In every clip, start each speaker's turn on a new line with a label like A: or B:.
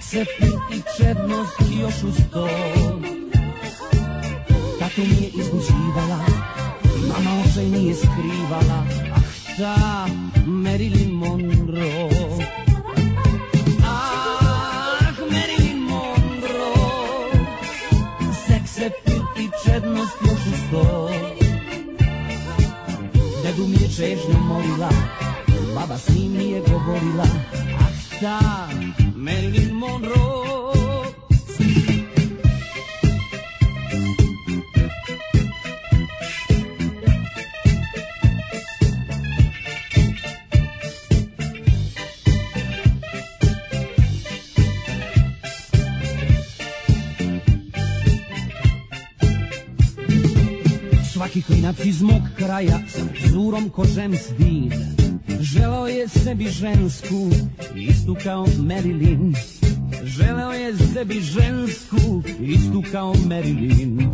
A: se puti čednost još uz to Tatu mi je izluđivala, mama očaj nije skrivala Ah ta Marilyn Monroe Ah, Marilyn Monroe Seks se puti čednost još uz to Dedu mi je čežnju molila, baba s njim nije govorila Ah ta Marilyn Monroe Svaki klinac iz mog kraja sa zurom ko James Dean Želeo je sebi žensku, istu kao Marilyn Želeo je sebi žensku, istu kao Marilyn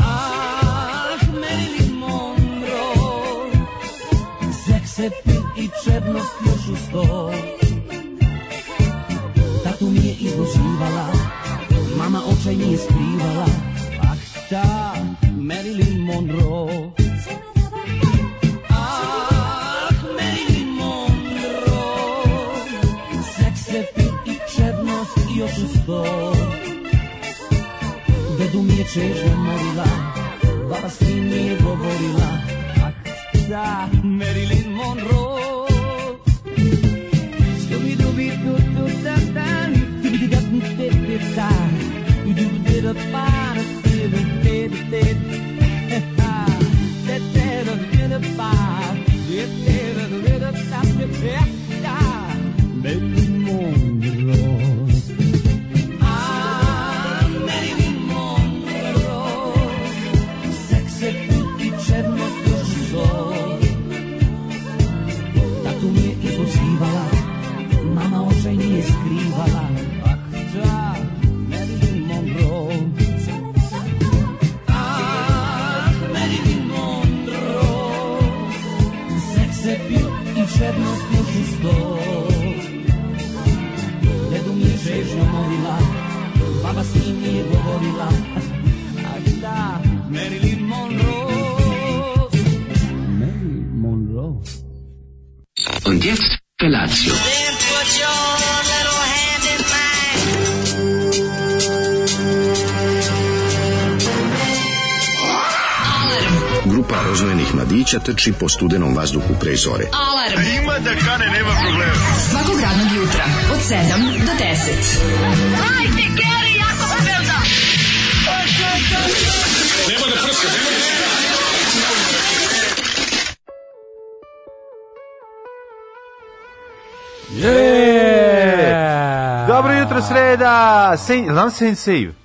A: Ah, Marilyn Monroe Seks, pil i čednost još uz to Tatu mi je izlučivala, mama očaj nije skrivala Ah, ta Marilyn Monroe Ah, Marilyn Monroe Seks, pil i čednost i još uz to Dedu mi je čežnja molila Baba s njim nije govorila Ah, ta Marilyn Monroe Oh Tatu mi je izlučivala, mama očaj nije skrivala. Ah, da, Marilyn Monroe. Ah, Marilyn Monroe. Seks je bio i čednost još uz to. Dedu mi je čežnju molila, baba s njim nije govorila. Ah, da, Marilyn Monroe. Marilyn Monroe.
B: Und jetzt Felatio.
C: Then put your little hand in mine.
D: Grupa rozvojenih mladića trči po studenom vazduhu pre zore.
E: Alarm.
F: Ima da kane, nema problema.
E: Svakog radnog jutra od 7 do 10. Hajde, Geri, jako se velda!
G: Dobro jutro sreda. Sen, znam sen save.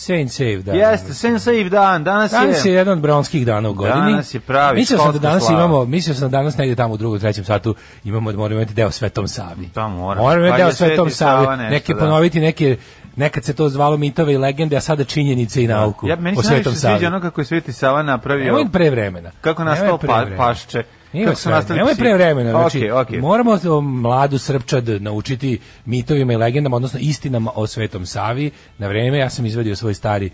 H: Saint Save, da.
G: Jeste, sen save dan. Danas,
H: Danas je jedan od bronskih dana u godini.
G: Danas je pravi
H: Mislio sam da
G: školska
H: danas
G: slava.
H: imamo, mislio sam da danas negde tamo u drugom, trećem satu imamo da moramo imati deo Svetom Savi.
G: Da, mora.
H: Moramo imati
G: Valjda
H: deo
G: Pa je Sveti
H: Svetom
G: Sava
H: Savi.
G: nešto,
H: neke
G: da.
H: ponoviti neke nekad se to zvalo mitove i legende, a sada činjenice i nauku
G: Ja, meni
H: o
G: se najviše
H: Svetom Savi.
G: sviđa ono kako je Sveti Sava napravio.
H: Nemoj pre vremena.
G: Kako je
H: Nemoj
G: nastao
H: pre
G: pa-
H: vremena.
G: pašče.
H: Ima
G: Kako su
H: sve.
G: nastali
H: Nemoj
G: psi.
H: pre vremena. Znači,
G: Okej, okej.
H: Moramo o, mladu Srpčad naučiti mitovima i legendama, odnosno istinama o Svetom Savi. Na vreme ja sam izvadio svoj stari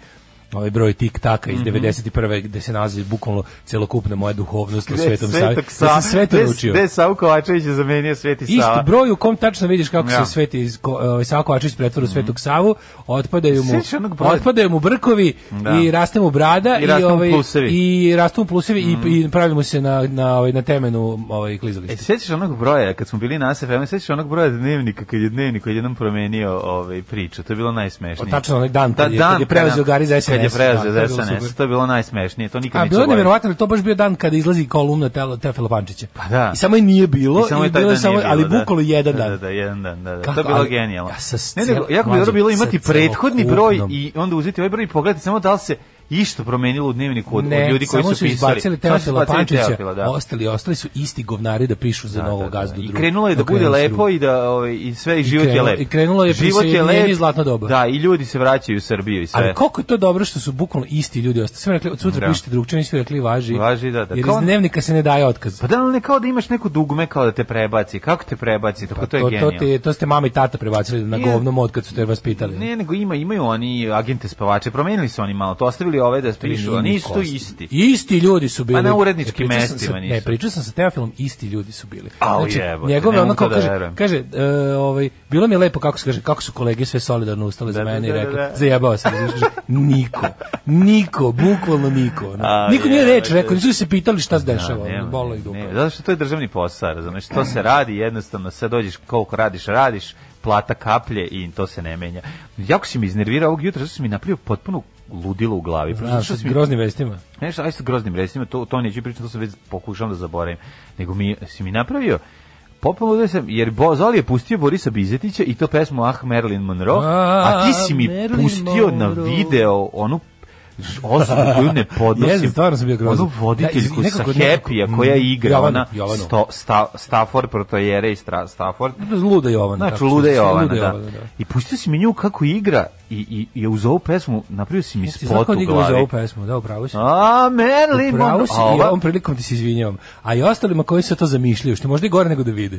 H: ovaj broj tik taka
G: Mhm.
H: iz 91. gde se nalazi bukvalno celokupna moja duhovnost o
G: Gde
H: Svetom Savi.
G: Svetog
H: Ja
G: Sa-
H: sam sve to
G: gde-
H: naučio.
G: Gde je Savu Kovačević je zamenio Sveti Sava?
H: Isti broj u kom tačno vidiš kako
G: Ja. Mhm.
H: se sveti iz ko- ovaj Sava Kovačić pretvara u Svetog Savu, otpadaju mu
G: Sjećaš onog broja?
H: otpadaju mu brkovi
G: Da.
H: i raste mu brada
G: I rastu mu
H: ovaj
G: plusevi. Mhm.
H: i rastu mu plusevi i, i pravi mu se na na ovaj na temenu ovaj klizalište.
G: E, sjećaš onog broja, kad smo bili na SFM, sjećaš onog broja dnevnika, kad je dnevnik jednom promenio ovaj, priču, to je bilo najsmešnije.
H: O, Pa tačno, onaj dan kad je- kad je preuzeo
G: nam-
H: Gari za SNS.
G: Kad je preuzeo
H: Da, to je
G: za
H: bilo
G: SNS,
H: super.
G: to je bilo najsmešnije, to nikad
H: A
G: neću
H: bilo je
G: zaboraviti.
H: neverovatno, jer to baš bio dan kada izlazi kolumna Tela Tefela Pančića.
G: Pa da.
H: I samo je nije bilo,
G: I samo je taj
H: bilo
G: dan
H: je samo,
G: nije bilo,
H: ali
G: da.
H: bukalo jedan
G: da,
H: dan.
G: Da, da, jedan dan, da, da.
H: Kako,
G: to je bilo
H: ali-
G: genijalno.
H: Ja sa s
G: ne, nego,
H: cel-
G: jako bi dobro bilo
H: mlađo,
G: imati
H: sa
G: prethodni broj
H: celokupnom.
G: i onda uzeti ovaj broj i pogledati samo da li se išta promenilo u dnevniku od, od
H: ne,
G: ljudi koji
H: samo
G: su
H: su
G: pisali.
H: izbacili
G: Samo su
H: Teofila
G: izbacili
H: Pančića,
G: Teofila,
H: ostali, ostali su isti govnari da pišu za novog gazdu
G: I
H: drugog.
G: krenulo je da bude
H: Okrenuli su
G: lepo i da ovaj i sve i život je
H: krenulo-
G: lep.
H: i krenulo je prisjedinjenje i zlatno doba.
G: Da, i ljudi se vraćaju u Srbiju i sve.
H: Ali koliko je to dobro što su bukvalno isti ljudi ostali. Sve rekli, od sutra
G: Da.
H: pišite drugče, nisi rekli važi.
G: Važi, da, da.
H: Jer
G: Kao-
H: iz dnevnika se ne daje otkaz.
G: Pa da li ne kao da imaš neko dugme kao da te prebaci? Kako te prebaci? Tako Pa to je
H: Pa to, to,
G: genijalno.
H: te, to ste mama i tata prebacili na
G: Nije.
H: govnom od kad su te vaspitali.
G: Ne, nego ima, imaju oni agente spavače, promenili su oni malo, to ostavili ove da pišu, a
H: Nije
G: nisu
H: niko
G: tu
H: ostao.
G: isti.
H: Isti ljudi su bili.
G: Pa na uredničkim
H: Pričao sam
G: mestima
H: sa- Ne,
G: nisu.
H: pričao sam sa Teofilom, isti ljudi su bili.
G: Au, jebote,
H: njegove
G: ne
H: ono
G: mogu
H: kao
G: to da
H: kaže,
G: verujem.
H: kaže e, ovaj, bilo mi je lepo kako se kaže, kako su kolege sve solidarno ustale za
G: Da, da,
H: mene i
G: da, da,
H: rekao,
G: da.
H: zajebao sam, znaš, kaže, niko, niko, bukvalno niko. ono.
G: Au,
H: Niko nije reč
G: jebote.
H: rekao, nisu se pitali šta se
G: Da,
H: dešava, ono,
G: Pa nema,
H: bolo i dupa.
G: nema, Zato što to je državni posao, razumeš, to se radi jednostavno, sad dođeš koliko radiš, radiš, plata kaplje i to se ne menja. Jako si mi iznervirao ovog jutra, zato si mi napravio potpuno ludilo u glavi. Prosto
H: A,
G: što
H: sa
G: si mi
H: groznim vestima.
G: Nešto, aj sa groznim recimo, to, to neću pričati, to sam već pokušavam da zaboravim. Nego mi, si mi napravio, popolno da sam, jer Bo, Zoli je pustio Borisa Bizetića i to pesmu Ah Marilyn Monroe, a ti si mi
H: A, Ah, Marilyn
G: pustio na
H: Monroe.
G: video onu ž- osobu koju ne podnosim.
H: Jeste, stvarno sam bio grozan.
G: Onu voditeljku
H: Da, iz-
G: sa
H: nekako- nekako-
G: Happy-a koja igra,
H: Jovanu,
G: ona
H: Jovanu.
G: sto, sta, Stafford, Protojere i Stra, Stafford.
H: Luda Jovana.
G: Znači,
H: tako
G: luda
H: se-
G: je Jovana,
H: Luda
G: da.
H: Jovana, da.
G: I pustio si mi nju kako igra i, i, i uz ovu pesmu napravio si mi
H: Jesi
G: spot u
H: znao kako igra za
G: glavi.
H: ovu pesmu, da, upravo si.
G: A, Marilyn
H: Upravo
G: Monroe.
H: si
G: A
H: i
G: ova-
H: ovom prilikom ti se izvinjavam. A i ostalima koji se to zamišljaju, što je možda i gore nego da vide.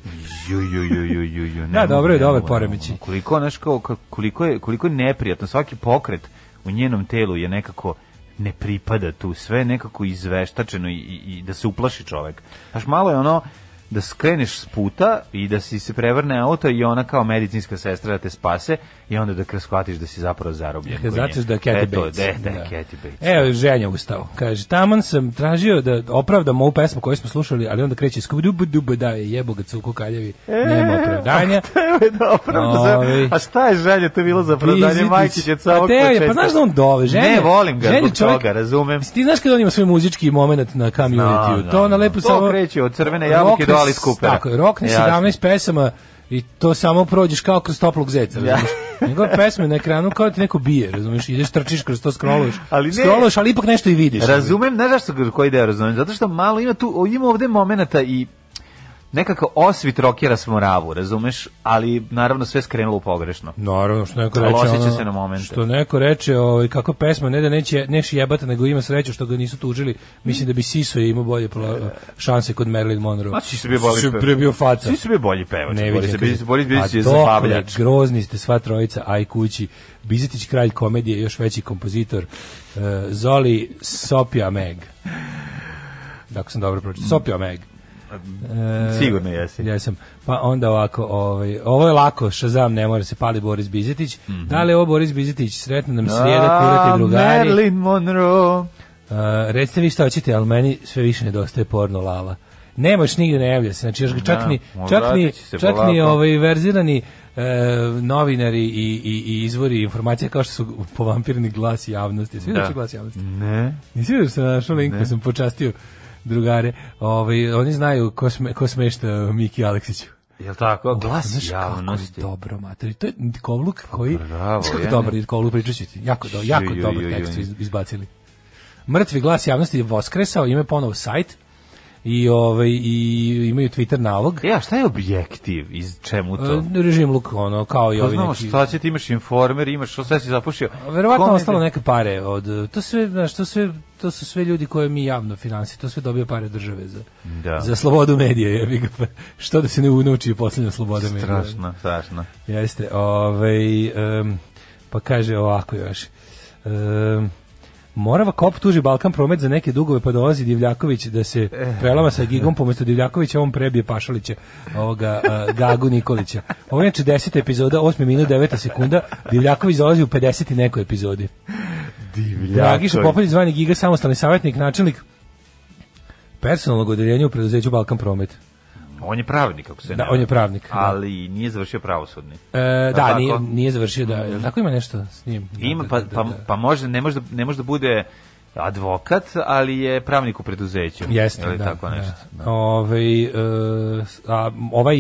G: Ju, ju, ju, ju, ju, ju, ne
H: Da,
G: mogu,
H: dobro je,
G: ne
H: dobar
G: mogu, ne
H: poremećaj.
G: mogu. Koliko, znaš, kao, ka- koliko, je, koliko je neprijatno, svaki pokret u njenom telu je nekako ne pripada tu, sve je nekako izveštačeno i, i, i da se uplaši čovek. Znaš, malo je ono da skreneš s puta i da si se prevrne auto i ona kao medicinska sestra da te spase i onda da kre- shvatiš da si zapravo zarobljen.
H: Kad značiš da je Kathy Bates.
G: Da, da, je Kathy Bates.
H: Evo, ženja ustao. Kaže, taman sam tražio da opravdam ovu pesmu koju smo slušali, ali onda kreće skubu dubu da je jebo ga cuku kaljevi.
G: E.
H: Nema opravdanja.
G: Evo je da opravda za-
H: Ovi.
G: A šta je želje to bilo za opravdanje
H: Vizitić.
G: Majkić od
H: Pa
G: samog
H: teo je,
G: početka?
H: Pa znaš da on dove, žene.
G: Ne, volim ga
H: žene
G: zbog
H: čovjek-
G: toga, razumem.
H: Ti znaš kada on ima svoj muzički moment na community
G: Znam,
H: to ona
G: znam,
H: lepo
G: znam. To
H: samo...
G: kreće od crvene jabuke do
H: Rokne
G: Alice
H: s-
G: Coopera.
H: Tako je, rokne
G: Jasno.
H: 17 pesama i to samo prođeš kao kroz toplog zeca, razumiješ? Njegove pesme na ekranu kao da te neko bije, razumiješ? Ideš, trčiš kroz to, scrolluješ.
G: Ali ne-
H: Scrolluješ, ali ipak nešto i vidiš.
G: Razumem, znaš zašto ga- koji deo razumem? Zato što malo ima tu, o, ima ovde momenata i nekakav osvit rokera s moravu, razumeš? Ali naravno sve skrenulo u pogrešno.
H: Naravno, što neko
G: Ali
H: reče,
G: osjeća
H: ono,
G: se na momente.
H: što neko reče, ovaj, kako pesma, ne da neće, neće jebata, nego ima sreću što ga nisu tužili, mislim da bi Siso je imao bolje pla- šanse kod Marilyn Monroe.
G: Ma, svi su bio bolji
H: Siso je
G: pevač.
H: prije bio faca.
G: Svi su bio bolji pevač.
H: Ne
G: Pa Boris
H: vidim.
G: Bizić- Boris Bizić je
H: A dokle
G: zabavljač.
H: Grozni ste sva trojica, aj kući. Bizetić kralj komedije, još veći kompozitor. E, Zoli Sopja Meg. Tako sam dobro pročitao. Sopja Meg.
G: Sigurno jesi.
H: Jesam. Pa onda ovako, ovaj, ovo je lako, Shazam, ne mora se pali Boris Bizetić.
G: Mhm.
H: Da li je ovo Boris Bizetić? Sretno nam srijeda, kurati drugari.
G: Marilyn Monroe.
H: Uh, recite vi šta hoćete, ali meni sve više nedostaje porno lala. Nema još nigde ne javlja se, znači još ga čak
G: Da,
H: ni,
G: ono,
H: čak ni,
G: vratit će se
H: čak ni
G: polako.
H: ovaj, verzirani e, novinari i, i, i izvori informacija kao što su povampirni glas javnosti. Svi da. glas javnosti.
G: Ne.
H: Nisi vidio što sam našao link koji sam počastio drugare. Ovaj, oni znaju ko, sme, ko smešta Miki Aleksiću.
G: Jel tako?
H: Uf,
G: Glas
H: znaš
G: javnosti. Pa
H: Kako je dobro, mater. I To je kovluk koji...
G: bravo,
H: znaš kako je
G: je.
H: dobar kovluk pričat ću ti. Jako, do, jako
G: Ju, ju,
H: dobar
G: ju,
H: tekst su
G: ju.
H: iz- izbacili. Mrtvi glas javnosti je voskresao, ima ponovo sajt i, ovaj, i imaju Twitter nalog.
G: E, a šta je objektiv? Iz čemu to?
H: E, Režim luk, ono, kao i
G: Pa
H: ovi
G: znamo
H: neki...
G: šta će ti imaš informer, imaš što sve si zapušio.
H: Verovatno
G: Kome-
H: ostalo neke pare od e, to sve znaš, to sve to su sve ljudi koje mi javno finansiramo, to sve dobio pare od države za
G: Da.
H: za slobodu medija, jebi ga. pa Što da se ne nauči poslednja sloboda medija.
G: Strašno, strašno.
H: Jeste, ovaj, em, pa kaže ovako još. Um, Morava Kop tuži Balkan promet za neke dugove, pa dolazi Divljaković da se
G: Eh.
H: prelama sa gigom, pomesto Divljakovića on prebije Pašalića, ovoga a, Gagu Nikolića. Ovo je znači 10. epizoda, 8 minut, 9 sekunda, Divljaković dolazi u 50 i nekoj epizodi. Dragiša Popović, zvani Giga, samostalni savjetnik, načelnik personalnog odeljenja u preduzeću Balkan promet.
G: On je pravnik, ako se ne
H: Da,
G: varam.
H: on je pravnik. da.
G: Ali nije završio pravosudni.
H: E, da,
G: tako?
H: nije, nije završio da, jel tako ima nešto s njim.
G: Ima,
H: Da,
G: pa,
H: da, da,
G: pa,
H: da.
G: pa može, ne može, da- ne može da bude advokat, ali je pravnik u preduzeću.
H: Jeste,
G: Ili
H: da,
G: tako nešto.
H: Da. Ovaj, e, a, ovaj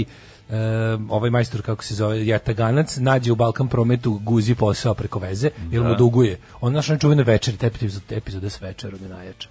H: e, ovaj majstor kako se zove Jataganac nađe u Balkan prometu guzi posao preko veze jer mu duguje. On naša čuvena večer, taj epizod, epizoda s večerom je najjača.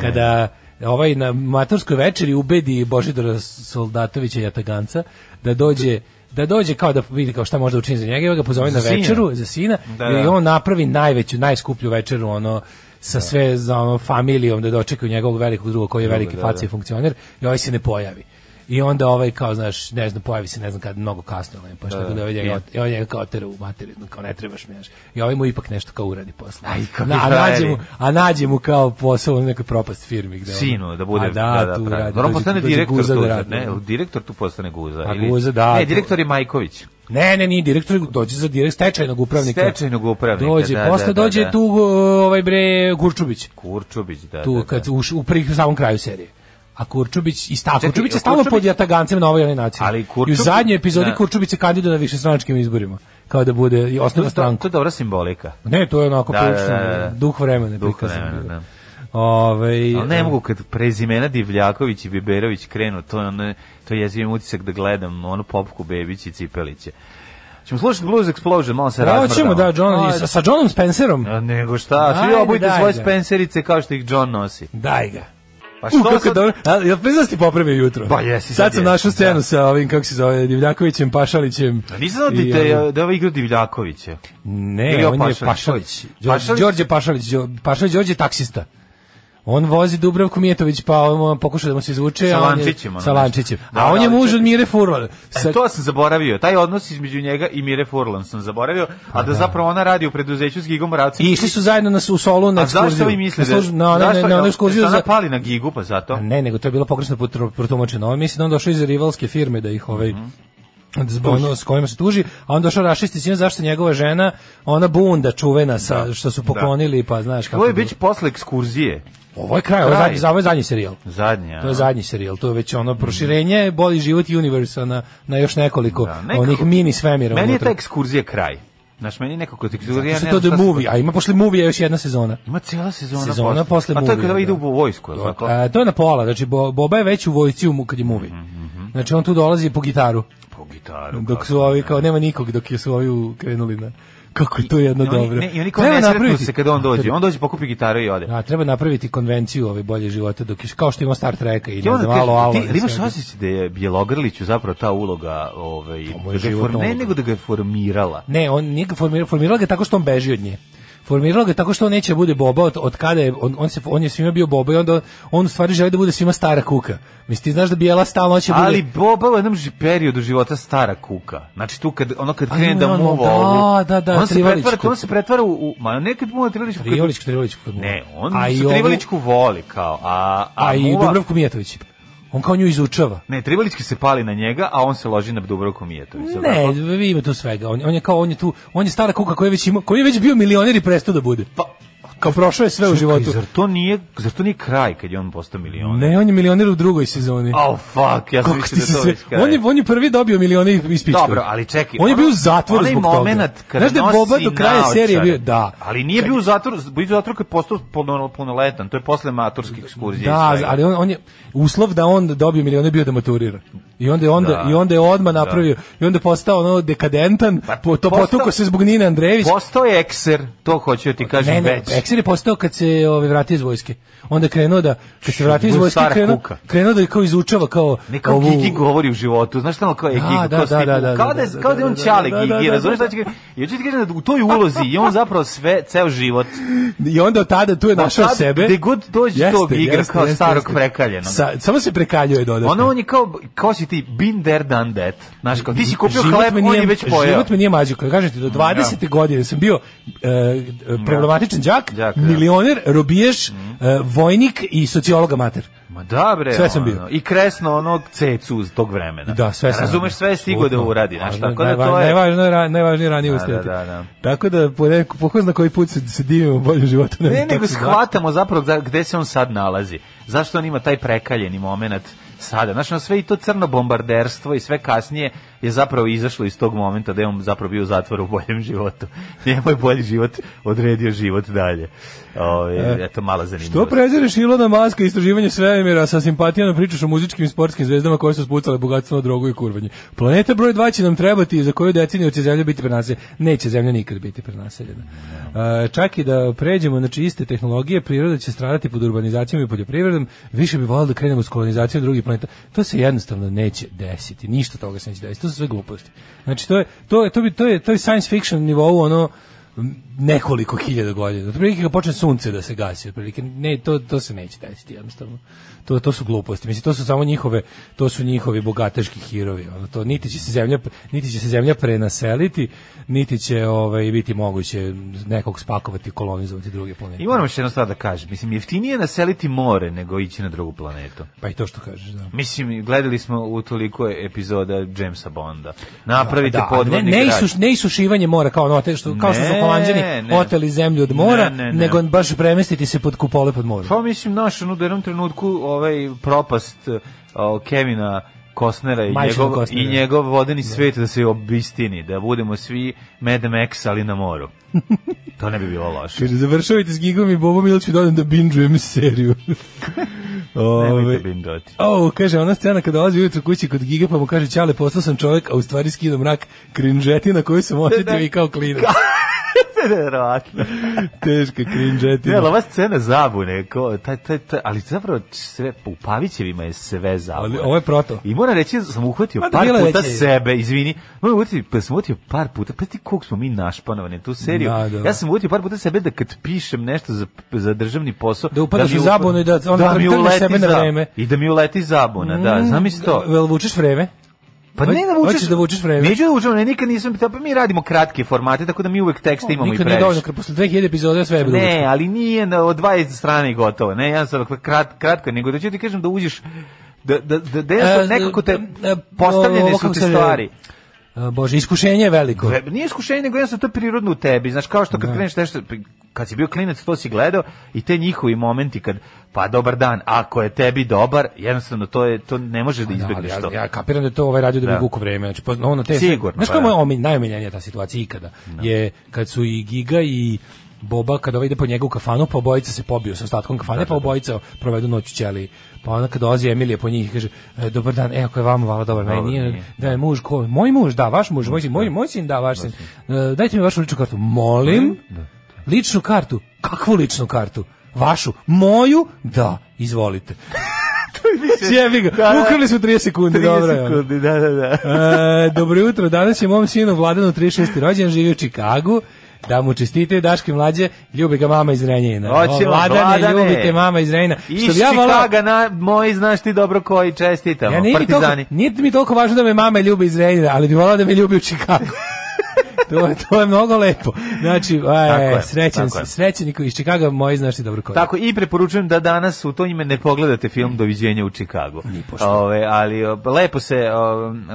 H: Kada ovaj na maturskoj večeri ubedi Božidora Soldatovića Jataganca da dođe da dođe kao da vidi kao šta može da učini za njega, ja ga pozove
G: Za
H: na
G: sina.
H: večeru za sina
G: Da,
H: i
G: da.
H: on napravi najveću, najskuplju večeru ono sa sve za ono, familijom da dočekaju njegovog velikog druga koji je veliki
G: da,
H: faci funkcioner i ovaj se ne pojavi. I onda ovaj kao znaš, ne znam, pojavi se ne znam kad mnogo kasno, ali pa šta da, da ovaj njega,
G: je.
H: i ovaj njega kao tera u materiju, kao ne trebaš mi, znaš. I ovaj mu ipak nešto kao uradi posle.
G: Aj, kakvi
H: a nađe
G: frajeri.
H: mu, a nađe mu kao posao u nekoj propast firmi gde on-
G: Sinu, da bude...
H: a da, tu
G: pravi.
H: radi.
G: Dobro,
H: dođe-
G: postane
H: dođe
G: direktor
H: guza
G: tu,
H: da
G: ne,
H: radi.
G: direktor tu postane guza.
H: A
G: ili-
H: guza, da,
G: Ne,
H: tu-
G: direktor je Majković.
H: Ne, ne, nije direktor, dođe za direkt stečajnog upravnika.
G: Stečajnog upravnika,
H: Dođe,
G: da,
H: posle
G: da, da,
H: dođe
G: da.
H: tu ovaj bre Kurčubić.
G: Kurčubić, da,
H: Tu
G: da, da.
H: kad u, u pri samom kraju serije. A Kurčubić i sta,
G: Čekaj,
H: Kurčubić je
G: jel
H: stalno
G: Kurčubić-
H: pod jatagancem na ovaj ili onaj način.
G: Ali
H: I u
G: Kurčubić-
H: zadnjoj epizodi
G: da.
H: Kurčubić se kandiduje na višestranačkim izborima kao da bude i
G: To,
H: osnova
G: to,
H: stranku.
G: to je dobra simbolika.
H: Ne, to je onako
G: Da, da,
H: prilično
G: da, da.
H: duh vremena
G: Duh
H: prikazan
G: vremena,
H: bio.
G: da.
H: Ovaj,
G: Ali ne mogu kad prezimena Divljaković i Biberović krenu, to je ono, to je jezivim utisak da gledam ono Popku Bebić i Cipelića. Ćemo slušati Blues Explosion, malo se razmrdamo.
H: Hoćemo e, da John i sa, sa Johnom Spencerom.
G: A nego šta, svi
H: Ajde,
G: obujte
H: daj
G: svoje
H: ga.
G: spencerice kao što ih John nosi.
H: Daj ga.
G: Pa
H: U, kako
G: sad-
H: je dobro. A, jel priznao si popravio jutro?
G: Pa jesi,
H: Sad
G: sad
H: sam
G: jesam,
H: našao scenu
G: da.
H: sa ovim, kako se zove, Divljakovićem, Pašalićem.
G: Pa Nisam znao da,
H: i
G: te-
H: ovim-
G: da je ovo igra Divljakovića.
H: Ne,
G: Ili
H: on je
G: Pašalić?
H: Pašalić. Đorđe,
G: Pašalić?
H: Đorđe Pašalić. Đo- Pašalić Đorđe je taksista. On vozi Dubravku Mijetović, pa on pokuša da mu se izvuče.
G: Sa
H: a on je-
G: lančićem, ono
H: Sa
G: nešto.
H: lančićem.
G: Da,
H: A on
G: da,
H: je
G: ali
H: muž
G: čekaj.
H: od Mire Furlan.
G: E, to sam zaboravio, taj odnos između njega i Mire Furlan sam zaboravio, a da zapravo ona radi u preduzeću s Gigom Moravcem.
H: I išli su zajedno na, su- u solu na
G: A
H: ekskurziju.
G: zašto vi mislite?
H: Na, služ- na, na, na, na, onu ekskurziju
G: Ona
H: za...
G: pali na Gigu, pa zato.
H: Ne, nego to je bilo pogrešno potro- protumačeno. On misli da on došao iz rivalske firme da ih ovaj
G: Mhm.
H: da zbog ono s kojima se tuži, a on došao rašisti s njim zašto je njegova žena, ona bunda čuvena sa što su poklonili, pa znaš kako.
G: Ovo je
H: bilo.
G: već posle ekskurzije,
H: ovo je kraj, ovo je
G: kraj.
H: zadnji, za- ovo je zadnji serijal.
G: zadnja.
H: To je zadnji serijal, to je već ono proširenje Bolji život universa na, na još nekoliko
G: Da, nekako-
H: onih mini svemira.
G: Meni je
H: unutra.
G: ta ekskurzija kraj. Znaš, meni je nekako ta ekskurzija...
H: Zato što
G: ne
H: je to
G: znam
H: the
G: šta se- pa-
H: movie, a ima posle movie još jedna sezona.
G: Ima cijela sezona,
H: Sezona posle
G: A to je kada
H: movie-a,
G: ide
H: da.
G: u vojsku, je li tako?
H: A, to je na pola, znači Bo- Boba je već u vojci u mu- kad je movie.
G: Mhm,
H: Znači on tu dolazi po gitaru.
G: Po gitaru.
H: dok
G: kako
H: su ovi
G: ne.
H: kao nema nikog dok je su ovi u- krenuli na kako je to jedno
G: I oni-
H: dobro.
G: Ne, I oni kao
H: Treba
G: ne sretnu
H: napraviti-
G: se kada on dođe. On dođe, pokupi gitaru i ode.
H: A, treba napraviti konvenciju ove bolje života dok je kao što ima Star Treka i
G: Ti
H: ne
G: onda
H: znam, malo
G: kažeš,
H: Alva.
G: ti, ali imaš osjećaj da je Bjelogrliću zapravo ta uloga, ovaj,
H: mu
G: da
H: je
G: ga je
H: životna
G: for, ne
H: uloga.
G: nego da ga je formirala.
H: Ne, on nije ga formirao, formirala ga tako što on beži od nje. Formirala ga tako što on neće da bude Boba od, od kada je, on, on, se, on je svima bio Boba i onda on u stvari želi da bude svima stara kuka. Mislim, ti znaš da Bijela stalno hoće da bude...
G: Ali Boba u jednom ži- periodu života stara kuka. Znači tu kad ono kad
H: Pa
G: krene
H: ima
G: da
H: i ono,
G: mu
H: da,
G: ovo.
H: da, da,
G: on se
H: Trivalić
G: pretvara,
H: kad-
G: on se pretvara u, u ma nekad mu Trivalić kad-
H: Trivalić, Trivalić.
G: Ne, on
H: a i
G: se
H: ovu-
G: Trivalićku voli kao, a a,
H: A i
G: muva-
H: Dubravku Mijatović. On kao nju izučava.
G: Ne, Trivalićki se pali na njega, a on se loži na Dubrovku Mijetović. je li
H: Ne,
G: tako?
H: vi ima tu svega. On, on je kao on je tu, on je stara kuka koji je već ima, koji je već bio milioner i prestao da bude. Pa kao prošao je sve u
G: Čekaj,
H: životu.
G: Zar to nije, zar to nije kraj kad je on postao milion?
H: Ne, on je milioner u drugoj sezoni.
G: Oh fuck, ja sam
H: Kako
G: mislio
H: ti se
G: da je to
H: sve...
G: već kraj.
H: On je, on je prvi dobio milione iz pička.
G: Dobro, ali čekaj.
H: On je
G: ono-
H: bio u zatvoru
G: onaj
H: zbog
G: momenat
H: toga.
G: kada
H: Znaš da je
G: nosi
H: Boba do kraja
G: naočare.
H: serije bio... Da.
G: Ali nije bio u zatvoru, bio je u zatvoru kad je postao puno- punoletan, to je posle maturskih ekskurzija. i
H: Da,
G: svega.
H: ali on, on je uslov da on dobije milione bio da maturira. I onda je onda
G: Da.
H: i onda je odma napravio i onda je postao ono dekadentan,
G: Pa,
H: po, to
G: postao-
H: potukao se zbog Nine Andrejević,
G: Postao je ekser, to hoću da ti kažem
H: Ne, ne,
G: već.
H: Ekser je postao kad se ovaj vratio iz vojske. Onda je krenuo da kad se vratio iz
G: Bude
H: vojske
G: stara
H: krenuo,
G: kuka.
H: krenuo da kao izučava kao
G: Ne kao Gigi govori u životu, znaš šta ono kao je
H: Da,
G: Gigi,
H: da,
G: kao
H: da,
G: Stipu,
H: da, da,
G: kao da,
H: da,
G: je-
H: da,
G: kao da je on
H: da, da,
G: čali
H: da, da,
G: Gigi,
H: da,
G: razumiješ šta ću ti kažem? Ja ću ti kažem da u toj ulozi je on zapravo sve, ceo život. Pa
H: I onda od tada tu je našao
G: sad,
H: sebe.
G: gde god dođe, to igra kao starog prekaljenog.
H: Sa, samo se prekaljuje dodatno.
G: Ono on je kao, kao si ti been there, done that. Znaš, kao ti si kupio
H: Život
G: hleb,
H: me
G: on je
H: nije-
G: već pojeo. Mm,
H: Život me nije mađio. Kada kažete, do 20. godine sam bio e, e, problematičan đak,
G: Đak, da. Mm.
H: milioner, robiješ, e, vojnik i sociologa mater.
G: Ma da bre,
H: Sve sam bio.
G: ono, I kresno onog cecu iz tog vremena.
H: Da, sve sam.
G: Razumeš, sve je stigo da
H: Apsolutno.
G: uradi, znaš,
H: Važno je-
G: tako da to
H: najva-
G: je...
H: Najvažno, je ra- najvažnije je ranije
G: Da,
H: ustajati.
G: da, da, da.
H: Tako da, po, neku, po ko zna koji put se, se divimo boljem životu. znam
G: Ne,
H: kako
G: nego
H: se zove.
G: shvatamo zapravo za, gde se on sad nalazi. Zašto on ima taj prekaljeni moment sada? Znaš, ono sve i to crno bombarderstvo i sve kasnije je zapravo izašlo iz tog momenta da je on zapravo bio u zatvoru u boljem životu. Njemu je bolji život odredio život dalje. Ove, eto, mala
H: E, Što
G: zanimljivost.
H: prezireš Ilona Maska i istraživanje svemira sa simpatijama pričaš o muzičkim i sportskim zvezdama koje su spucale bogatstvo na drogu i kurvanje. Planeta broj 2 će nam trebati i za koju deceniju će zemlja biti prenaseljena. Neće zemlja nikad biti prenaseljena. E, čak i da pređemo na iste tehnologije, priroda će stradati pod urbanizacijom i poljoprivredom. Više bi volio da krenemo s kolonizacijom drugih planeta. To se jednostavno neće desiti. Ništa toga se neće desiti. To su sve gluposti. Znači to je to je to bi to je to je science fiction nivou ono nekoliko hiljada godina. Otprilike kad počne sunce da se gasi, otprilike ne to to se neće desiti jednostavno. To to su gluposti. Mislim to su samo njihove, to su njihovi bogateški hirovi. Ono to niti će se zemlja niti će se zemlja prenaseliti, niti će ovaj biti moguće nekog spakovati i kolonizovati druge planete.
G: I moram još jednu stvar da kažem. Mislim, jeftinije je naseliti more nego ići na drugu planetu.
H: Pa i to što kažeš, da.
G: Mislim, gledali smo u toliko epizoda Jamesa Bonda. Napravite
H: Da, ne,
G: podvodni
H: ne,
G: grad.
H: isuš, ne isušivanje mora kao ono te što kao što su
G: Ne,
H: holanđani
G: ne.
H: oteli zemlju od mora,
G: Ne, ne, ne.
H: nego baš premestiti se pod kupole pod morom.
G: Pa mislim, naš, ono, da u jednom trenutku ovaj propast o, Kevina Kostnera i
H: Majčina
G: njegov,
H: Costnera.
G: i njegov vodeni svet da se obistini, da budemo svi Mad Max, ali na moru. to ne bi bilo loše.
H: Kaže, završavajte s gigom i Bobom ili ću dodam da binđujem seriju. Ove,
G: Nemojte bindoti.
H: o, kaže, ona scena kada dolazi ujutro kući kod Giga pa mu kaže, čale, postao sam čovjek, a u stvari skidam mrak krinžetina koju sam osjetio
G: Da, da.
H: i kao klinac.
G: Verovatno.
H: Teška
G: Ne, ali
H: krinžetina.
G: ova scena zabune, ko, taj, taj, taj, ali zapravo sve, u Pavićevima je sve zabune.
H: Ali ovo je proto.
G: I moram reći da sam uhvatio
H: Ma da,
G: par
H: bilo je
G: puta
H: već je.
G: sebe, izvini. Moram uhvatiti, pa sam uhvatio par puta, pa ti koliko smo mi našpanovani na tu seriju.
H: Da, da.
G: Ja sam uhvatio par puta sebe da kad pišem nešto za, za državni posao...
H: Da upadaš
G: mi
H: u
G: up-
H: zabunu i da onda
G: mi
H: trgneš
G: uleti
H: sebe na
G: za-
H: vreme. Mm,
G: I da mi uleti zabuna, da, znam isto.
H: Jel vučeš vreme?
G: Pa ne da
H: Hoćeš
G: vučeš,
H: da vučeš vreme?
G: Neću da vučem, ne, nikad nisam, pa mi radimo kratke formate, tako da mi uvek tekste imamo i
H: Nikad
G: previše.
H: ne dovoljno, kad posle 2000 epizoda sve je bilo
G: Ne, ali nije na, od 20 strane i gotovo. Ne, ja sam krat, kratko, nego da ću ti kažem da uđeš da, da, da, da
H: E,
G: jednostavno nekako te
H: e, e, ovo
G: postavljene su
H: kako
G: te
H: se-
G: stvari.
H: A, Bože, iskušenje je veliko.
G: Ve- Nije iskušenje, nego jednostavno to je prirodno u tebi. Znaš, kao što kad kreneš nešto, kad si bio klinac, to si gledao i te njihovi momenti kad, pa dobar dan, ako je tebi dobar, jednostavno to, je, to ne možeš da
H: ali
G: izbjegneš
H: ja,
G: to.
H: ja kapiram da je to ovaj radio da bi
G: Da.
H: vuku vreme. Znači, pozna, ono te,
G: Sigurno,
H: Znaš
G: pa
H: kako
G: da.
H: je omil, najomiljenija ta situacija ikada? Je kad su i Giga i Boba, kada ovaj ide po njega u kafanu, pa obojica se pobiju sa ostatkom kafane, pa obojica provedu noć u ćeliji. Pa onda kada dolazi Emilija po njih i kaže, e, dobar dan, e, ako je vama vala dobar, meni
G: Dobar,
H: nije,
G: nije.
H: da je muž, ko, moj muž, da, vaš muž, moj sin, moj, moj sin, da, vaš sin. E, dajte mi vašu ličnu kartu. Molim, ličnu kartu, kakvu ličnu kartu? Vašu, moju, da, izvolite. Jebi ga, ukrali su 30 sekundi,
G: 30
H: dobro je.
G: sekundi, da, da, da.
H: E, dobro jutro, danas je mom sinu Vladanu 36. rođen, živi u Čikagu. Da mu čestite Daške mlađe, ljubi ga mama iz Renjina.
G: Hoćemo, Vladane.
H: ljubi te mama iz Renjina.
G: Iz
H: Što bi ja volao,
G: Čikaga, na, moji znaš ti dobro koji, čestitamo,
H: ja nije, mi toliko,
G: partizani.
H: nije mi toliko važno da me mama ljubi iz Renjina, ali bi volao da me ljubi u Čikagu. to, je- to je mnogo lepo. Znači,
G: Tako
H: e,
G: je,
H: srećen,
G: tako je.
H: srećen iz Čikaga, moji znaš ti dobro koji.
G: Tako i preporučujem da danas u to ime ne pogledate film Doviđenja u Čikagu. Ove, ali o, lepo se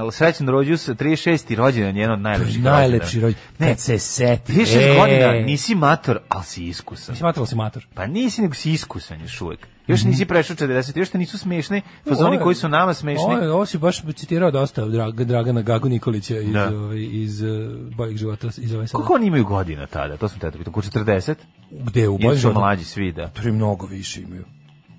G: o, srećan rođus 36. rođendan jedan od najlepših.
H: Najlepši rođen.
G: Ne.
H: Kad se seti.
G: 36
H: e.
G: godina nisi mator, ali si iskusan.
H: Mislim, mator li si mator?
G: Pa nisi nego si iskusan još uvek. Još nisi prešao 40, još te nisu smešni,
H: Mhm. Ovo
G: fazoni
H: je-
G: koji su nama smešni.
H: Ovo, je- ovo si baš citirao dosta Drag, Dragana Gagu Nikolića iz,
G: Da.
H: ovaj, iz uh, Boljeg života, iz ove sada.
G: Koliko oni imaju godina tada? To sam te pitan. Oko 40?
H: Gde u
G: Ili
H: Boljeg
G: su
H: života?
G: mlađi svi, da.
H: Tri mnogo više imaju.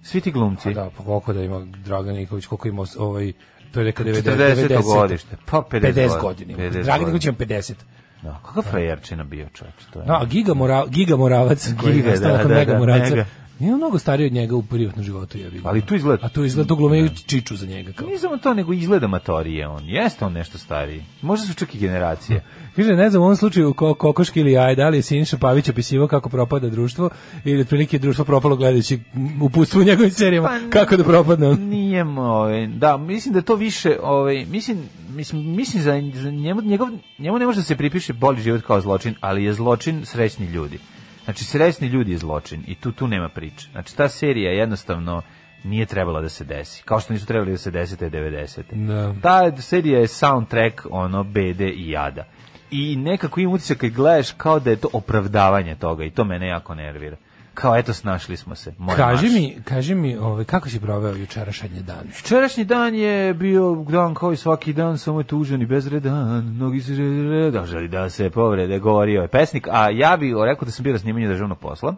G: Svi ti glumci.
H: Da, pa koliko da ima Dragan Nikolić, koliko ima os- ovaj, to je neka 90.
G: 40. godište. Pa 50,
H: 50 godina. ima.
G: 50
H: Dragan
G: godina.
H: Nikolić ima 50.
G: Da, kakav frajerčina bio čovječ. To je.
H: No, a Giga, Mora, Giga Moravac, koji
G: Giga,
H: je nastao
G: da,
H: nakon
G: da,
H: Mega
G: da,
H: Moravca,
G: Mega.
H: nije on mnogo stariji od njega u privatnom životu. Ja vidim.
G: Ali tu izgleda-
H: A tu izgleda, tu glumeju čiču za njega. Kao.
G: Nije samo to, nego izgleda matorije on. Jeste on nešto stariji. Možda su čak i generacije.
H: Kaže, ne znam u ovom slučaju ko, kokoški ili jaje, da li je Siniša Pavić opisivo kako propada društvo ili otprilike je društvo propalo gledajući uputstvo u njegovim serijama
G: Pa,
H: kako da propadne on.
G: Nije, m, ovaj, da, mislim da to više, ovaj, mislim, mislim, mislim za, za njemu, njegov, njemu ne može da se pripiše bolji život kao zločin, ali je zločin srećni ljudi. Znači, srećni ljudi je zločin i tu, tu nema priče. Znači, ta serija jednostavno nije trebala da se desi, kao što nisu trebali da se desi te 90.
H: Da.
G: Ta serija je soundtrack ono bede i jada. I nekako im utisak kad gledaš kao da je to opravdavanje toga i to mene jako nervira. kao eto snašli smo se. Moj
H: Kaži
G: marš.
H: mi, kaži mi, ovaj kako si proveo jučerašnji dan?
G: Včerašnji dan je bio dan kao i svaki dan, samo je tužan i bezredan, mnogi se reda, želi da se povrede, govorio je pesnik, a ja bih rekao da sam bio na snimanju državnog posla,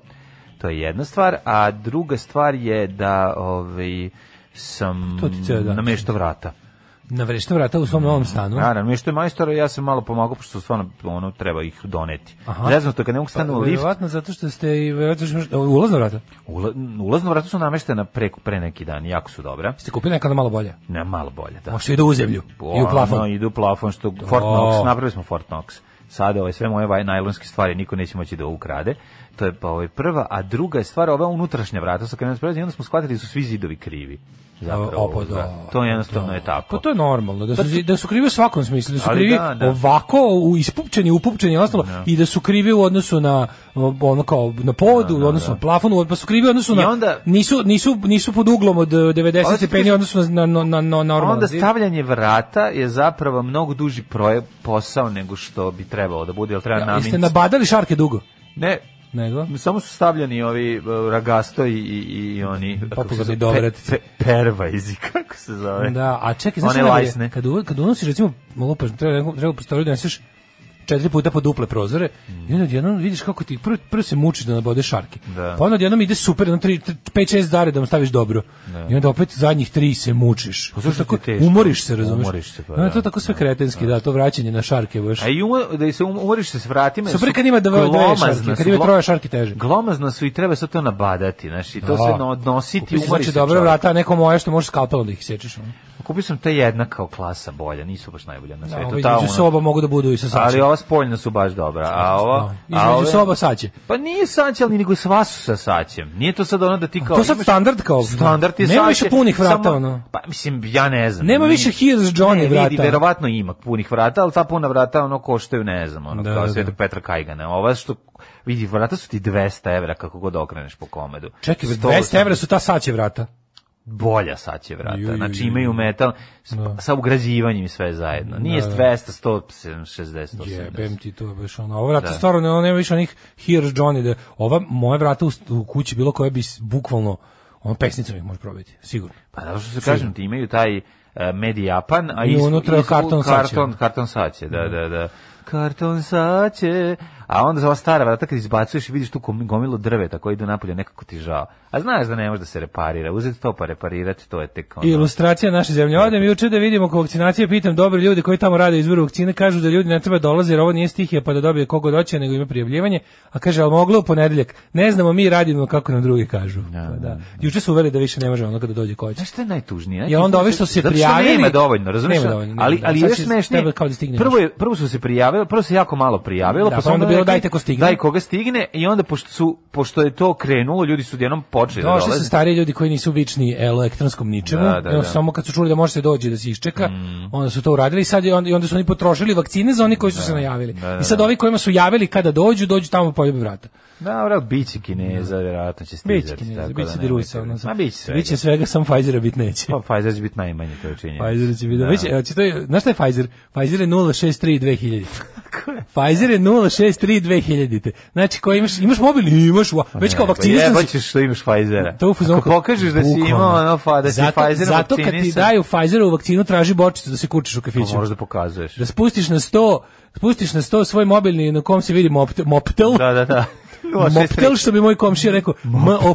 G: to je jedna stvar, a druga stvar je da ovaj, sam
H: To ti ceo dan.
G: nameštao vrata.
H: Na vrešta vrata u svom novom stanu.
G: Naravno, mi što je majstor, ja sam malo pomagao, pošto stvarno ono, treba ih doneti.
H: Aha. Pa,
G: Zezno to kad ne mogu stanu u lift,
H: Verovatno zato što ste i verovatno što ste- ulazna vrata.
G: ula, ulazno vrata su nameštena preko pre neki dan, jako su dobra.
H: Ste kupili nekada malo bolje.
G: Ne, malo bolje, da.
H: Možda ide u zemlju i u
G: Ono,
H: plafon.
G: idu u plafon, što Fort Knox, napravili smo Fort Knox. Sada ove sve moje vaj- najlonske stvari niko neće moći da ukrade. To je pa ovaj prva, a druga je stvar ova unutrašnja vrata sa kojima nas prelazi, i onda smo shvatili da su svi zidovi krivi. Zapravo,
H: Opa, pa
G: za-
H: da.
G: to jednostavno je tako.
H: Pa to je normalno, da su, zi- da su krivi u svakom smislu, da su
G: Ali
H: krivi
G: da, da.
H: ovako, u ispupčeni, upupčeni i ostalo, i da su krivi u odnosu na o, ono kao na podu, u odnosu na plafon, u- pa su krivi u odnosu
G: I
H: na,
G: onda-
H: nisu, nisu, nisu pod uglom od e, 90
G: Onda ti
H: stepeni,
G: kažem-
H: odnosno na, na, na, na normalno.
G: Onda stavljanje vrata je zapravo mnogo duži proje posao nego što bi trebalo da bude, jel treba
H: Ja, jeste
G: naminski-
H: nabadali šarke dugo?
G: Ne,
H: Nego?
G: samo su stavljeni ovi e, ragasto i, i, i oni... kako se zove,
H: dobratice.
G: pe- pervajzi, kako se zove.
H: Da, a čekaj,
G: One
H: znaš najbolje?
G: lajsne.
H: kad, uvo- kad unosiš, recimo, malo pa treba, nekom- treba postavljati da nosiš četiri puta po duple prozore i onda odjednom vidiš kako ti prvo, prvo se mučiš da nabodeš šarke.
G: Da.
H: Pa onda odjednom ide super, jedno tri, tri, pet, šest dare da mu staviš dobro. I onda opet zadnjih tri se mučiš.
G: Pa zašto
H: Tako,
G: ti je teško?
H: Umoriš se, razumeš?
G: Umoriš se, pa
H: Onda je to
G: da.
H: tako sve kretenski, da, to vraćanje na šarke baš.
G: A i umo- da i se um- umoriš se s vratima. jer
H: Super
G: su
H: kad ima dve, dve
G: glomazna
H: šarke, kad
G: su,
H: ima
G: glo-
H: troje šarki teže.
G: Glomazna su i treba sad to nabadati, znaš, i to
H: Da.
G: se no- odnositi,
H: Kupi se, znači
G: umoriš se
H: dobro
G: čovjek.
H: vrata, a neko moje što možeš skalpelom da ih sečeš. ono.
G: Kupio sam te jedna kao klasa bolja, nisu baš najbolja na
H: Da,
G: svetu.
H: ovo
G: ta
H: između
G: ona-
H: soba mogu da budu i sa sačem.
G: ali ova spoljna su baš dobra. A ova, a ove-
H: Između soba saće.
G: Pa nije saće, ali nego sva su sa saćem. Nije to sad ono da ti kao...
H: To sad
G: imaš-
H: standard kao. ono.
G: Standard je
H: Nema
G: saće,
H: više punih vrata,
G: samo-
H: ono.
G: Pa mislim, ja ne znam.
H: Nema
G: Ni-
H: više Here's Johnny
G: ne,
H: vrata.
G: Vidi, verovatno ima punih vrata, ali ta puna vrata ono koštaju, ne znam, ono,
H: Da,
G: kao
H: da,
G: Svetog Petra Kajgana. Ova što, vidi, vrata su ti 200 evra kako god okreneš po komedu.
H: Čekaj,
G: 180
H: 200 evra su ta saće vrata.
G: bolja saće
H: Ju, ju,
G: vrata.
H: ju,
G: Znači
H: ju.
G: imaju metal s- sa ugrađivanjem i sve zajedno. Nije 200, 160, 180.
H: Jebem ti to je baš ono. Ova vrata stvarno ne- ono, nema više onih Here's Johnny. Da, ova moja vrata u, st- u kući bilo koja bi s- bukvalno ono pesnicom ih može probiti, sigurno.
G: Pa da što se kažem, ti imaju taj e, medijapan, a
H: I
G: iz-
H: unutra
G: iz-
H: karton saće.
G: karton, karton saće, da, da, da. Karton saće. A onda za ova stara vrata kad izbacuješ i vidiš tu kom- gomilu drveta koje idu napolje, nekako ti žao. A znaš da ne može da se reparira. Uzeti to pa reparirati, to je tek ono.
H: Ilustracija naše zemlje. Odem juče da vidimo oko vakcinacije, pitam dobri ljudi koji tamo rade izvoru vakcine, kažu da ljudi ne treba dolaze jer ovo nije stihija pa da dobije kogo doće, nego ima prijavljivanje, a kaže, ali moglo u ponedeljak? Ne znamo, mi radimo kako nam drugi kažu. Pa da. Juče su uveli da više ne može ono kada dođe ko hoće.
G: Znaš što je najtužnije?
H: Jer onda ovi što se prijavili-
G: Zato što nema dovoljno, razumiješ?
H: Nema dovoljno, nema
G: ali,
H: dovoljno.
G: ali
H: Sad
G: još
H: će
G: smešnije,
H: tebe kao da stigne
G: prvo,
H: nešto.
G: je, prvo su se prijavili, prvo se jako malo
H: Da,
G: prijavilo, pa,
H: pa
G: su
H: onda bilo
G: rekli,
H: dajte ko stigne.
G: Daj koga stigne i onda pošto, su, pošto je to krenulo, ljudi su jednom počeli da
H: Došli su
G: dolaze.
H: stariji ljudi koji nisu vični elektronskom ničemu,
G: Da, da,
H: I onda
G: da. Mm.
H: samo kad su čuli da može se dođe da se iščeka, onda su to uradili i sad je on- i onda su oni potrošili vakcine za oni koji su se najavili. I sad ovi kojima su javili kada dođu, dođu tamo poljube vrata.
G: Da, vrat, bit će Kineza, vjerojatno će stizati.
H: Biće
G: tako
H: Kineza,
G: da
H: biće
G: nemojte-
H: Dirusa. Ono,
G: Ma biće svega.
H: Biće svega, sam Pfizera bit neće.
G: Pa Pfizer će biti najmanje, to je činjenica.
H: Pfizer će biti. Da.
G: Da.
H: Biće, evo, će to, je- znaš šta je Pfizer? Pfizer je 063 2000. Pfizer je 063 2000. Znači, ko imaš, imaš mobilni, imaš, ua, već kao
G: Ne, pa
H: vakcinisan si.
G: jebaćeš što imaš Pfizera.
H: To je u fazonu
G: Ako
H: kao-
G: pokažeš da si
H: bukvalno.
G: imao ono, fa, da si
H: zato,
G: Pfizer
H: Zato kad ti
G: vakcinisan,
H: daju Pfizerovu vakcinu, traži bočicu da se kučiš u kafiću.
G: pa možeš da pokazuješ.
H: Da spustiš na sto, spustiš na sto svoj mobilni na kom se vidi mopte- moptel.
G: Da, da, da.
H: Moptel, što bi moj komšija rekao,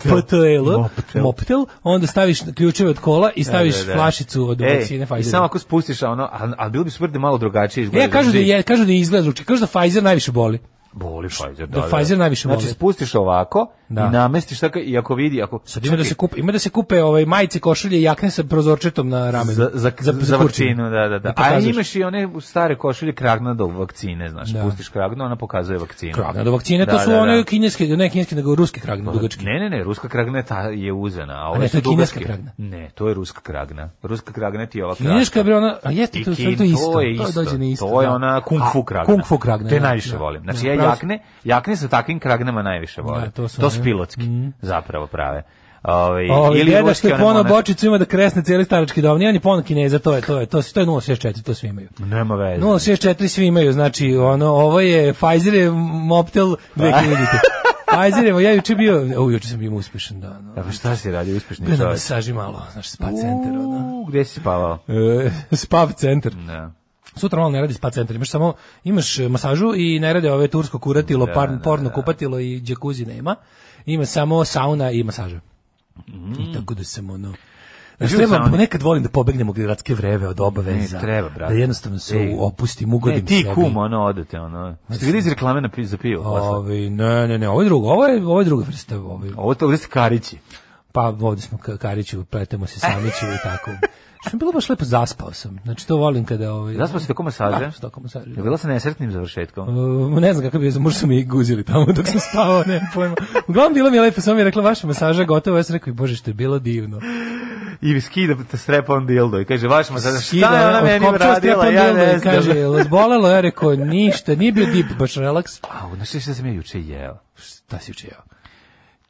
H: M-O-P-T-L,
G: Moptel.
H: Moptel, onda staviš ključeve od kola i staviš
G: Da, da, da.
H: flašicu od
G: Ej,
H: vakcine
G: I
H: Pfizer.
G: samo ako spustiš a ono, a, a bilo bi super da malo drugačije izgleda.
H: E, kažu da je, kažu da je izgled drugačiji. kažu da Pfizer najviše boli.
G: Boli Pfizer,
H: da
G: da.
H: Pfizer najviše
G: Znači,
H: boli.
G: spustiš ovako
H: Da.
G: i namestiš tako i ako vidi, ako...
H: Sad ima da se kupe, ima da se kupe ovaj majice, košulje i jakne sa prozorčetom na ramenu.
G: Za, za, za,
H: kurčinu.
G: vakcinu, da, da, da. A
H: pokazuješ.
G: imaš i one stare košulje kragna do vakcine, znaš,
H: Da.
G: pustiš kragnu, ona pokazuje vakcinu.
H: Kragna do vakcine, to
G: Da,
H: su
G: da,
H: one
G: da. Pa,
H: kineske, ne kineske, nego ruske kragne, dugačke.
G: Ne, ne, ne, ruska kragna je ta je uzena, a
H: A ne,
G: ove
H: to je
G: su dugačke.
H: kineska kragna.
G: Ne, to je ruska kragna. Ruska kragna ti je ova kragna.
H: Kineska je bre ona, a jeste
G: I
H: to, sve
G: kin-
H: to isto.
G: To je isto.
H: To dođe na isto.
G: To je
H: da.
G: ona kung
H: A,
G: fu kragna.
H: Kung fu kragna.
G: Te
H: da,
G: najviše
H: da,
G: volim.
H: da,
G: Znači ja
H: pravo si.
G: jakne, jakne sa takvim kragnama najviše volim.
H: Da, to
G: to
H: su
G: su,
H: one. Mhm.
G: pilotski, zapravo prave. Ovaj
H: Ovi
G: ili
H: deda što
G: ruske
H: je
G: one
H: pono
G: one-
H: bočicu ima da kresne cijeli starački dom. Nije on je pono kineza, to je, to je, to, je- to je 064, to svi imaju.
G: Nema veze.
H: 064 svi imaju, znači ono, ovo je Pfizer je Moptel 2000. Pazir, evo, ja juče bio, o, juče sam bio uspešan dan.
G: A pa šta si radio uspešni
H: Bio na
G: čovjek?
H: masaži malo, znaš, spa
G: Pa
H: centar, ono.
G: U, gde si spavao?
H: E, spav centar.
G: Da.
H: Sutra malo ne radi spa centar, imaš samo imaš e, masažu i ne rade ove tursko kuratilo, par, porno kupatilo i džakuzi nema. Ima samo sauna i masaža.
G: Mm.
H: I tako da sam ono Znaš,
G: Živio
H: treba,
G: sam oni.
H: nekad volim da pobegnem u gradske vreve od obaveza.
G: Ne, E, treba, brate.
H: Da jednostavno se
G: Ej.
H: opustim, ugodim
G: Ne, ti
H: sebi.
G: kum, ono, odete, ono. Ste vidi iz reklame na pi- za pivo? posle?
H: Ovi, ne, ne, ne, ovo je drugo, ovo je, ovo je druga vrsta. Ovi,
G: Ovo to- ovdje ste karići.
H: pa ovde smo ka- Kariću, pletemo se Samiću i tako. Što je bilo baš lepo, zaspao sam. Znači, to volim kada... Ovaj,
G: Zaspao si tako masaže?
H: Da, tako masaže.
G: Je bilo sa nesretnim završetkom?
H: Uh, ne znam kakav je, možda su mi i guzili tamo dok sam spavao, ne pojma. Uglavnom bilo mi je lepo, samo mi je rekla vaša masaža je gotova, ja sam rekao, bože što je bilo divno.
G: I skida te strepon dildo i kaže, vaš masaže, šta je
H: Skida,
G: ona meni
H: otkopčao
G: uradila,
H: strepon
G: ja
H: dildo
G: ne
H: i Kaže,
G: znam.
H: jel vas bolelo? Ja rekao, ništa, nije bio deep, baš relaks.
G: A, znaš šta sam ja juče jeo?
H: Šta si učeo?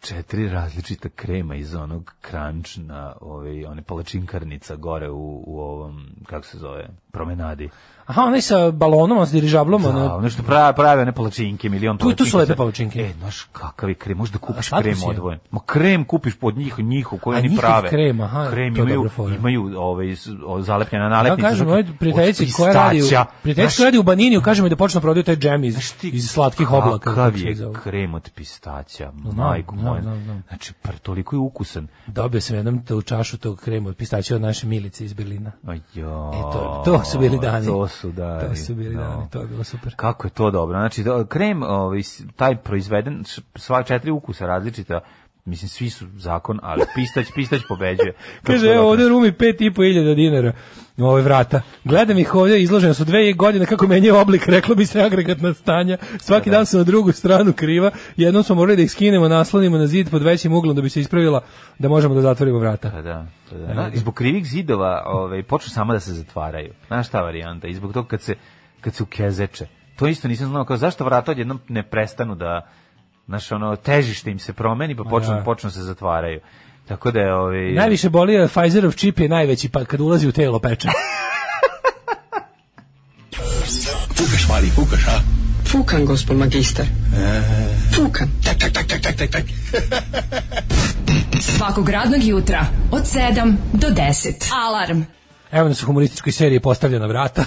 G: četiri različita krema iz onog crunch na ovaj one palačinkarnica gore u, u ovom kako se zove promenadi.
H: Aha, onaj sa balonom, on sa dirižablom,
G: Da,
H: ono,
G: ono što prave prave one palačinke, milion
H: Tu- tu su lepe
G: sa-
H: palačinke.
G: E, znaš kakav je krem, možda kupiš
H: slatko
G: krem
H: si je?
G: odvojen. Ma krem kupiš pod njih, njihov koji
H: A
G: oni
H: njihov
G: prave.
H: krem, aha,
G: krem
H: to je
G: imaju,
H: dobra fora.
G: imaju ovaj s- o, zalepljena nalepnica.
H: Ja kažem,
G: za-
H: ovaj
G: od
H: prijateljici koja radi u,
G: pistaća.
H: prijateljici
G: Znaš,
H: koja radi u Baniniju, kaže mi da počne prodaju taj džem iz,
G: Znaš ti
H: iz slatkih oblaka.
G: Kakav
H: kako se
G: je
H: zove.
G: krem od pistaća, majku
H: znam,
G: moja.
H: znam, znam.
G: Znači, pr- toliko je ukusan.
H: Dobio sam jednom tu čašu tog krema od pistaća od naše Milice iz Berlina.
G: Ajo,
H: E, to, to su bili dani.
G: To su dani.
H: To su bili
G: da.
H: dani, to je bilo super.
G: Kako je to dobro. Znači, da, krem, ovaj, s- taj proizveden, š- sva četiri ukusa različita, mislim, svi su zakon, ali pistać, pistać pobeđuje. Kako
H: Kaže,
G: to
H: evo
G: dobro.
H: ovde rumi pet i po hiljada dinara na ove vrata. Gledam ih ovde, izložene su dve godine kako menjaju oblik, reklo bi se agregatna stanja. Svaki dan su na drugu stranu kriva. Jednom smo morali da ih skinemo, naslonimo na zid pod većim uglom da bi se ispravila da možemo da zatvorimo vrata.
G: Pa da, pa da. Na, i zbog krivih zidova ovaj, počnu sama da se zatvaraju. Znaš ta varijanta? I zbog toga kad se, kad se ukezeče. To isto nisam znao. Kao, zašto vrata odjednom ne prestanu da znaš, ono, težište im se promeni, pa počnu,
H: da.
G: počnu se zatvaraju. Tako da je... Ovaj,
H: Najviše boli je Pfizerov čip je najveći, pa kad ulazi u telo peče.
I: Fukan, gospod magister. Fukan. Tak, tak, tak, tak, tak, tak, tak.
E: Svakog radnog jutra od 7 do 10. Alarm.
H: Evo nas u humorističkoj seriji postavljena vrata.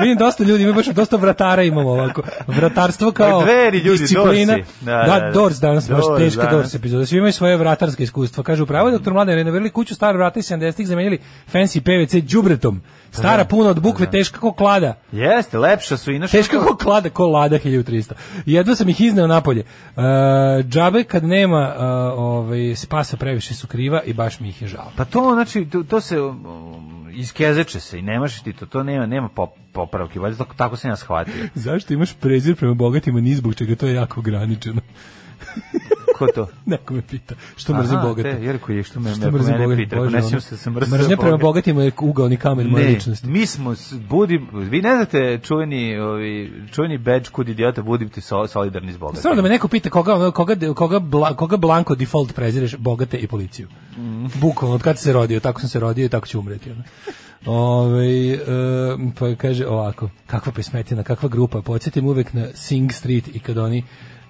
H: Vidim dosta ljudi, ima baš dosta vratara imamo ovako. Vratarstvo kao
G: Pa dveri, ljudi,
H: disciplina.
G: Dorsi.
H: Da, da, da, Dors danas, baš
G: Dors
H: teška
G: danas.
H: Dors epizoda. Svi imaju svoje vratarske iskustva. Kaže, upravo je doktor Mladen, renovirali kuću staro vrata iz 70-ih, zamenili fancy PVC džubretom. Stara puna od bukve, teška ko klada.
G: Jeste, lepša su i naša...
H: Teška ko klada, ko lada 1300. Jedva sam ih izneo napolje. Uh, džabe kad nema uh, ovaj, spasa previše su kriva i baš mi ih je žao.
G: Pa to znači to, to se um, iskezeče se i nemaš ti to, to nema nema pop, popravki, valjda tako, tako sam ja shvatio.
H: Zašto imaš prezir prema bogatima ni zbog čega to je jako ograničeno?
G: Ko to?
H: Neko me pita. Što mrzim bogate?
G: Te, jer koji je što me,
H: Što
G: me,
H: mrzim
G: mene
H: bogate?
G: pita, ako
H: Bože,
G: ne sjećam
H: ono-
G: se da sam mrzim
H: Mržnja prema
G: bogate.
H: bogatima je ugaoni kamen moje
G: Ne,
H: ličnosti.
G: mi smo, s- budim, vi ne znate čuveni, ovi, čuveni badge kud idiota, budim ti so, solidarni s bogatima.
H: Samo da me neko pita koga, ono, koga, koga, bla, koga blanko default prezireš, bogate i policiju.
G: Mm.
H: Bukvalno, od kad si se rodio, tako sam se rodio i tako ću umreti. Ono. Ove, e, pa kaže ovako, kakva pesmetina, kakva grupa, podsjetim uvek na Sing Street i kad oni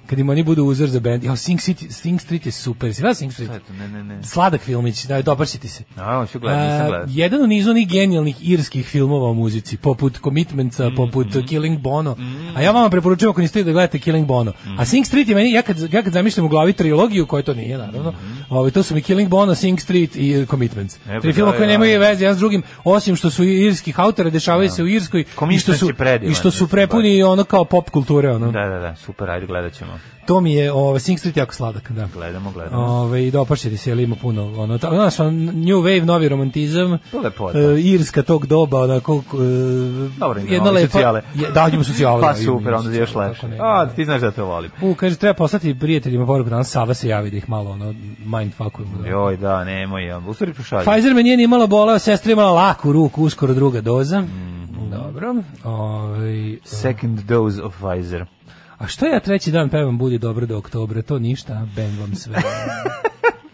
H: kad im oni budu uzor za band. Ja, Sing, City, Sing Street je super. Si gledao Sing Street?
G: Šta je to? Ne, ne, ne.
H: Sladak filmić, da, dobar si ti se.
G: A, hoću gledati, nisam
H: A,
G: gledao.
H: Jedan od nizu onih genijalnih irskih filmova o muzici, poput Commitmentsa,
G: Mhm,
H: poput Killing Bono. A ja vama preporučujem ako niste da gledate Killing Bono.
G: Mhm.
H: A Sing Street je meni, ja kad, ja kad zamišljam u glavi trilogiju, koja to nije, naravno,
G: Mhm.
H: ovaj, to su mi Killing Bono, Sing Street i Commitments.
G: E, pa
H: Tri
G: da,
H: filma koje
G: ja.
H: nemaju veze jedan s drugim, osim što su irskih autora, dešavaju se u Irskoj i što
G: Commitments
H: su,
G: je predivan,
H: i što su
G: mislim,
H: prepuni ono kao pop kulture. Ono.
G: Da, da, da, super, ajde, gledat ćemo.
H: To mi je, ovaj, Sing Street jako sladak, da.
G: Gledamo, gledamo.
H: Ove, i dopašćeni se, ali ima puno, ono, ta, znaš, on, new wave, novi romantizam,
G: To je lepota.
H: e, irska tog doba, onako, k- e,
G: Dobro, ima malo socijale.
H: je, da, ima socijale.
G: Pa
H: da, ima,
G: super,
H: ima
G: onda je još
H: socijale,
G: lepše.
H: kako ne.
G: A, ti znaš da te volim.
H: U, kaže, treba poslati prijateljima poruku, danas Sava se javi da ih malo, ono, mindfuckujemo. Da.
G: Joj, da, nemoj, ja. U stvari pošalji.
H: Pfizer me nije ni imala bola, sestra je imala laku ruku, uskoro druga doza.
G: Mhm.
H: Dobro. Ove,
G: Second dose of Pfizer.
H: a što ja treći dan pevam Budi dobro do oktobra, to ništa, ben vam sve.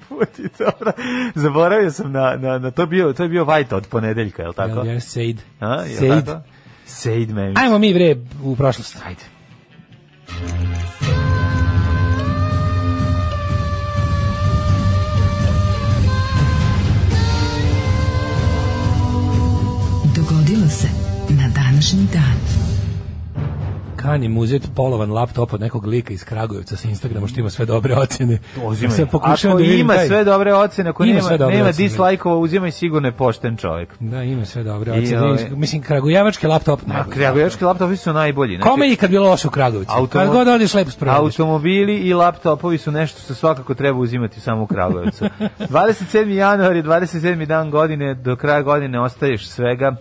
G: Puti, dobro. Zaboravio sam na, na, na to, bio, to je bio Vajta od ponedeljka, je li tako?
H: Jel, jel, Sejd.
G: A, je li
H: Sejd.
G: tako? Sejd me.
H: Ajmo mi, bre, u prošlost.
G: Ajde.
E: današnji dan.
H: Kan je muzet polovan laptop od nekog lika iz Kragujevca sa Instagrama što ima sve dobre ocjene.
G: Uzimaj.
H: Sad pokušavam
G: Ako
H: da vidim
G: ima
H: taj-
G: sve dobre ocene, ako
H: Ima
G: nema,
H: sve dobre
G: nema
H: ocene.
G: dislajkova, uzimaj sigurno je pošten čovjek.
H: Da, ima sve dobre
G: I, ovaj-
H: ocjene.
G: ove-
H: Mislim, kragujevački laptop
G: A
H: najbolji.
G: kragujevački laptopi su najbolji. znači,
H: Kome i kad bilo loše u Kragujevcu? Kad
G: automo-
H: god odeš lepo sprovediš.
G: Automobili i laptopovi su nešto što svakako treba uzimati samo u Kragujevcu. 27. januar je 27. dan godine, do kraja godine ostaješ svega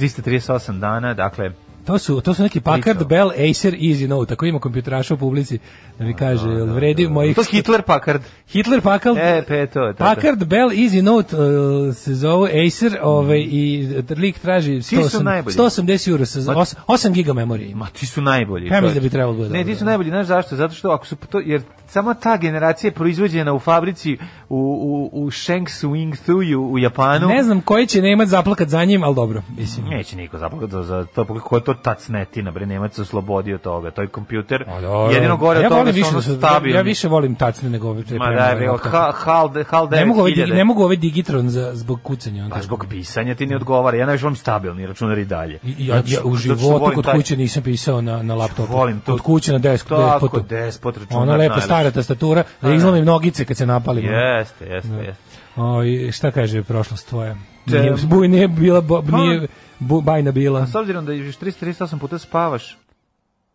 G: 338 dana, dakle,
H: To su, to su neki Packard,
G: Pričao.
H: Bell, Acer, Easy Note. Tako ima kompjuteraša u publici da mi kaže, jel vredi mojih...
G: to je Hitler Packard.
H: Hitler, Packard,
G: E, pe, to je to.
H: Packard, Bell, Easy Note uh, se zove Acer ovaj, i lik traži
G: Mm. Svi su
H: 108
G: najbolji.
H: 180 euro sa 8, 8 giga memorije ima.
G: Ma ti su najbolji.
H: Ja mislim
G: čovječe.
H: da bi trebalo da bude
G: Ne,
H: dobro,
G: ti su
H: da.
G: najbolji, znaš zašto? Zato što ako su to jer samo ta generacija je proizvođena u fabrici u u u Shangsu Wingthuju u Japanu.
H: Ne znam koji će Nemac zaplakat za njim, ali dobro. Mislim.
G: Neće niko zapakati za, za to, pa ko je to tacnetina, bre, Nemac se oslobodio toga, to je kompjuter,
H: A dobro.
G: jedino gore
H: A
G: od toga
H: volim
G: su ono
H: da su- ja-
G: stabilni.
H: Ja više volim tacne nego ove
G: Ma da,
H: prepremljene
G: bre,
H: laptope.
G: Hal, Hal, de- Hal
H: Ne mogu, ove,
G: 9000.
H: digi- ne mogu ove Digitron za, zbog kucanja. onda.
G: Pa zbog pisanja ti ne odgovara, ja najviše volim stabilni računar i dalje.
H: I- i Ja,
G: Zato
H: ja
G: što-
H: u
G: Znači, zato što
H: životu
G: volim
H: kod
G: taj-
H: kuće nisam pisao na, na laptopu.
G: Volim to.
H: Kod kuće na desk,
G: Tako,
H: despotu.
G: despot računar
H: Ona lepa
G: najlepši.
H: stara tastatura, da
G: Da.
H: izlomim nogice kad se napalim.
G: Jeste, jeste, jeste.
H: Oj, šta kaže prošlost tvoja?
G: Te-
H: Nije, buj, nije bila, bo,
G: Pa-
H: nije bu, bajna bila.
G: S obzirom da još 338 puta spavaš,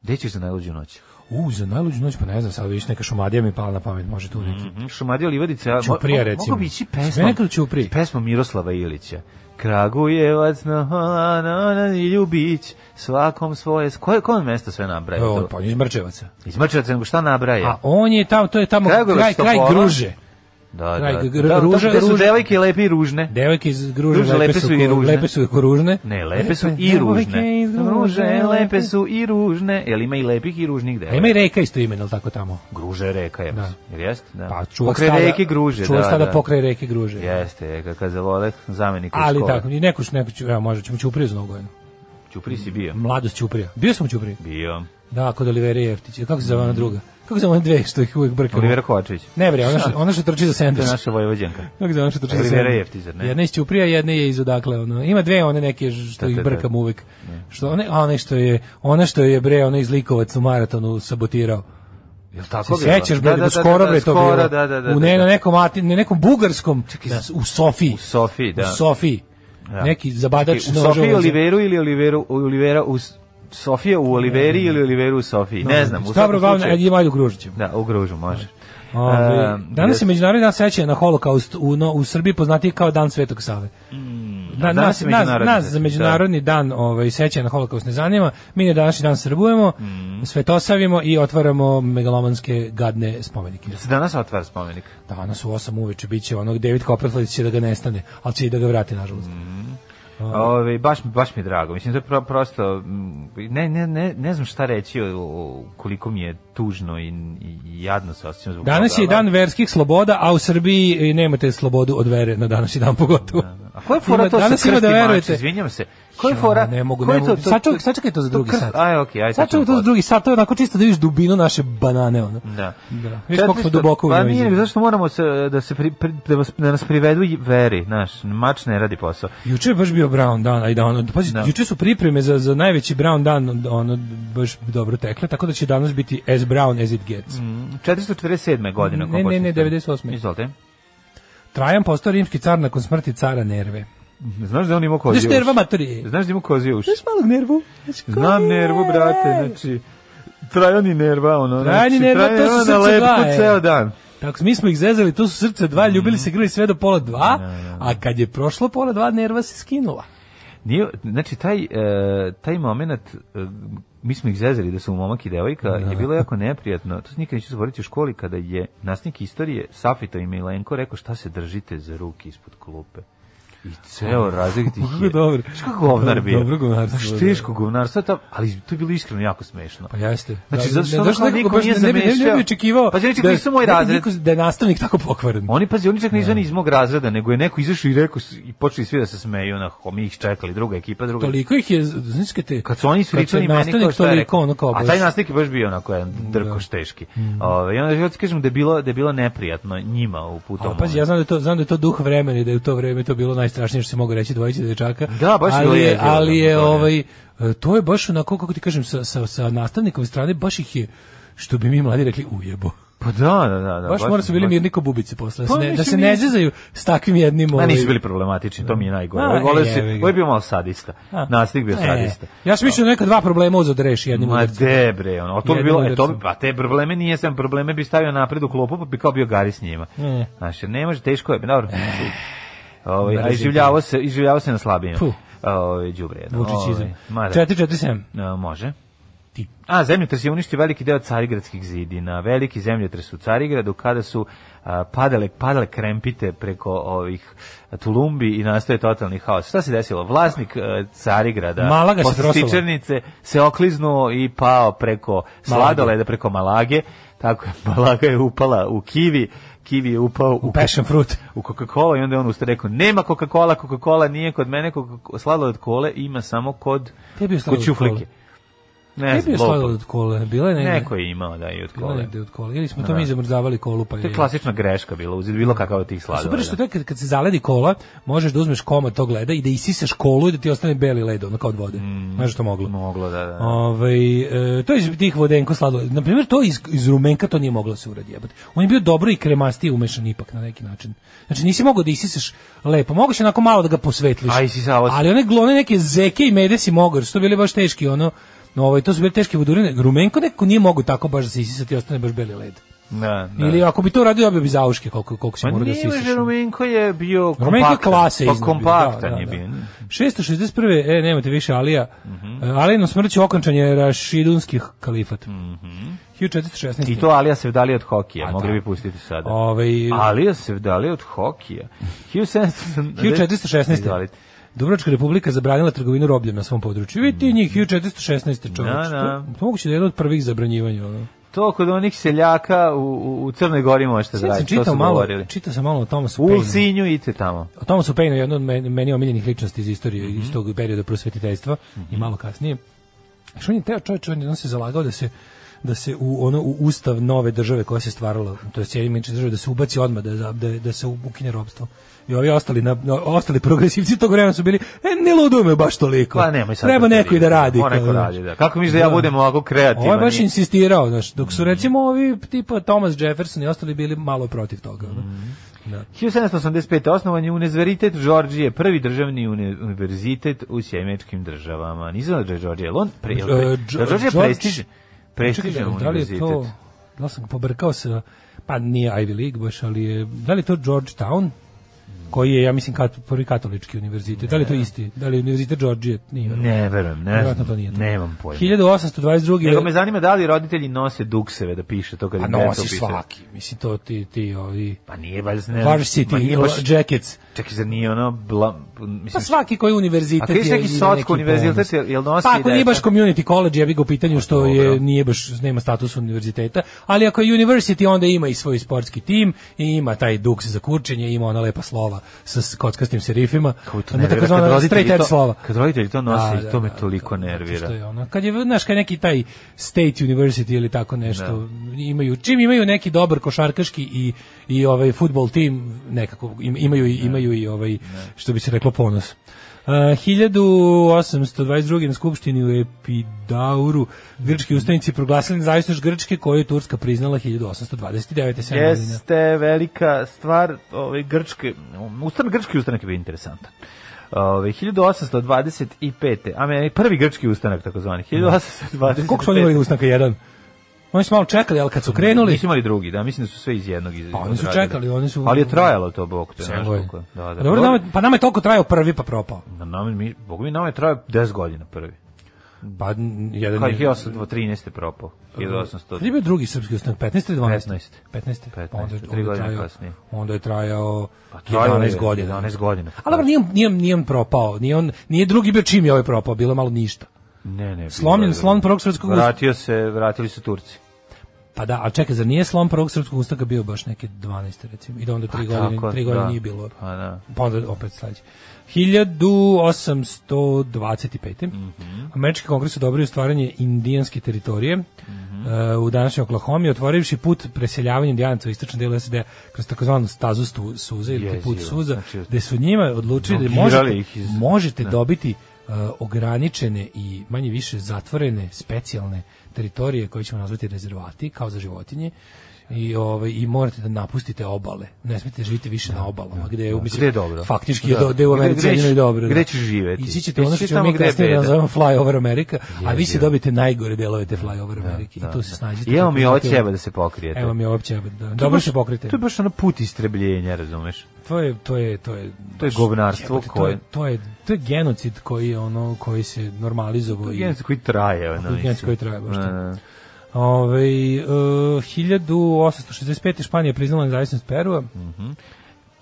G: gde ćeš za najluđu noć?
H: U, za najluđu noć, pa ne znam, sad vidiš neka šumadija mi pala na pamet, može tu neki.
G: Mhm, Šumadija Livadica, a-
H: Ćuprija,
G: mo- mo-
H: recimo.
G: mogu bi ići
H: Sve
G: pesmom,
H: nekad Ćuprije.
G: pesmom Miroslava Ilića. Kragujevac, na, na, na, na, i ljubić, svakom svoje, s- koje, koje on mesto sve nabraje?
H: Evo,
G: to?
H: pa on je iz Mrčevaca.
G: Iz Mrčevaca, nego šta nabraje?
H: A on je tamo, to je tamo
G: Kragujevac,
H: kraj, kraj
G: Topola.
H: Gruže.
G: da, da,
H: kraj,
G: da,
H: gr-
G: da,
H: ruža-
G: gde su
H: ruža-
G: devojke lepe i ružne.
H: Devojke iz Gruže,
G: Gruže,
H: lepe, su, i ružne. lepe su i koružne.
G: ne, lepe
H: pa,
G: su i
H: devojke
G: ružne.
H: iz Gruže,
G: Ruže, e, lepe su i ružne. Jel ima i lepih i ružnih
H: A ima i
G: devojka?
H: reka isto ime, je li tako tamo?
G: Gruže reka je.
H: Da.
G: Jel jeste? Da.
H: Pa čuvak
G: Pokraj
H: stada,
G: reke gruže,
H: čuvak
G: da,
H: stada
G: da.
H: pokraj reke Gruže.
G: Jeste, je, kakav zavolek, zamenik u škole.
H: Ali tako, i neko ću, neko ću, evo možda ćemo Ćupriju za Nogovinom.
G: Ćupri si bio.
H: Mladost Ćuprija. Bio sam u Ćupriji.
G: Bio.
H: Da, kod Olivera Jeftića. Kako se zove ona druga? Kako se zove one dve što ih uvek brkamo?
G: Olivera Kovačević.
H: Ne bre, ona što, ona što trči za
G: To
H: sandvič.
G: je naša vojvođanka.
H: Kako se zove ona što trči za
G: Olivera
H: sandvič?
G: Jeftić, zar ne?
H: Jedna iz Ćuprija, jedna je iz odakle. Ono. Ima dve one neke što
G: Da,
H: ih
G: da, da.
H: brkam uvek. Što one, a one što je, ona što je bre, ona iz Likovac u maratonu sabotirao.
G: Jel
H: Se
G: tako bilo?
H: sećaš bre, da, skoro bre to
G: skoro,
H: bilo.
G: Da, da, da.
H: u
G: da,
H: ne,
G: da.
H: na nekom, ati- na nekom bugarskom, na- u Sofiji.
G: U Sofiji, da.
H: U Sofiji.
G: Da.
H: Neki zabadač
G: U
H: noža
G: Sofiji
H: ulazi.
G: Oliveru ili Oliveru, Olivera u S- Sofija u Oliveri ili Oliveru u Sofiji. Ne znam, u
H: Dobro,
G: svakom
H: glavno, ajde
G: slučaju.
H: ima ajde u Gružićevu.
G: Da, u Gružu može.
H: Ove,
G: Um,
H: danas je
G: jes-
H: međunarodni dan sećanja na holokaust u, no, u Srbiji poznatiji kao dan Svetog Save. Na,
G: Mm, a danas
H: nas,
G: je
H: nas,
G: međunarodni
H: nas
G: dan,
H: za
G: da.
H: međunarodni dan ovaj, sećanja na holokaust ne zanima, mi na današnji dan srbujemo,
G: Mm.
H: svetosavimo i otvaramo megalomanske gadne spomenike.
G: Se danas otvara spomenik.
H: Danas u 8 uveče biće onog David Copperfield će da ga nestane, ali će i da ga vrati nažalost.
G: Mm, Ove, baš, baš mi je drago. Mislim, to je pro, prosto... mm, Ne, ne, ne, ne znam šta reći o, o- koliko mi je tužno i, i jadno se osjećam zbog
H: Danas
G: toga,
H: je i
G: ali-
H: dan verskih sloboda, a u Srbiji i nemate slobodu od vere na današnji dan pogotovo.
G: A koja je fora
H: Ima-
G: to
H: danas
G: sa
H: ima da
G: krstimači?
H: verujete.
G: Izvinjam se. Koja je
H: Ja,
G: fora?
H: Ne mogu,
G: koja
H: ne
G: je
H: mogu.
G: to- to-
H: Sad čekaj, sad čekaj to za drugi
G: krst-
H: sat.
G: Aj, okej, aj,
H: Sad čekaj to za drugi sat, to je onako čisto da vidiš dubinu naše banane, ono.
G: Da.
H: Da. Viš koliko smo
G: 400
H: duboko u
G: Pa
H: njoj
G: nije,
H: izgledamo.
G: nego zašto moramo se, eh, da, se pri, pri- da, vas, da nas privedu i veri, znaš, mač ne radi posao.
H: Juče je baš bio Brown dan, ajde ono. Pazi,
G: Da.
H: juče su pripreme za, za najveći Brown dan, ono, baš dobro tekle, tako da će danas biti as brown as it gets.
G: Mm, 447. godine.
H: Ne, ne, ne, 98..
G: Izvolite.
H: Trajan postao rimski car nakon smrti cara Nerve.
G: Znaš da on ima koziju
H: Znaš Nerva materi?
G: Pa Znaš da ima koziju uši?
H: Znaš malog Nervu? Znaš
G: Znam
H: ko
G: nervu,
H: je?
G: brate, znači, trajan i nerva, ono,
H: Trajan i
G: znači,
H: nerva, to su
G: na
H: srce
G: lepku
H: dva, e.
G: ceo dan.
H: Tako, smo- mi smo ih zezali, to su srce dva,
G: Mm.
H: ljubili se grli sve do pola dva, a kad je prošlo pola dva, Nerva se skinula.
G: Nije, znači taj e, taj momenat e, mi smo ih zezali da su momak i devojka je bilo jako neprijatno. To se nikad neću zaboraviti u školi kada je nastavnik istorije Safito i Milenko rekao šta se držite za ruke ispod klupe. I ceo razlik tih
H: Kako
G: je.
H: dobro.
G: Znaš kako govnar bio?
H: Dobro govnarstvo,
G: Znaš,
H: da.
G: teško govnarstvo, ta- ali to je bilo iskreno jako smešno.
H: Pa jeste.
G: Znači, zato što
H: ne,
G: ono
H: došlo
G: kao
H: nekako
G: niko
H: baš
G: nije
H: da ne bi- Ne bi, ne
G: zamišljao.
H: bi očekivao
G: Pa, znači, nisu moj
H: da,
G: razred.
H: niko- da je nastavnik tako pokvaren.
G: Oni pazi, oni čak ne izvani iz mog razreda, nego je neko izašao i rekao s- i počeli svi da se smeju, na mi ih čekali, druga ekipa, druga.
H: Toliko ih je, znači kad te...
G: Kad su oni
H: kad te
G: spričali meni kao
H: nastavnik
G: šta je
H: toliko,
G: rekao.
H: ono kao
G: A
H: baš- Mhm.
G: taj nastavnik je baš bio onako jedan drkoš teški. Ove, I onda ja ti kažem da je bilo, da je bilo neprijatno njima u putom.
H: A, pazi, ja znam da, je to, znam da je to duh vremena i da je u to vreme to bilo najstrašnije što se mogu reći dvojici dečaka.
G: Da, baš je
H: ali je,
G: ležilo,
H: ali je
G: da, da, da.
H: ovaj e, to je baš onako kako ti kažem sa sa sa nastavnikove strane baš ih je što bi mi mladi rekli ujebo.
G: Pa da, da, da. da
H: Baš mora su bili
G: baš-
H: mirni ko bubice posle, da se
G: Pa,
H: ne, da
G: mislim,
H: se ne
G: nisu.
H: zezaju s takvim jednim...
G: Ma
H: ovaj-
G: nisu bili problematični, to mi je najgore.
H: A,
G: Ovo je volio se-
H: jebi ga.
G: ovo je bio malo sadista.
H: A.
G: Nastavnik bio
H: E,
G: sadista.
H: Ja sam mislio da neka dva problema uzeo da reši jednim
G: Ma
H: udarcem.
G: de bre, ono, to bi
H: Jednim
G: bilo, e, to
H: udarcem.
G: bi, pa te probleme nije sam probleme bi stavio napred u klopu, pa bi kao bio gari s njima.
H: E.
G: Znaš, jer ne može, teško je, dobro. Ovaj, a
H: mrzim
G: iživljavao se, iživljavao se na slabijima.
H: Puh.
G: Ovaj, đubre jedno.
H: Vučićizam.
G: Ovaj, ma da.
H: 447.
G: E, može.
H: Ti.
G: A, zemljotres je uništio veliki deo carigradskih zidina. Veliki zemljotres u Carigradu kada su a, padale, padale krempite preko ovih tulumbi i nastaje totalni haos. Šta se desilo? Vlasnik e, Carigrada
H: Malaga se
G: posle
H: trosala.
G: stičernice se okliznuo i pao preko sladoleda, preko Malage. Tako je, Malaga je upala u kivi, kivi je upao u,
H: Passion fruit.
G: u Coca-Cola i onda je on usta rekao, nema Coca-Cola, Coca-Cola nije kod mene, Coca- sladoled kole ima samo kod,
H: Tebi je
G: kod
H: sladoled
G: čuflike.
H: kole.
G: Ne,
H: Ne
G: znam,
H: bi
G: lupam.
H: slavio od kole, bila je negde.
G: Neko je imao da i od
H: Bila je
G: kole.
H: negde od kole. Ili smo to mi zamrzavali kolu pa je. Pa
G: To je klasična greška bila, uzeti bilo kakav od tih sladoleda.
H: Super je što to je kad, kad se zaledi kola, možeš da uzmeš komad tog leda i da isisaš kolu i da ti ostane beli led, ono kao od vode.
G: Mm.
H: Znaš što moglo?
G: Moglo, da, da.
H: Ovaj, e, to je iz tih vodenko sladoled. Na primjer, to iz, iz rumenka to nije moglo da se uradi. Jebote. On je bio dobro i kremastije umešan ipak na neki način. Znači nisi mogao da isisaš lepo. Mogao si onako malo da ga posvetliš.
G: A, isisavao si.
H: Ali one glone neke zeke i mede si mogao, jer su to bili baš teški. Ono, no, ovaj, to su bile teške vodurine. Rumenko nekako nije mogao tako baš da se isisati i ostane baš beli led.
G: Da, da.
H: Ili ako bi to radio, dobio bi zauške koliko, koliko si
G: Ma
H: morao da se
G: nije,
H: isisaš.
G: Rumenko je bio kompaktan.
H: Rumenko je klase
G: Pa
H: iznad bio,
G: kompaktan
H: da, da,
G: je
H: da.
G: bio. Mhm.
H: 661. E, nemate više Alija. E, Alijinom smrću okončan je Rašidunskih kalifat. Mm 1416.
G: Mhm. I to Alija se vdali od hokija,
H: A,
G: mogli
H: da.
G: bi pustiti sada.
H: Ovaj,
G: Alija se vdali od hokija. 1700
H: 1416.
G: Izvolite.
H: Dubrovačka republika zabranila trgovinu robljem na svom području. Vidite njih 1416. čovječ.
G: Mhm. Da, da.
H: To, to moguće da je jedno od prvih zabranjivanja. Ono.
G: To kod onih seljaka u, u, u Crnoj Gori možete da
H: Sad sam
G: radite, to
H: čitao
G: su
H: malo,
G: govorili.
H: čitao sam malo o Thomasu
G: U
H: Paineu.
G: Sinju idite tamo.
H: O Thomasu Paineu, jedno od meni, meni omiljenih ličnosti iz istorije,
G: Mhm.
H: iz tog perioda prosvetiteljstva i malo kasnije. Što on je teo čovječ, on, je- on se zalagao da se da se u ono u ustav nove države koja se stvarala, to je sjedinjene države da se ubaci odmah da za- da, da se ukine robstvo. I ovi ostali na, na- ostali progresivci tog vremena su bili e ne luduju baš toliko.
G: Pa nemoj sad.
H: Treba
G: da te
H: neko i da
G: vidim.
H: radi.
G: Mora neko
H: kao,
G: radi, da. Kako misliš da ja budem ovako kreativan?
H: Ovo je baš
G: i- Mhm.
H: insistirao, znaš, dok su recimo ovi tipa Thomas Jefferson i ostali bili malo protiv toga. ono.
G: Mhm. 1785. osnovan je Univerzitet Đorđije, prvi državni uni- univerzitet u sjemečkim državama. Nisam znao da je Đorđije, on pre,
H: E,
G: pre, da je
H: Đo-
G: Đorđije
H: Đorđ-
G: prestižan, prestižan
H: Čekaj, da li je
G: E, univerzitet.
H: to, da li sam ga pobrkao sa, pa nije Ivy League baš, ali je, da li je to Georgetown, koji je, ja mislim, kat, prvi katolički univerzitet, da li je to isti, da li je univerzitet Georgije, nije.
G: Ne verujem, ne
H: Vjerojatno
G: znam,
H: to nije to.
G: nemam pojma.
H: 1822.
G: Nego me zanima da li roditelji nose dukseve da piše to kad
H: Pa
G: im deca
H: nosiš
G: upisuju.
H: svaki, mislim, to ti, ti, ovi,
G: Pa nije valjda, ne
H: varsity,
G: ma nije baš,
H: jackets,
G: čekaj, zar nije ono, bla,
H: Pa
G: mislim,
H: svaki koji univerzitet
G: A kriš neki
H: ima
G: socko
H: neki
G: univerzitet,
H: ponos.
G: jel- jel nosi
H: Pa ako
G: i
H: nije
G: deca?
H: baš community college, ja bih ga u pitanju što je,
G: dobro.
H: nije baš, nema status univerziteta, ali ako je university, onda ima i svoj sportski tim, i ima taj duks za kurčenje, ima ona lepa slova sa s- kockastim serifima,
G: kako to
H: ona
G: nervira, kad
H: takozvana
G: roditelji
H: straight edge
G: to-
H: slova.
G: Kad roditelji to nose,
H: Da, da,
G: to me
H: da,
G: toliko
H: to- zato
G: nervira.
H: Što je ono, kad je, znaš, kad je neki taj State University ili tako nešto, imaju, čim imaju neki dobar košarkaški i, i ovaj futbol tim, nekako, im- imaju, i- imaju i ovaj, što bi se reklo, ponos. Uh, 1822. na skupštini u Epidauru
G: Mm.
H: grčki ustanici proglasili nezavisnost Grčke koju je Turska priznala 1829. sedam godina.
G: Jeste velika stvar, ovaj grčki ustan grčki ustanak je bio interesantan. Ovaj 1825. Amerika, prvi grčki ustanak takozvani 1825.
H: Koliko su oni imali ustanka jedan? Oni su malo čekali, ali kad su krenuli...
G: Nisu imali drugi, da, Mm, mislim da su sve iz jednog iz.
H: Pa oni su
G: odradili.
H: čekali, oni su-
G: Ali je trajalo to bog te, znaš
H: Evo je.
G: koliko. je. Da, da.
H: Dobro, nama, pa nama je toliko trajao prvi pa propao.
G: Na nama mi, bog mi nama je trajao 10 godina prvi.
H: Pa n- jedan
G: Kad je
H: je-
G: 1813. propao. 1800.
H: Kad je bio drugi srpski ustanak? 15 ili 12?
G: 15.
H: 15. Pa onda, je- onda
G: 15, tri
H: je
G: godine
H: trajao,
G: kasnije.
H: onda je trajao
G: Pa trajao
H: 11
G: je,
H: godina.
G: 11 godina.
H: Ali dobro, nije, on- nije, on- nije on propao. Nije, on, nije drugi bio čim je ovaj propao, bilo je malo ništa.
G: Ne, ne. bilo
H: Slomljen
G: je-
H: slon Prvog svjetskog usta-
G: Vratio se, vratili su Turci.
H: Pa da, ali čekaj, zar nije slom prvog srpskog ustanka bio baš neke 12. recimo? I da onda tri godine,
G: Pa tako,
H: tri godine
G: da.
H: nije bilo.
G: Pa da.
H: Pa onda opet sledeće. 1825.
G: Mhm.
H: Američki kongres odobrio stvaranje indijanske teritorije
G: Mhm.
H: e, u današnjoj Oklahomi, otvorivši put preseljavanja indijanaca u istočnom delu SED kroz takozvanu stazu stu- suze ili
G: Jezivo.
H: put suza,
G: Znači,
H: gde su njima odlučili da
G: blokirali
H: možete,
G: ih iz-
H: možete dobiti e, ograničene i manje više zatvorene specijalne teritorije koje ćemo nazvati rezervati kao za životinje i ovaj i morate da napustite obale. Ne smete živjeti više na obalama gde je mislim
G: Gde je dobro.
H: faktički je
G: Da.
H: do, gde je u
G: Gde-
H: Americi
G: gde ćeš-
H: jedino i dobro.
G: gde ćeš živeti?
H: Ići ćete u ono
G: Ići
H: što
G: ćeš
H: ćemo
G: tamo
H: mi
G: gde je
H: kasnije da
G: beda.
H: nazovemo fly over America, a vi se
G: Jezivo.
H: dobite najgore delove te fly over Amerike i E, tu se snađete.
G: I evo mi
H: Kako
G: ovo
H: znate,
G: ćeba da se pokrijete.
H: Evo mi ovo ćebe, da. Dobro se pokrite.
G: To je baš ono put istrebljenja, razumeš?
H: To je to je to je
G: To je
H: baš-
G: govnarstvo
H: jebote,
G: koje-
H: to je, to je to je genocid koji je ono koji se normalizovao i
G: Genocid koji traje. Ono,
H: Genocid
G: mislim.
H: koji traje, baš
G: Da,
H: to.
G: da.
H: Ovaj, e, 1865. Španija priznala nezavisnost Perua.
G: Mm.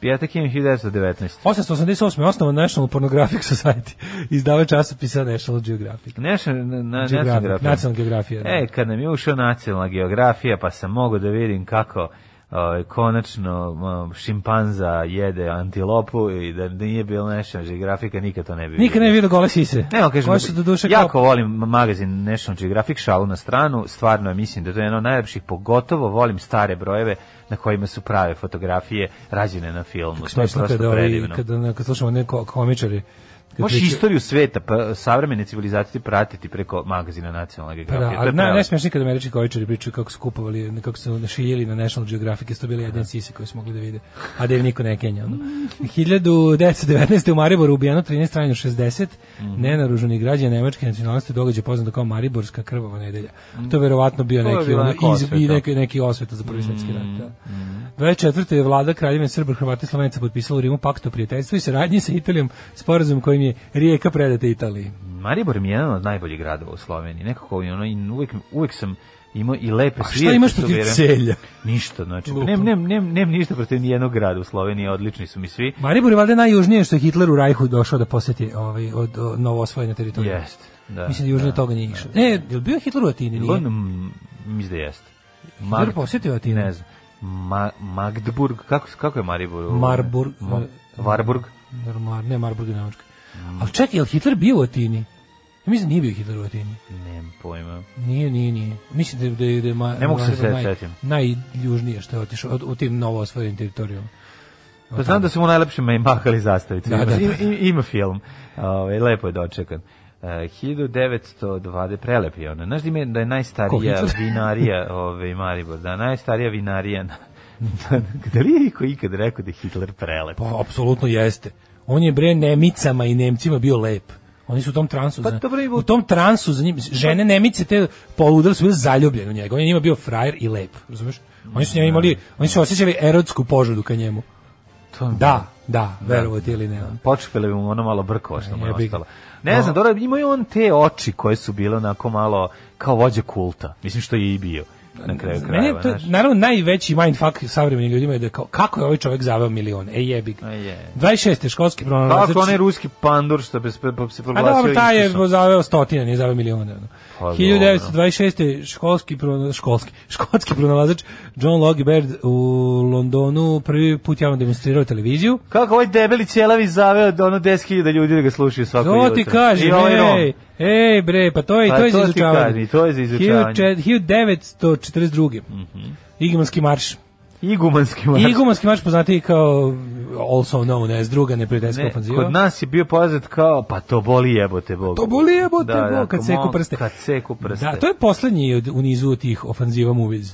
G: Petak je 1919.
H: 888. je osnovan National Pornographic Society. Izdava časopisa National Geographic.
G: Naša, na, na,
H: Geographic,
G: nacionalna
H: Nacionalna geografija. da.
G: E, kad nam je ušao nacionalna geografija, pa sam mogao da vidim kako ovaj, konačno um, šimpanza jede antilopu i da nije bilo National Geographica, nikad to ne bi
H: Nikad ne
G: vidio.
H: vidio gole sise.
G: Ne, ali kažem,
H: Koje su do duše
G: jako
H: kao...
G: volim magazin National Geographic, šalu na stranu, stvarno mislim da to je jedno od najlepših, pogotovo volim stare brojeve na kojima su prave fotografije rađene na filmu. To je
H: Smešno
G: prosto
H: kada, ovi,
G: predivno.
H: kada, ono, kad slušamo neko komičari. kad
G: Možeš
H: pričaju-
G: istoriju sveta, pa, savremene civilizacije pratiti preko magazina nacionalne
H: Pa Da,
G: geografije. to
H: a na,
G: je prelepo.
H: najsmešnije kada američki komičari pričaju kako su kupovali, kako su šiljili na National Geographic, jer su to bile jedine sise koje su mogli da vide, a da im niko ne kenja. Ono. 1919. u Mariboru ubijeno 13 ranjeno 60,
G: Mhm.
H: nenaruženi građani nemačke nacionalnosti događa poznato kao Mariborska krvava nedelja. To je verovatno bio
G: To je
H: neki,
G: bila
H: ono,
G: neka
H: iz, i
G: osveta. Mhm.
H: neki, neki osveta za prvi svetski rat. Da. 24. je vlada Kraljevine Srba, Hrvata i Slovenica potpisala u Rimu pakt o prijateljstvu i saradnji sa Italijom sporazum kojim je rijeka predata Italiji.
G: Maribor mi je jedan od najboljih gradova u Sloveniji. Nekako ono, i uvek, uvek sam imao i lepe
H: A Pa šta
G: svirke
H: imaš
G: su
H: protiv
G: bile-
H: celja?
G: Ništa, znači,
H: Lupa.
G: nem, nem, nem, nem ništa protiv nijednog grada u Sloveniji, odlični su mi svi.
H: Maribor je valjda najjužnije što je Hitler u Rajhu došao da poseti ovaj, od, od novo osvojene teritorije.
G: Jest, da.
H: Mislim da južnije
G: da.
H: toga nije išao. Ne, je li bio Hitler u Atini? Nije.
G: On, mm, mislim da jeste.
H: Hitler posjetio Atinu?
G: Ne znam. Ma, Magdeburg, kako, kako je Maribor? u-
H: Marburg.
G: Ma- Varburg?
H: Normar, ne, Marburg je Nemačka.
G: Mm.
H: Ali čekaj, je li Hitler bio u Atini? Ja mislim da nije bio Hitler u Atini.
G: Nemam pojma.
H: Nije, nije, nije. Mislim da je, da je, da je Ma-
G: Ne mogu se
H: Maribor
G: sve
H: naj-
G: setim.
H: najjužnije što je otišao od, u tim novo osvojenim teritorijama.
G: Pa znam da su mu najlepše me mahali zastavice.
H: Da,
G: ima,
H: da, da.
G: ima, ima film. Ove, lepo je dočekan. E, 1920 prelep je ona. Znaš da, ime, da je
H: Ko,
G: najstarija
H: Hitler?
G: vinarija ove, Maribor, da najstarija vinarija na, na, da li je iko ikad rekao da je Hitler prelep?
H: Pa, apsolutno jeste. On je bre Nemicama i Nemcima bio lep. Oni su u tom transu,
G: Pa
H: za-
G: dobro, i u-
H: u tom transu za njim, žene Nemice te poludele su bile zaljubljene u njega. On je njima bio frajer i lep, razumeš? Oni su njima imali, oni su osjećali erotsku požudu ka njemu.
G: To-
H: Pa, Da, da, verovo ti ili ne.
G: počepele bi mu ono malo brkova što mu je
H: Jebi ga.
G: ostalo. Ne znam, dobro, imao je on te oči koje su bile onako malo kao vođe kulta. Mislim što je i bio na kraju
H: Meni je
G: krajeva.
H: to,
G: znaš.
H: naravno, najveći mindfuck savremenim ljudima je da kao, kako je ovaj čovjek zaveo milion? E jebi ga.
G: A je. Pa
H: 26. školski pronalazač.
G: Kako onaj ruski pandur što bi se se
H: Znači- A
G: proglasio
H: dobro, taj je
G: Isusom.
H: zaveo stotine, nije zaveo milijone. ono.
G: Pa dobro.
H: 1926. školski, pro- školski, škotski pronalazač John Logie Baird u Londonu prvi put javno demonstrirao televiziju.
G: Kako ovaj debeli ćelavi zaveo da ono 10.000 ljudi da ga slušaju svako jutro.
H: To ti kaže,
G: I ovaj
H: ej,
G: Rom.
H: ej bre, pa to je,
G: Pa
H: to je za
G: to ti
H: izučavanje.
G: kažem, i to je Mhm. za izučavanje.
H: 1942. Igumanski marš.
G: Igumanski marš.
H: Igumanski marš poznati kao also known as druga neprijateljska
G: Ne,
H: ofanziva.
G: kod nas je bio poznat kao, pa to boli jebote Bog.
H: To boli jebote
G: Da, da,
H: Bog, kad
G: ko
H: seku
G: mo-
H: prste.
G: Kad seku prste.
H: Da, to je poslednji od- u nizu tih ofanziva movies.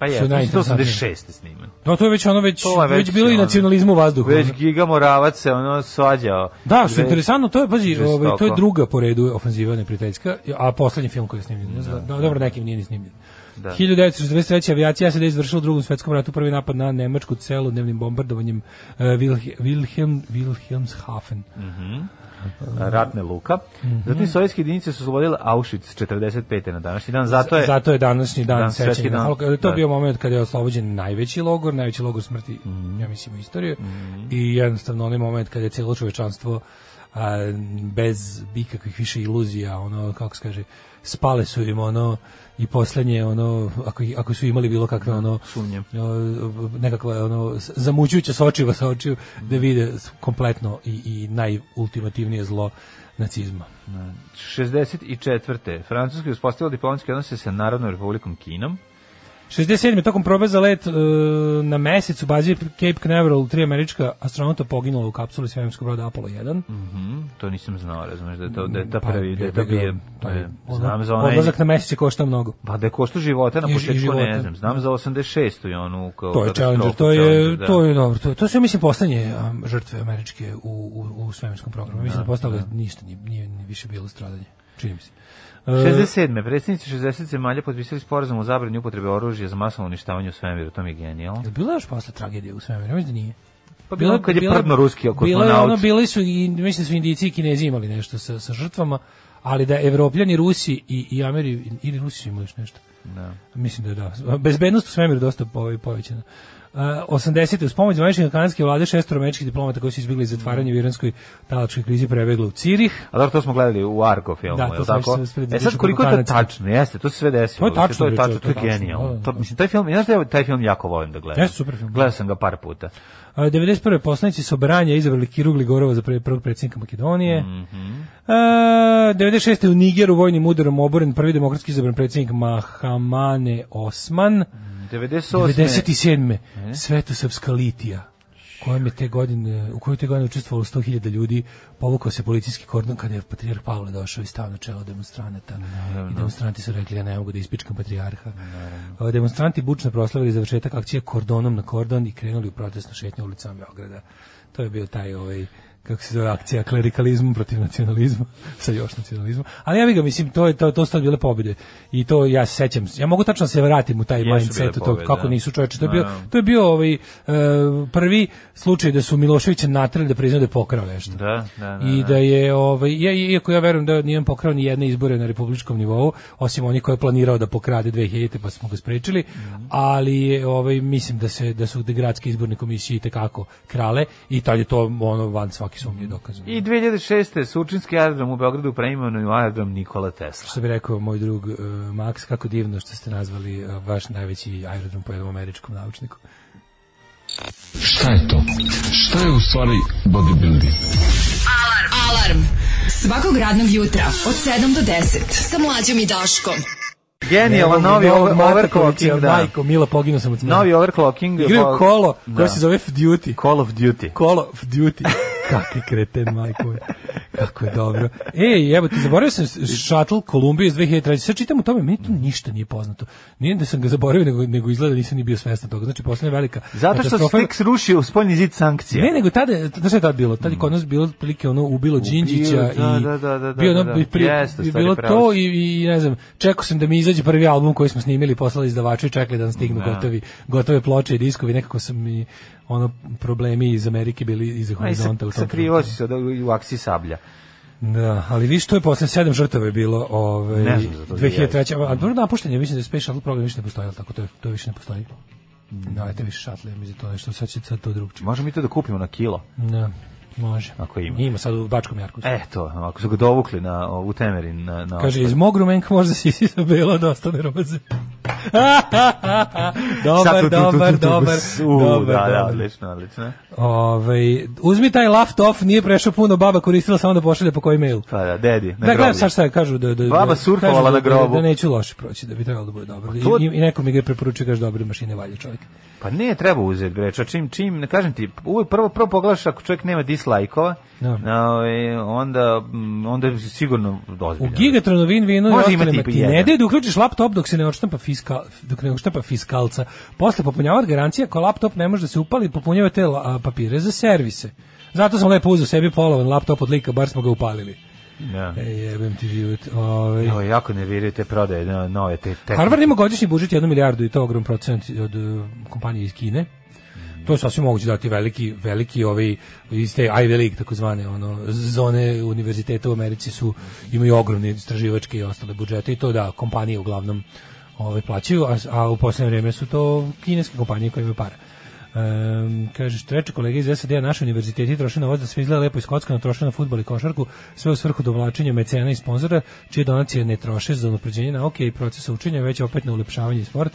G: pa je,
H: su
G: to
H: najinteresantnije.
G: 86. sniman.
H: No to je već ono već
G: To je
H: već,
G: već
H: bilo i
G: ono.
H: nacionalizmu u vazduhu.
G: Već Giga Moravac se ono svađao.
H: Da, što je
G: Već-
H: interesantno, to je, pazi,
G: Žestoko.
H: ovaj, to je druga po redu ofanziva neprijateljska, a poslednji film koji je snimljen. Da, dobro, nekim nije ni snimljen.
G: Da.
H: 1943. avijacija se da izvršila u drugom svetskom ratu prvi napad na nemačku celu dnevnim bombardovanjem uh, Wilhelm, Wilhelmshafen.
G: ratne luka.
H: Mhm.
G: Zatim sovjetske jedinice su oslobodile Auschwitz 45. na današnji dan. Zato je
H: Zato je današnji dan,
G: Dan,
H: sećanja
G: svetski
H: na
G: dan.
H: Holokaust. To je
G: Da.
H: bio moment kada je oslobođen najveći logor,
G: Mhm.
H: najveći logor smrti, ja mislim, u istoriji. I jednostavno onaj moment kada je cijelo čovečanstvo a, bez ikakvih više iluzija, ono, kako se kaže, spale su im ono i poslednje ono ako ako su imali bilo kakve ono
G: sumnjam.
H: o, nekakva ono s- zamućujuća sočiva sa očiju da
G: Mhm.
H: vide kompletno i, i najultimativnije zlo nacizma.
G: 64. Francuska je uspostavila diplomatske odnose sa Narodnom republikom Kinom.
H: 67. tokom probe za let e, na mesec u bazi Cape Canaveral tri američka astronauta poginula u kapsuli svemirskog broda Apollo 1.
G: Mhm, to nisam znao, razumeš, da je to, da je ta
H: Pa,
G: prvi, da je
H: jebi
G: to
H: ga,
G: bio,
H: taj
G: e,
H: odla-
G: znam za onaj,
H: Odlazak na mesec je košta mnogo.
G: pa da je košta života na
H: I- i
G: početku, ne
H: života.
G: znam, znam za 86. i onu kao
H: To je
G: katastrofu,
H: Challenger, to je,
G: Challenger, da.
H: to je dobro. To, to su, ja mislim, poslednje um, žrtve američke u, u, u svemirskom programu. Mislim da, postalo da ništa, nije, nije, nije više bilo stradanje. Čini mi se. E,
G: 67. Predsjednici 60 zemalja potpisali sporazum o zabranju upotrebe oružja za masovno uništavanje u svemiru, to mi je genijalno.
H: je li bila još posle tragedije u svemiru? Ja Mislim da nije.
G: Pa bilo je kad je prdno ruski
H: bilo je ono,
G: kosmonaut.
H: bili su, i, mislim da su Indijci i Kinezi imali nešto sa, sa žrtvama, ali da Evropljani, Rusi i, i Ameri, ili Rusi su imali još nešto.
G: Da.
H: Mislim da da. Bezbednost u svemiru dosta po- povećana. Uh, 80. uz pomoć zvaničnih kanadske vlade šestoro američkih diplomata koji su izbjegli zatvaranje u iranskoj talačkoj krizi prebegla u Cirih.
G: A dobro, to smo gledali u Argo filmu,
H: Da,
G: je
H: to
G: li
H: smo
G: tako?
H: se uspeli da
G: E sad,
H: pričamo
G: koliko je to
H: kanadski.
G: tačno? Jeste, to se sve desilo.
H: To je tačno,
G: To je
H: bre,
G: tačno,
H: to
G: to je
H: je tačno,
G: genijalno.
H: da, da,
G: To,
H: da.
G: mislim, taj film, znaš da ja taj film jako volim da gledam.
H: Jeste super film.
G: Gledao sam ga par puta.
H: Uh, 91. poslanici Sobranja izabrali Kiru Gligorova za pre- prvog predsjednika Makedonije. Mm uh, 96. u Nigeru vojnim udarom oboren prvi demokratski izabran predsjednik Mahamane Osman.
G: 98.
H: 97. Svetosavska litija kojom je te godine, u kojoj te godine učestvovalo 100.000 ljudi, povukao se policijski kordon kada je patrijarh Pavle došao i stao na čelo demonstranata. I demonstranti su rekli, ja ne mogu da ispičkam patrijarha. A, Demonstranti bučno proslavili završetak akcije kordonom na kordon i krenuli u protestnu šetnju ulicama Beograda. To je bio taj ovaj kako se zove akcija klerikalizmu protiv nacionalizma sa još nacionalizma ali ja bih ga mislim to je to to su tad bile pobede i to ja se sećam ja mogu tačno da se vratim u taj
G: Jesu bile
H: mindset u to
G: pobede,
H: kako
G: da.
H: nisu čoveče to je bio
G: Da.
H: to je bio ovaj e, prvi slučaj da su Miloševića natrali da priznaju da je pokrao nešto.
G: Da, da, da.
H: I da je ovaj ja iako ja verujem da nije on pokrao ni jedne izbore na republičkom nivou, osim onih koje je planirao da pokrade 2000 pa smo ga sprečili,
G: Mhm.
H: ali je, ovaj mislim da se da su gradske izborne komisije i tekako krale i tad je to ono van svake sumnje dokazano.
G: I 2006. Sučinski aerodrom u Beogradu preimenovan je u aerodrom Nikola Tesla.
H: što bi rekao moj drug uh, Max, kako divno što ste nazvali uh, vaš najveći aerodrom po jednom američkom naučniku.
J: Šta je to? Šta je u stvari bodybuilding?
E: Alarm. Alarm. Svakog radnog jutra od 7 do 10 sa Mlađom i Daškom.
G: Genijalan
H: Evo,
G: novi
H: novog
G: over-
H: Matakovića,
G: overclocking, da.
H: Majko, Milo, poginuo sam od smrti.
G: Novi overclocking.
H: Igraju
G: pa-
H: kolo, koje
G: Da.
H: se zove F Duty.
G: Call of Duty.
H: Kolo F Duty. Kakvi kreten, majko. moja. Kako je dobro. Ej, evo, ti zaboravio sam šatl Kolumbije iz 2003. Sad čitam o tome, meni tu ništa nije poznato. Nije da sam ga zaboravio, nego, nego izgleda da nisam ni bio svestan toga. Znači, poslednja velika
G: Zato što
H: katastrofa-
G: Stix rušio spoljni zid sankcija.
H: Ne, nego tada, znaš šta je tad bilo? Tad je kod nas bilo otprilike ono ubilo Đinđića
G: da,
H: i
G: da, da, da,
H: bio ono
G: da, da.
H: bi pri-
G: Jeste,
H: bi
G: stari
H: bilo
G: pravo
H: to
G: si.
H: i, i ne znam, čekao sam da mi izađe prvi album koji smo snimili, poslali izdavaču i čekali da nam stignu
G: Da.
H: gotovi, gotove ploče i diskovi, nekako su mi ono problemi iz Amerike bili iz
G: Aj, Pa sa,
H: horizonta u tom
G: sakrivo si
H: trenutku.
G: se od- u aksi sablja.
H: Da, ali viš to je posle sedam žrtava je bilo ovaj
G: Ne znam za to,
H: 2003. A dobro napušten je, mislim da je Space Shuttle program više ne postoji, ali tako to, je- to više ne postoji.
G: Mm.
H: Da, ajte više šatle, mislim da je to nešto, sad će sad to drugčije.
G: Možemo mi to da kupimo na kilo.
H: Da, može.
G: Ako ima.
H: Ima sad u Bačkom Jarku.
G: E, to, ako su ga dovukli na, u temerin. Na, na
H: Kaže, iz mog rumenka možda si sisa bela da ostane roze.
G: Sad
H: dobar,
G: tu, tu, tu,
H: dobar,
G: tu, tu,
H: dobar.
G: s- u,
H: dobar,
G: da, da,
H: dobar.
G: odlično, odlično.
H: Ovaj, uzmi taj laft off, nije prešao puno, baba koristila samo da pošalje po koji mail.
G: Pa da, dedi, na
H: Da, gledam
G: groblju.
H: sad šta kažu da, da, da-
G: Baba surfovala
H: kažu da-
G: na grobu. Pa
H: Da, da neću loše proći, da bi trebalo da bude dobro. I,
G: to-
H: i, i neko mi ga preporučuje, kaže, dobre mašine valja čovjek.
G: Pa ne, treba uzeti bre, ča čim, čim, ne kažem ti, uvek prvo, prvo pogledaš ako čovjek nema dislajkova,
H: Da.
G: no. onda, mm, onda je sigurno
H: U
G: dozbiljno.
H: Gigatronu Win Winu i
G: Može
H: ostale
G: imati i jedan.
H: matine. Ne da uključiš laptop dok se ne odštampa fiskal, dok ne odštampa fiskalca. Posle popunjavati garancije ako laptop ne može da se upali, popunjava te la- a, papire za servise. Zato sam lepo uzeo sebi polovan laptop od lika, bar smo ga upalili.
G: Da.
H: E, jebem ti život. Ovaj.
G: Evo, jako ne vjeruju te prodaje, no, nove te tehnike.
H: Harvard ima godišnji budžet 1 milijardu i to ogrom procent od e, kompanije iz Kine. To je sasvim moguće dati veliki, veliki ovaj, iz te Ivy League, takozvane, ono, zone univerziteta u Americi su, imaju ogromne istraživačke i ostale budžete i to da kompanije uglavnom ovaj, plaćaju, a, a u posljednje vrijeme su to kineske kompanije koje imaju para. E, Um, kaže, treća kolega iz SAD-a, naš univerziteti troše novac da sve izgleda lepo iz kockana, troše na futbol i košarku, sve u svrhu dovlačenja mecena i sponzora, čije donacije ne troše za unapređenje nauke i procesa učenja, već opet na ulepšavanje i sport.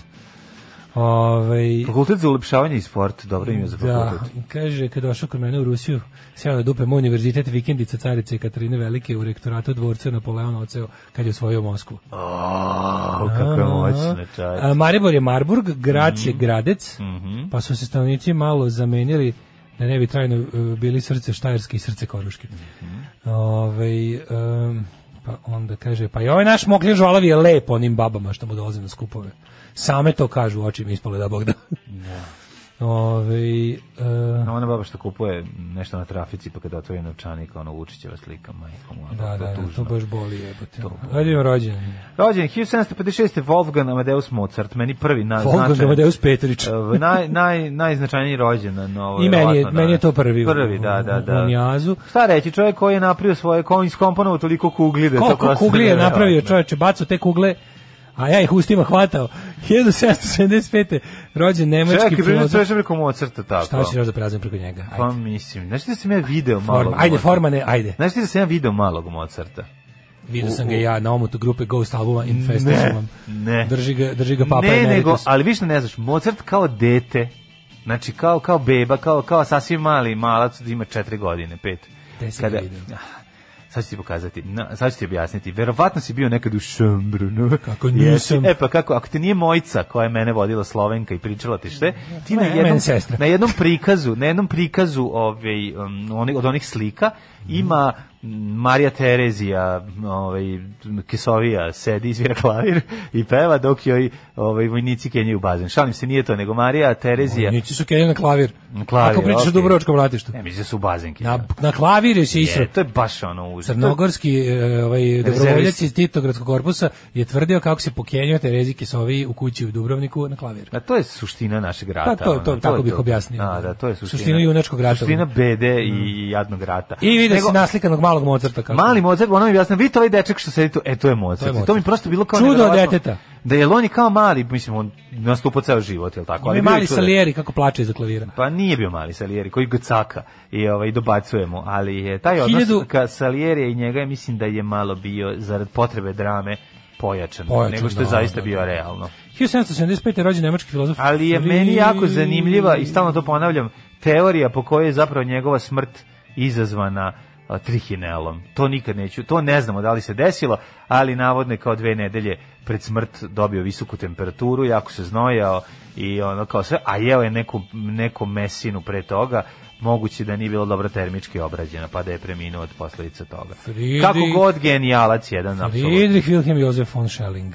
H: Ovaj,
G: Fakultet za ulepšavanje i sport, dobro ime za
H: da,
G: fakultet.
H: kaže, kad došao kod mene u Rusiju, sjeo na dupe moj univerzitet vikendica carice Katarine Velike u rektoratu dvorca Napoleona oceo kad je osvojio Moskvu.
G: O, kakve moćne čaj.
H: A, Maribor je Marburg, Grac
G: Mhm.
H: je Gradec, pa su se stanovnici malo zamenili da ne bi trajno e, bili srce Štajerske i srce Koruške.
G: Mhm.
H: Ovaj, em, pa onda kaže, pa i ovaj naš Moklin Žvalavi je lep onim babama što mu dolaze na skupove. Same to kažu, oči mi ispale da Bog da. Ovaj, e,
G: A ona baba što kupuje nešto na trafici, pa kada otvori novčanik, ono Vučićeva slika, majko moja,
H: da, da, da, to
G: Pa tužno.
H: baš boli jebote. Ajde im rođen.
G: Rođen je 1756. Wolfgang Amadeus Mozart, meni prvi na,
H: Volgan
G: značajan-
H: Amadeus Petrić.
G: Eh, naj, naj, najznačajniji rođen na ovoj
H: I meni je,
G: verovatno, da.
H: meni je to prvi. u-
G: Prvi, da, da,
H: u-
G: da.
H: U Njazu.
G: Šta reći, čovjek koji je napravio svoje, koji je iskomponovao toliko kugli da je to
H: Koliko
G: prosto
H: kugli je
G: neverovatno.
H: napravio čoveče, bacao te kugle, a ja ih ustima hvatao. 1775. rođen nemački
G: Čekaj, primjer, sve
H: filozof.
G: što preko Mozarta tako.
H: Šta hoćeš još da prelazim preko njega?
G: Pa
H: Ajde.
G: mislim, znaš ti da sam ja video malog
H: Forma, ajde,
G: Mozarta?
H: formane, ajde.
G: Znaš ti da sam ja video malog Mozarta?
H: Vidio sam ga ja na omotu grupe Ghost albuma Infestation.
G: ne.
H: Drži ga, drži ga papa
G: ne,
H: Emeritus.
G: nego, ali više ne znaš, Mozart kao dete, znači kao, kao beba, kao, kao sasvim mali malac, ima četiri godine, pet.
H: Gde si ga video?
G: Ah, Sad ću ti pokazati, na, sad ću ti objasniti. Verovatno si bio nekad u Šambru. No?
H: Kako
G: Jesi.
H: nisam.
G: E pa kako, ako ti nije mojca koja je mene vodila Slovenka i pričala ti šte, ti na
H: Ne,
G: jednom,
H: meni sestra.
G: na jednom prikazu, na jednom prikazu ovaj, um, oni, od onih slika ima mm, Marija Terezija, ovaj, Kesovija, sedi, izvira klavir i peva dok joj ovaj, vojnici kenjaju bazen. Šalim se, nije to, nego Marija Terezija.
H: Nici su kenjali na klavir.
G: Na klavir,
H: Ako pričaš o
G: okej.
H: Dubrovačkom ratištu.
G: Ne, mislim da su bazen kenjali.
H: Na, na klaviru se isro.
G: Je, to je baš ono uz.
H: Crnogorski e, ovaj dobrovoljac
G: Rezervist.
H: iz Titogradskog korpusa je tvrdio kako se pokenjao Terezi Kesovi u kući u Dubrovniku na klavir.
G: A to je suština našeg rata.
H: Pa to- to-
G: ono, je
H: tako bih objasnio.
G: A, da, to je suština.
H: Suština junačkog rata. Mm.
G: Suština bede i jadnog rata.
H: I vidio
G: Nego,
H: si naslikanog malog Mozarta kako.
G: Mali Mozart, ono mi objasnio, vidite ovaj dečak što sedi tu, e, to je
H: To je
G: Mozart. To,
H: Mozart.
G: mi prosto bilo kao
H: Čudo
G: neverovatno.
H: deteta.
G: Da je on je kao mali, mislim, on nastupo ceo život, jel tako?
H: Ima i
G: bio je
H: mali
G: čudo.
H: Salieri kako plače iza klavira.
G: Pa nije bio mali Salieri, koji ga caka i ovaj, dobacujemo, ali je taj odnos
H: Hiljadu-
G: ka Salierija i njega, mislim da je malo bio, zarad potrebe drame, pojačan,
H: Pojačan,
G: nego što je
H: da,
G: zaista
H: Pa, da,
G: bio
H: da.
G: realno.
H: 1775. je rođen nemački filozof.
G: Ali je meni
H: Fri-
G: jako zanimljiva i stalno to ponavljam teorija po kojoj je zapravo njegova smrt izazvana a, trihinelom. To nikad neću, to ne znamo da li se desilo, ali navodno je kao dve nedelje pred smrt dobio visoku temperaturu, jako se znojao i ono kao sve, a jeo je neku, neku mesinu pre toga, moguće da nije bilo dobro termički obrađena, pa da je preminuo od posledica toga.
H: Friedrich-
G: Kako god genijalac jedan, apsolutno. Mm.
H: Friedrich Wilhelm Josef von Schelling.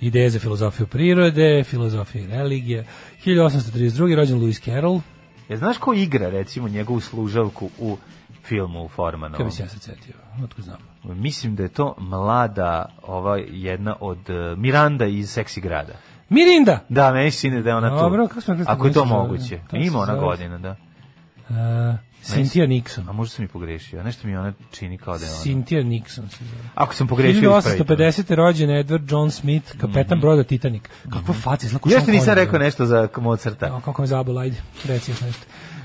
H: Ideje za filozofiju prirode, filozofije i religije. 1832. rođen Lewis Carroll.
G: Ja, E, znaš ko igra, recimo, njegovu služavku u filmu u Formanovu?
H: Kako bi se ja sad setio? Otko znam.
G: Mislim da je to mlada ova jedna od e, Miranda iz Seksi grada.
H: Mirinda!
G: Da, meni se čini da je ona tu.
H: Dobro, kako smo rekli,
G: Ako je to
H: mislim,
G: moguće.
H: da, to se
G: Ima ona
H: zove.
G: godina, da.
H: Uh, Cynthia Nixon.
G: A možda sam i pogrešio. Nešto mi ona čini kao da je ona.
H: Cynthia Nixon se zove.
G: Ako sam pogrešio, ispravite me.
H: 1850. rođen Edward John Smith, kapetan broda Titanic. Kakva faca, izlako
G: Još ti Mhm. nisam rekao nešto za Mozarta.
H: ono. Kako me zabolo, ajde, reci još nešto.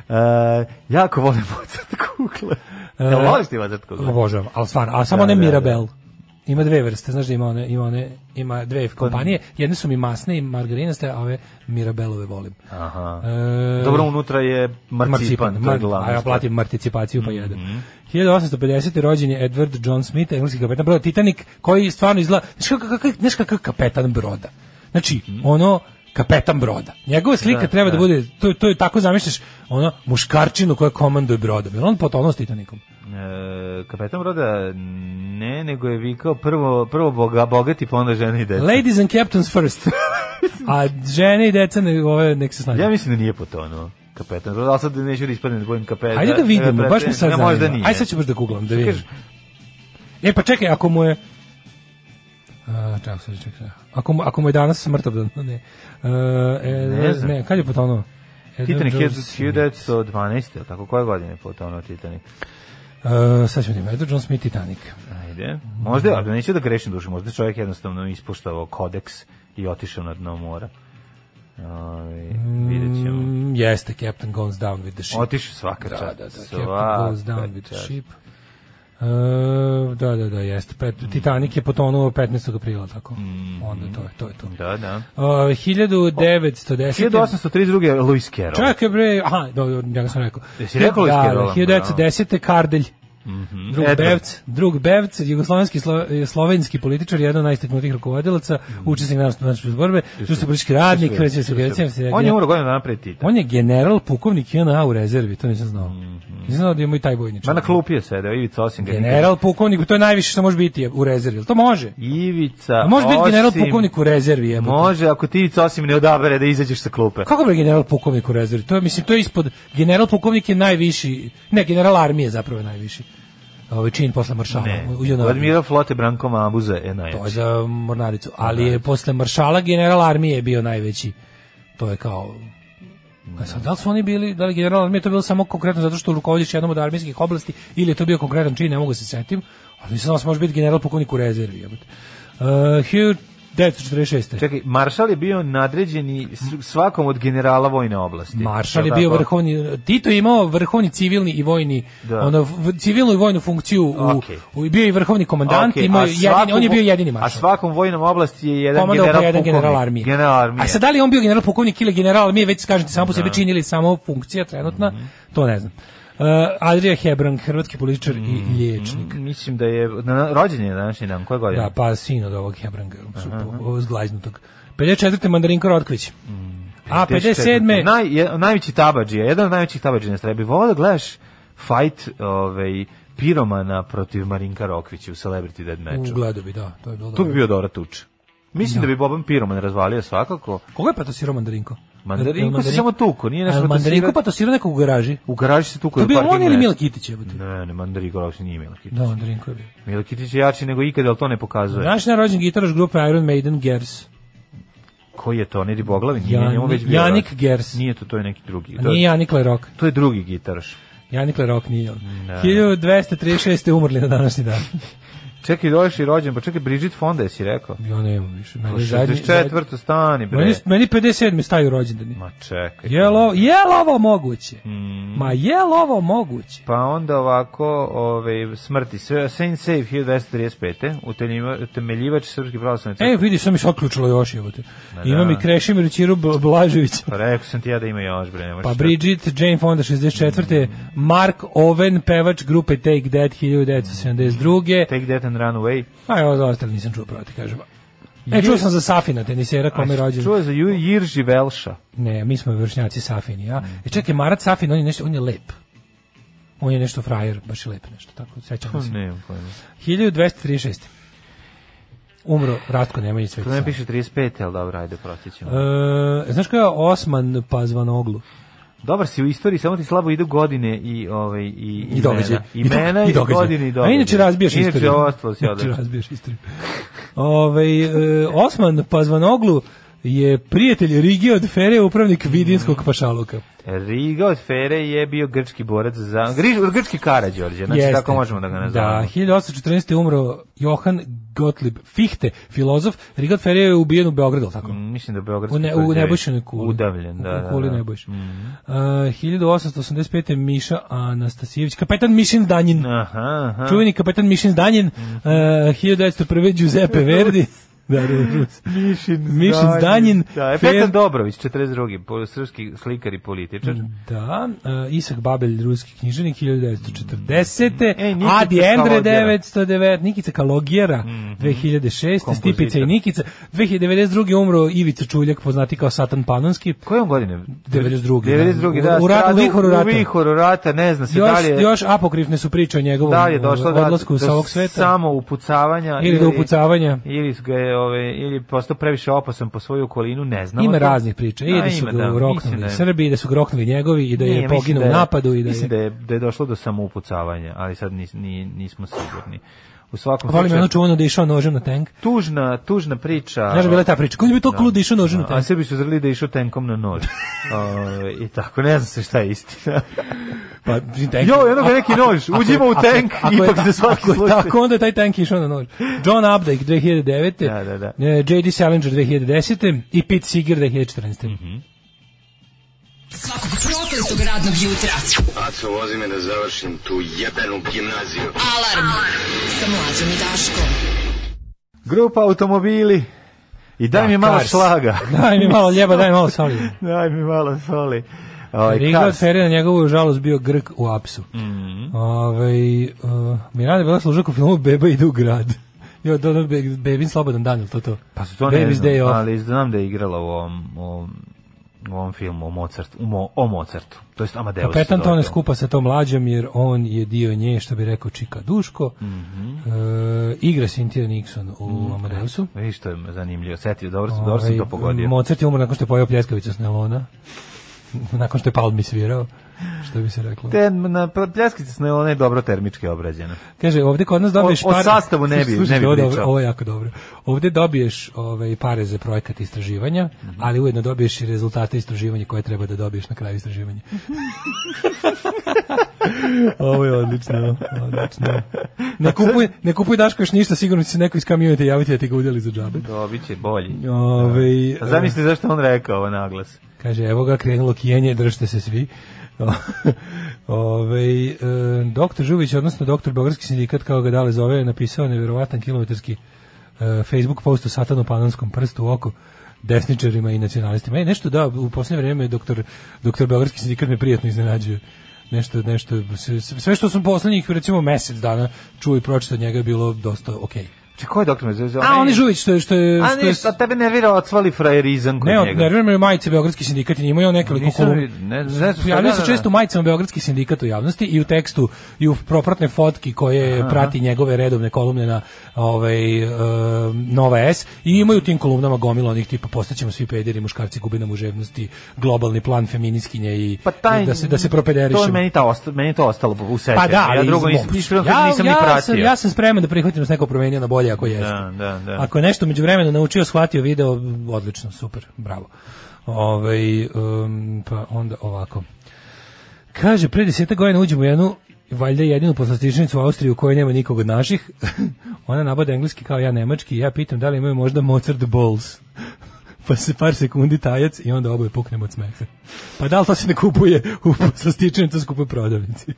G: E, jako volim Mozart kukle.
H: E,
G: Jel voliš ti Mozart kugle?
H: Obožavam, ali stvarno, ali samo
G: Da,
H: one
G: da, da.
H: Mirabel. Ima dve vrste, znaš da ima one, ima one, ima dve
G: Pa-
H: kompanije. Jedne su mi masne i margarinaste, a ove Mirabelove volim.
G: Aha.
H: E,
G: Dobro, unutra je marcipan. to je Mhm.
H: mar-
G: glavna
H: a ja
G: stvar.
H: platim marticipaciju pa jedem. 1850. rođen je Edward John Smith, engleski kapetan broda Titanic, koji stvarno izgleda, znaš kakav kakav- znaš kakav kapetan broda. Znači,
G: Mhm.
H: ono, kapetan broda. Njegova slika treba da, bude, to, to je tako zamišljaš, ono, muškarčinu koja komanduje brodom. Jel on potonuo s Titanicom?
G: E, kapetan broda ne, nego je vikao prvo, prvo boga, bogati, pa onda žene i deca.
H: Ladies and captains first. A žene i deca, ne, ove, nek se snađu.
G: Ja mislim da nije potonuo kapetan broda, ali sad neću da ispadne da budem kapetan.
H: Ajde da vidimo,
G: E,
H: baš me sad
G: ne,
H: zanima.
G: Možda nije.
H: Ajde sad ću baš da googlam, da vidim.
G: kažeš?
H: E, pa čekaj, ako mu je... A, čekaj, sad, čekaj, čekaj. Ako mu, ako mu je danas smrtav dan, ne. Uh, e,
G: Ne znam.
H: ne, kad je potonuo?
G: Titanic je
H: Edward Jones Smith.
G: 1912, je li tako? Koje godine je potonuo Titanic?
H: Uh, sad ćemo vidjeti, Edward John Smith Titanic.
G: Ajde. Možda, ali neću da grešim dušu, možda je čovjek jednostavno ispuštao kodeks i otišao na dno mora. Ovaj, vidjet ćemo.
H: Mm, jeste, Captain Goes Down with the Ship.
G: Otiše svaka
H: Da,
G: čast.
H: da, da, Captain
G: Svaka
H: Goes Down with the
G: čast.
H: Ship. E, da, da, da, jeste. Pet,
G: Mm.
H: Titanic je potonuo 15. aprila, tako? Onda to je, to je to.
G: Da, da.
H: Uh, 1910.
G: 1832. je Lewis Carroll.
H: Čekaj bre, aha, dobro, ja sam rekao.
G: Jesi rekao Mhm. iz Kerola?
H: Da, 1910. Kardelj. Drug
G: Edward.
H: Bevc, drug Bevc, jugoslovenski slo, eh, slovenski političar, jedan od najistaknutijih rukovodilaca,
G: Mhm.
H: učesnik narodno-nacionalne borbe, društveno-politički radnik, kreće se
G: On je umro godinu dana pre Tita.
H: On je general pukovnik JNA u rezervi, to nisam znao. Nisam znao da ima i taj bojničar.
G: Mhm. Ma na klupi je sedeo, Ivica Osim.
H: General pukovnik, to je najviše što može biti je u rezervi. jel To može.
G: Ivica
H: A može biti general
G: Osim.
H: pukovnik u rezervi, jebote.
G: Može, ako ti Ivica Osim ne odabere da izađeš sa klupe.
H: Pa Kako bre general pukovnik u rezervi? To je, mislim, to je ispod... General pukovnik je najviši... Ne, general armije zapravo je najviši. Ovo čin posle maršala.
G: Ne.
H: u- u JNA.
G: Admiral flote Branko Mabuza je
H: To je
G: najjači.
H: za mornaricu. Ali je posle maršala general armije je bio najveći. To je kao... A sad, da li su oni bili, da li general armije to bilo samo konkretno zato što rukovodiš jednom od armijskih oblasti ili je to bio konkretan čin, ne mogu se setim, ali mislim da se može biti general pukovnik u rezervi. jebote. Uh, 1946.
G: Čekaj, maršal je bio nadređeni s- svakom od generala vojne oblasti.
H: Maršal je
G: Jel
H: bio
G: tako?
H: vrhovni, Tito je imao vrhovni civilni i vojni,
G: Da.
H: ono, v- civilnu i vojnu funkciju, u,
G: Okej.
H: u- bio je i vrhovni komandant,
G: Okej,
H: imao
G: a
H: je jedini,
G: svakom-
H: on je bio jedini
G: A
H: maršal.
G: svakom vojnom oblasti je jedan
H: Komandao
G: general
H: po jedan
G: pukovnik.
H: general armije.
G: General armije.
H: A sad da li je on bio general pukovnik ili general armije, već kažete samo po sebi čin ili samo funkcija trenutna, to ne znam. Uh, Adrija Hebrang, hrvatski političar
G: Mhm.
H: i liječnik.
G: Mislim da je na, rođen je na današnji dan, koje godine?
H: Da, pa sin od ovog Hebranga, zglajznutog. 54. Mandarinko Rotković.
G: Mm,
H: A 57.
G: Naj, je, najveći tabađija, jedan od najvećih tabađija na strebi. Volao da gledaš fight ovaj, piromana protiv Marinka Rokvića u Celebrity Dead
H: U
G: Matchu.
H: gledu bi, da, to je bilo
G: Tu
H: dobro.
G: bi bio Dora Tuč. Mislim da bi Boban Piroman razvalio svakako.
H: Koga je patosirao Mandarinko?
G: Mandarinko
H: Jel
G: se samo tuko, nije nešto
H: Jel Mandarinko
G: patosirao?
H: patosirao nekog u garaži.
G: U garaži se tuko.
H: To je bio on ili Mila
G: Milkitić?
H: Kitić, jebote?
G: Ne, ne, Mandarinko Rokvić nije Milkitić.
H: Da, Mandarinko je bio.
G: Milkitić je jači nego ikada, ali to ne pokazuje.
H: Naš narođen gitaraš grupe Iron Maiden Gers.
G: Koji je to? Ne Riboglavi? Nije,
H: Jani-
G: njemu već bio
H: Janik
G: rođen.
H: Gers.
G: Nije to, to je neki drugi.
H: A
G: To,
H: nije
G: je,
H: Janik Lerok.
G: to je drugi gitaraš.
H: Janik Lerok nije on. 1236. je umrli na današnji dan.
G: Čekaj, dođeš i rođen, pa čekaj, Bridget Fonda, jesi rekao?
H: Ja nemam više.
G: Pa
H: Meni zadnji-
G: 64. stani,
H: zadnji- Meni,
G: bre.
H: meni 57. staju rođendani.
G: Ma čekaj.
H: Jel ovo, jel ovo moguće?
G: Mm.
H: Ma jel ovo moguće?
G: Pa onda ovako, ovaj, smrti. Sve- Saint Save 1935. utemeljiva- Utemeljivač Srpske pravoslavne crkve.
H: E, vidiš, sam mi se otključilo još, jebote.
G: Ma
H: Imam
G: da.
H: i Krešimir Ćiru Bla- Blaževića.
G: Pa rekao sam ti ja da ima još, bre. ne možeš
H: Pa
G: šta-
H: Bridget, Jane Fonda 64. Mark Owen, pevač grupe Take That 1972.
G: Take that and run away.
H: A evo za ostale nisam čuo proti, kažem. E, čuo sam za Safina, tenisera, kome je Pa rođen.
G: Čuo je za Ju- Jirži Velša.
H: Ne, mi smo vršnjaci Safini,
G: Mm.
H: ja. E čekaj, Marat Safin, on je, nešto, on je lep. On je nešto frajer, baš je lep nešto, tako, sećam se.
G: Ne, znam pojma.
H: 1236. Umro Ratko Nemanjić
G: To
H: Sveti
G: ne
H: Sava.
G: piše 35, ali dobro, ajde, prosit ćemo.
H: E, znaš ko je Osman Pazvanoglu?
G: Dobar si u istoriji, samo ti slabo idu godine i ovaj i
H: I događaj.
G: imena, imena i, godine i događaj.
H: A inače razbijaš
G: inače
H: istoriju.
G: ostalo si
H: Inače
G: odlično.
H: razbijaš istoriju. Ovaj, e, Osman Pazvanoglu je prijatelj Rigi od Fere, upravnik Vidinskog pašaluka.
G: Riga od Fere je bio grčki borac za Grič, grčki Karađorđe, znači
H: Jeste.
G: tako možemo da ga nazovemo.
H: Da, 1814. je umro Johan Gottlieb Fichte, filozof. Rigot Ferre je ubijen u Beogradu, jel tako?
G: Mm, Mislim da je Beogradski
H: U, ne, u
G: tvrđavi.
H: nebojšenoj kuli.
G: Udavljen, da.
H: U kuli
G: da, Mm. da.
H: nebojšenoj. Uh, 1885. je Miša Anastasijević, kapetan Mišin Zdanjin.
G: Aha, aha. Mhm.
H: Čuveni kapetan Mišin Zdanjin, uh, 1901. Giuseppe Verdi. da, da, da.
G: Mišin
H: Mišin Zdanjin,
G: Da, je
H: Fer-
G: Petar Dobrović, 42. po- srpski slikar i političar.
H: Mm. Da, uh, Isak Babelj, ruski knjiženik, 1940.
G: E, Nikica
H: Adi Endre,
G: Kalogjera.
H: 909. Nikica Kalogjera, 2006. Stipica i
G: Kompozitor.
H: Nikica. 2092. umro Ivica Čuljak, poznati kao Satan Panonski.
G: Koje on godine?
H: 92.,
G: 92.
H: da.
G: da.
H: U- u ratu,
G: stradao
H: vihoru rata.
G: U vihoru rata, ne zna se
H: Još,
G: da li je...
H: još apokrifne su priče o njegovom
G: da li je došlo
H: uh,
G: da,
H: odlasku sa
G: do
H: ovog sveta.
G: samo upucavanja
H: Ili do upucavanja.
G: ili ga je ove ili je postao previše opasan po svoju okolinu ne znam
H: Ima raznih priča. I da su ga roknuli
G: roknuli
H: Srbi, i da su ga roknuli njegovi, i da je poginuo u napadu, i da je...
G: mislim da je da je došlo do samoupucavanja ali sad nis, ni, nismo sigurni u svakom
H: Volim jedno
G: slučaju
H: čuvano ono da je išao nožem na tank.
G: tužna tužna priča
H: Znaš, bila je ta priča. Ko je bi to
G: Da.
H: klu da je išao nožem na
G: A, a
H: tank?
G: Srbi su zrli da je išao tenkom na nož. Ove, I tako, ne znam se šta je istina.
H: Pa, tank,
G: Jo, jednog
H: a-
G: neki
H: ako-
G: nož,
H: ako je-
G: uđimo u
H: ako je-
G: tank,
H: ako je
G: ipak
H: ta-
G: za svaki
H: ako je
G: slučaj.
H: Tako, onda je taj tank išao na nož. John Updike 2009.
G: Da, da, da.
H: e, J.D. Salinger 2010. i Pete Seeger 2014.
G: Mhm.
E: Svakog prokletog radnog jutra.
B: Aco, vozi me da završim tu jebenu gimnaziju.
E: Alarm. Sa mlađom i Daškom.
G: Grupa automobili. I daj mi malo
H: Cars.
G: šlaga.
H: Daj mi malo ljeba, daj mi malo solida.
G: daj mi malo soli. Ovaj,
H: Riga od
G: Cars.
H: Ferija na njegovu žalost bio Grk u apsu. Mm
G: Mhm.
H: Ove, uh, Miranda je bila služak u filmu Beba ide u grad. Jo, do, do, be, bebin slobodan dan, je li to to?
G: Pa se to ne
H: Baby's Day
G: znam,
H: Off.
G: ali znam da je igrala u ovom, u ovom, u ovom filmu o Mozartu, u Mo- o Mozartu. To jest Amadeus.
H: Pa Petan
G: se zove
H: Tone
G: film.
H: skupa sa tom mlađom jer on je dio nje, što bi rekao Čika Duško. Mm
G: Mhm.
H: e, igra Cynthia Nixon u Amadeusu.
G: Vidiš što je me zanimljivo. Setio, dobro, sam, Mhm. dobro sam to
H: Ovaj,
G: pogodio.
H: Mozart je umro nakon što je pojao pljeskavicu s Nelona. nakon što je Palmi svirao, što bi se reklo.
G: Te, na pljeskice su ona je dobro termički obrađena.
H: Kaže, ovdje kod nas dobiješ
G: O- o sastavu ne bi-
H: Slušajte,
G: ne bi
H: ovo je dobro,
G: pričao.
H: Ovo je jako dobro. Ovdje dobiješ ovaj, pare za projekat istraživanja,
G: Mhm.
H: ali ujedno dobiješ i rezultate istraživanja koje treba da dobiješ na kraju istraživanja.
G: Mhm.
H: ovo je odlično. odlično. Ne, kupuj, ne kupuj Daško još ništa, sigurno će se neko iz community javiti da ti ga udjeli za džabe.
G: Dobit će bolji.
H: Ovaj,
G: A zamisli zašto je on rekao ovo naglas.
H: Kaže, evo ga, krenulo kijenje, držite se svi. Ove, e, doktor Žuvić, odnosno doktor Beogradski sindikat, kao ga dale zove, je napisao nevjerovatan kilometarski e, Facebook post o satanu panonskom prstu u oko desničarima i nacionalistima. E, nešto da, u posljednje vrijeme doktor, doktor Beogradski sindikat me prijatno iznenađuje. Nešto, nešto, sve- sve što sam poslednjih, recimo, mesec dana čuo i pročitao od njega je bilo dosta okej.
G: Če, ko je doktor me zove?
H: A on je Žuvić, što je... Što je,
G: A
H: što je
G: ne, a tebe nervira odsvali frajerizam kod
H: ne, od,
G: njega.
H: nervira me majice Beogradski sindikat i njima je on nekoliko
G: Nisam
H: kolumna.
G: vid- ne- ne znam šta-
H: Javljaju
G: da,
H: se
G: da,
H: često
G: da.
H: u majicama Beogradski sindikat u javnosti i u tekstu i u propratne fotki koje prati njegove redovne kolumne na ovaj, e, Nova S i imaju u tim kolumnama gomila onih tipa postaćemo svi pederi, muškarci gube nam u ževnosti, globalni plan feminiskinje i
G: Pa taj,
H: i da se, da se
G: To je
H: propederišemo.
G: meni, ta osta, meni je to ostalo u sećanju.
H: Pa da, ali
G: ja drugo
H: iz
G: nisam,
H: mog-
G: iskreno
H: ja,
G: nisam
H: ja
G: ni
H: Sam,
G: pratio.
H: ja sam spreman da prihvatim da se neko promenio na bolje ako jeste.
G: Da, da, da.
H: Ako je nešto među vremena naučio, shvatio, video, odlično, super, bravo. Ovaj, um, pa onda ovako. Kaže, pre deseta godina uđemo u jednu valjda jedinu poslastičnicu u Austriji u kojoj nema nikog od naših. Ona nabada engleski kao ja nemački i ja pitam da li imaju možda Mozart Balls. pa se par sekundi tajac i onda oboje puknemo od smeha. Pa da li to se ne kupuje u poslastičnicu, to se kupuje u prodavnici.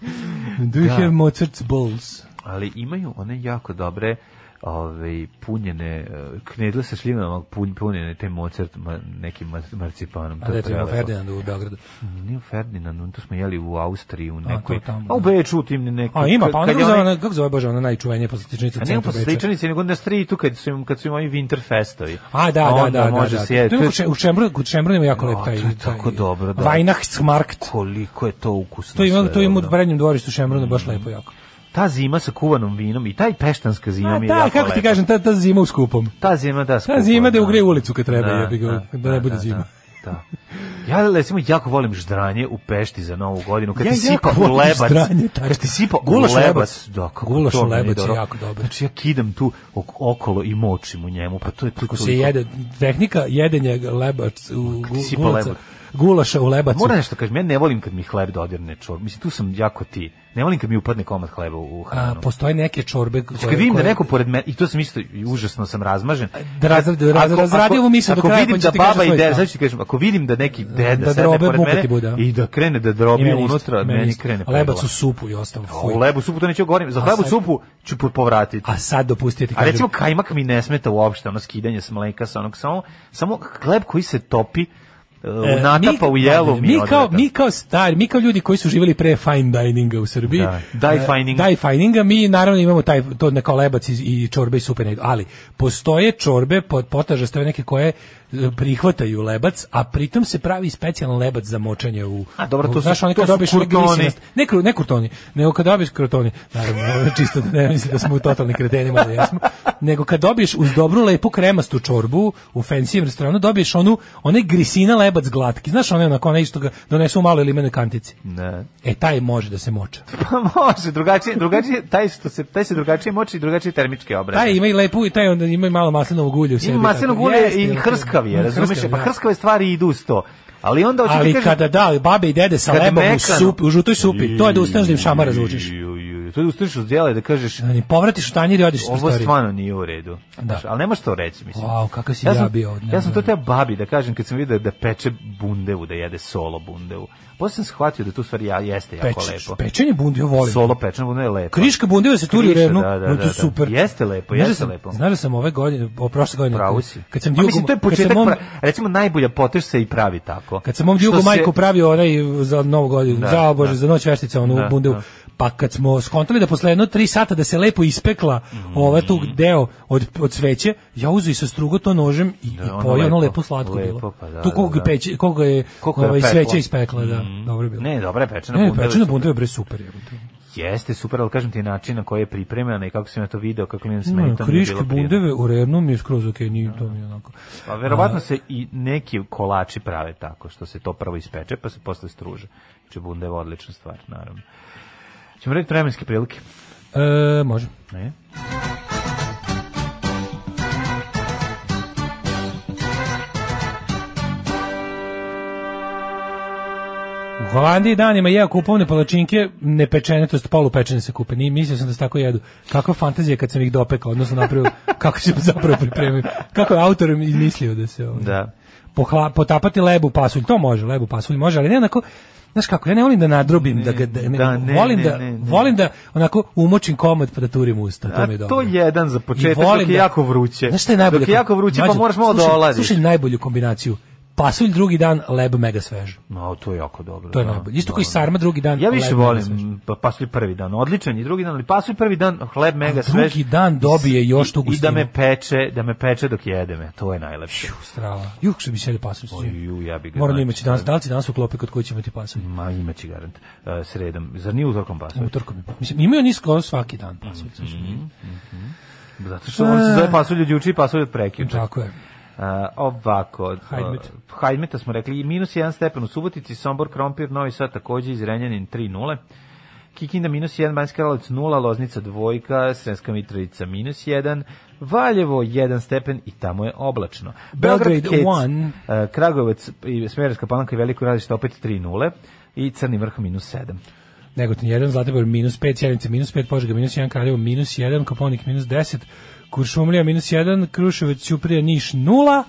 H: Do you have Mozart's Balls?
G: ali imaju one jako dobre ove, punjene e, knedle sa šljivama pun, punjene te Mozart ma, nekim mar- marcipanom.
H: A da je to imao
G: prelepo.
H: Ferdinand u Beogradu.
G: Mm, Nije u Ferdinandu, to smo jeli u Austriji, u nekoj...
H: to tamo,
G: A u
H: da.
G: Beču, u tim nekim...
H: A ima,
G: kad-
H: pa onda
G: kad je
H: kako zove,
G: onaj-
H: ona, kako zove, bože, ona najčuvenija poslastičnica
G: A
H: u
G: nema
H: centru
G: po
H: Beča.
G: sličanici, nego na streetu kad su im, kad su im ovi Winterfestovi.
H: A, da,
G: A
H: da,
G: onda
H: da, da,
G: može
H: da.
G: se jedi.
H: To
G: To
H: je
G: je-
H: u Če- u Čembrlinu, u Čembrlinu je jako lep
G: A,
H: taj.
G: to je
H: taj-
G: tako dobro, da.
H: Weihnachtsmarkt.
G: Koliko je to ukusno.
H: To ima,
G: sve, Mhm.
H: to ima u
G: ono.
H: Brednjem dvorištu u Čembrlinu, baš lepo jako.
G: Ta zima sa kuvanom vinom i taj peštanska zima
H: A,
G: mi je
H: da,
G: jako
H: kako ti
G: lepa.
H: kažem, ta, ta zima u skupom.
G: Ta zima da skupa.
H: Ta zima da ugreje ulicu kad treba, jebi ga, da ne bude zima.
G: Da, da. Ja recimo jako volim ždranje u Pešti za Novu godinu kad
H: Ja
G: ti
H: jako
G: sipa u
H: volim
G: lebac.
H: ždranje, tačno.
G: Kad ti sipa u
H: Gulaš u
G: lebac,
H: lebac.
G: da, kako
H: Gulaš
G: to
H: u
G: meni
H: lebac je jako dobar.
G: Znači ja kidam tu ok- okolo i močim u njemu, pa to je tu.
H: Ako se jede, tehnika jedenja lebac u
G: Kad ti sipa
H: gulaca,
G: lebac.
H: gulaša u lebacu.
G: Moram nešto kažem, ja ne volim kad mi hleb dodirne čor. Mislim tu sam jako ti. Ne volim kad mi upadne komad hleba u u
H: A, pa
G: hranu.
H: postoje neke čorbe
G: Znači, kad vidim da neko pored mene, i to sam isto, i užasno sam razmažen.
H: Da razra- da razra-
G: Ako-
H: razradi
G: ako-
H: ovu misao do
G: Ako
H: kraja,
G: vidim
H: pa ću
G: da
H: ti kažem
G: baba i
H: svoj
G: deda,
H: stav.
G: znači kažem, ako vidim da neki deda
H: Da
G: sedne
H: drobe
G: pored
H: buka ti
G: mene
H: bude, a?
G: i da krene da
H: I
G: drobi
H: meni isto,
G: unutra,
H: meni
G: meni
H: isto.
G: krene pegla.
H: Lebac u supu i ostalo.
G: A
H: fuj.
G: U lebu supu to neću govorim, za
H: A
G: hlebu
H: sad-
G: supu ću po- povratiti.
H: A sad dopustite ti
G: A
H: kažem.
G: recimo kajmak mi ne smeta uopšte, ono skidanje s mleka, sa onog samo, samo hleb koji se topi, e,
H: E,
G: u natapa u jelu mi,
H: mi
G: je
H: kao
G: odvratan.
H: mi kao stari, mi kao ljudi koji su živjeli pre fine dininga u Srbiji.
G: Da, die
H: e,
G: fining.
H: die fininga mi naravno imamo taj to neka lebac i, i čorbe i supe ne idu, ali postoje čorbe pod potaže stoje neke koje e, prihvataju lebac, a pritom se pravi specijalan lebac za močanje u...
G: A, dobro, to
H: u-
G: su-
H: znaš, onaj
G: to
H: kad
G: su
H: dobiješ one
G: kurtoni.
H: grisinast- Ne, kru- ne kurtoni, nego kad dobiješ kurtoni, naravno, ovo je čisto da ne mislim da smo u totalni kretenima, ali jesmo, nego kad dobiješ uz dobru lepu kremastu čorbu u fancyjem restoranu, dobiješ onu, onaj grisina lebac glatki, znaš onaj onako onaj što ga donesu u maloj limenoj kantici.
G: Ne.
H: E, taj može da se moča.
G: Pa može, drugačije, drugačije, taj, što se, taj se drugačije moči i drugačije termičke obrade.
H: Taj ima i lepu, i taj onda ima i malo maslinovog ulja u sebi.
G: Ima maslinog
H: tako.
G: ulja
H: Jeste,
G: i
H: jeste.
G: hrskav je, razumeš?
H: Hrskav,
G: Pa
H: da.
G: hrskave stvari idu uz to. Ali onda hoću
H: Ali
G: ti kažem,
H: kada da, babe i dede sa
G: kad
H: lebom u,
G: mekano-
H: supi, u žutoj supi, to je da ustaneš da im šamara zvučiš.
G: Ju, ju, ju. To je da ustaneš od djela i da kažeš,
H: Znači, povratiš u tanjir i odiš iz
G: ovo
H: prostorije.
G: stvarno nije u redu.
H: Da.
G: Znaš, ali nemaš to reći, mislim.
H: Wow, kakav si
G: ja
H: ja,
G: sam,
H: bio.
G: ja sam to teo babi da kažem kad sam vidio da peče bundevu, da jede solo bundevu. Posle sam shvatio da tu stvar ja, jeste jako
H: Peč-
G: lepo.
H: Pečenje bundi, ja volim.
G: Solo pečeno bundevu je lepo.
H: Kriška bundeva se turi u
G: Kriša,
H: revnu,
G: da, da,
H: no to
G: da,
H: je
G: da.
H: super.
G: Jeste lepo,
H: Znaš da
G: jeste
H: sam-
G: lepo.
H: Znaš da sam ove godine, o prošle godine,
G: Pravo si.
H: kad sam
G: A
H: Diogu,
G: mislim, to je
H: kad sam
G: početak,
H: mom,
G: pra- recimo, najbolja poteš se i pravi tako.
H: kad sam mom
G: Što
H: Diogu
G: se-
H: majku pravio onaj za novu godinu,
G: Da,
H: za bože,
G: da.
H: za noć veštice, onu
G: Da,
H: bundevu,
G: da.
H: pa kad smo skontali da posle jedno tri sata da se lepo ispekla ova tu
G: Mm.
H: deo od, od sveće, ja uzu i sa strugo to nožem i, i
G: ono
H: pojeo, ono
G: lepo.
H: lepo slatko
G: Lepo,
H: bilo.
G: pa da,
H: tu koga,
G: da, da.
H: peće, koga je
G: Koliko je
H: ovaj,
G: pekla.
H: sveća ispekla, da, dobro je bilo.
G: Ne, dobra je pečena
H: Ne,
G: bundeva.
H: pečena
G: super.
H: bundeva je bre super. jebote.
G: Jeste, super, ali kažem ti način na koji je pripremljena i kako sam ja to video, kako mi je
H: Ne,
G: smetano.
H: kriške bundeve u rernu mi je skroz okej, nije to mi je onako.
G: Pa verovatno se i neki kolači prave tako, što se to prvo ispeče, pa se posle struže. Znači, bundeva je odlična stvar, naravno. Ćemo raditi vremenske prilike.
H: E, može.
G: Ne?
H: U Holandiji danima jeo kupovne palačinke, nepečene, to jest polupečene se kupe. Ni mislio sam da se tako jedu. Kakva fantazija kad sam ih dopekao, odnosno napravio kako sam zapravo pripremio. Kako je autor mi- mislio da se ovo.
G: Da.
H: Pohla, potapati lebu pasulj, to može, lebu pasulj može, ali ne onako Znaš kako, ja ne volim da nadrobim, da ga, da, ne,
G: da, ne,
H: volim,
G: ne,
H: da,
G: ne, ne.
H: volim da onako umočim komad pa da turim usta, to
G: A
H: mi je dobro.
G: to jedan za
H: I
G: početak,
H: volim
G: dok je
H: da-
G: jako vruće.
H: Znaš šta je najbolje?
G: Dok je jako vruće, pa
H: Mlađo,
G: moraš malo da
H: slušaj-
G: oladiš.
H: Slušaj najbolju kombinaciju. Pasulj drugi dan, leb mega svež.
G: No, to je jako dobro.
H: To je
G: da,
H: najbolje. Isto
G: da,
H: kao i
G: da.
H: sarma drugi dan.
G: Ja više
H: leb mega svež.
G: volim pa- pasulj prvi dan, odličan je drugi dan, ali pasulj prvi dan, hleb mega svež.
H: drugi dan dobije još tu
G: I da
H: gustinu.
G: me peče, da me peče dok jedeme, to je najlepše.
H: Strava. Juh, što bi sjeli pasulj.
G: Oj, ju, ja bi ga
H: Moram da
G: znači,
H: imaći danas.
G: da.
H: Da li će danas u klopi kod koji će imati pasulj?
G: Ma imaće garant, e, sredom. Zar nije utorkom pasulj?
H: Utorkom je. Mislim, imaju nisko svaki dan pasulj.
G: Mm. Zato što on se
H: E.
G: zove pasulj od juče i pasulj od prekjuče.
H: Tako je.
G: A, ovako,
H: Hajdmet.
G: a, Hajdmeta smo rekli, i minus 1 stepen u Subotici, Sombor, Krompir, Novi Sad takođe, iz Renjanin 3-0, Kikinda minus 1, Banjska Kralovac 0, Loznica dvojka, Srenska Mitrovica minus 1, Valjevo 1 stepen i tamo je oblačno.
H: Belgrade
G: Kec,
H: one.
G: a, Kragovac i Smederska palanka i Veliko radište opet 3-0 i Crni vrh minus 7.
H: Negotin 1, Zlatibor minus 5, Sjenica minus 5, Požega minus 1, Kraljevo minus 1, Koponik minus 10, Kuršumlija minus 1, Kruševac, Ćuprija, Niš 0,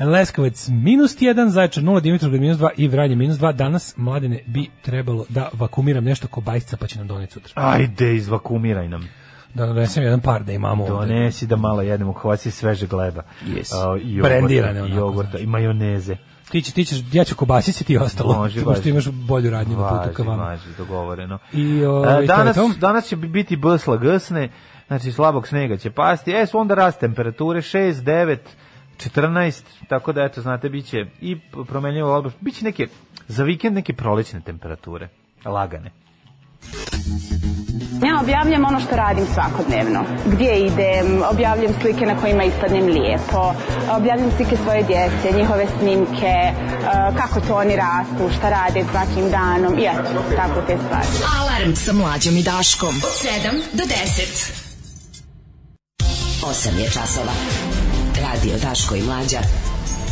H: Leskovac minus 1, Zaječar 0, Dimitrovgrad minus 2 i Vranje minus 2. Danas, mladine, bi trebalo da vakumiram nešto ko bajsca pa će nam doneti sutra.
G: Ajde, izvakumiraj nam.
H: Da donesem jedan par da imamo ovde.
G: Donesi da malo jedemo, hvaci sveže gleba.
H: Yes.
G: A, i jogurta,
H: Brendirane
G: i
H: onako,
G: jogurta,
H: znaš.
G: i majoneze.
H: Ti, će, ti ćeš, ja ću kobasice, ti ostalo.
G: Može,
H: Pošto
G: važi.
H: imaš bolju radnju na putu ka
G: Važi,
H: vama.
G: važi, dogovoreno.
H: I, o,
G: E,
H: i to
G: danas,
H: je to.
G: danas će biti bsla gsne, znači slabog snega će pasti, e, onda rast temperature 6, 9, 14, tako da eto, znate, bit će i promenljivo odbor, bit će neke, za vikend neke prolećne temperature, lagane.
E: Ja objavljam ono što radim svakodnevno. Gdje idem, objavljam slike na kojima ispadnem lijepo, objavljam slike svoje djece, njihove snimke, eh, kako to oni rastu, šta rade svakim danom i eto, tako te stvari.
K: Alarm sa mlađom i Daškom. Od 7 do 10. 8 je časova. Radio Daško i Mlađa.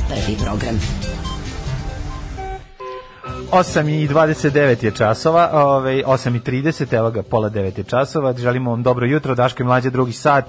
K: Prvi program.
G: 8 i 29 je časova, ovaj 8 i 30, evo ga, pola 9 je časova. Želimo vam dobro jutro, Daško i mlađe, drugi sat.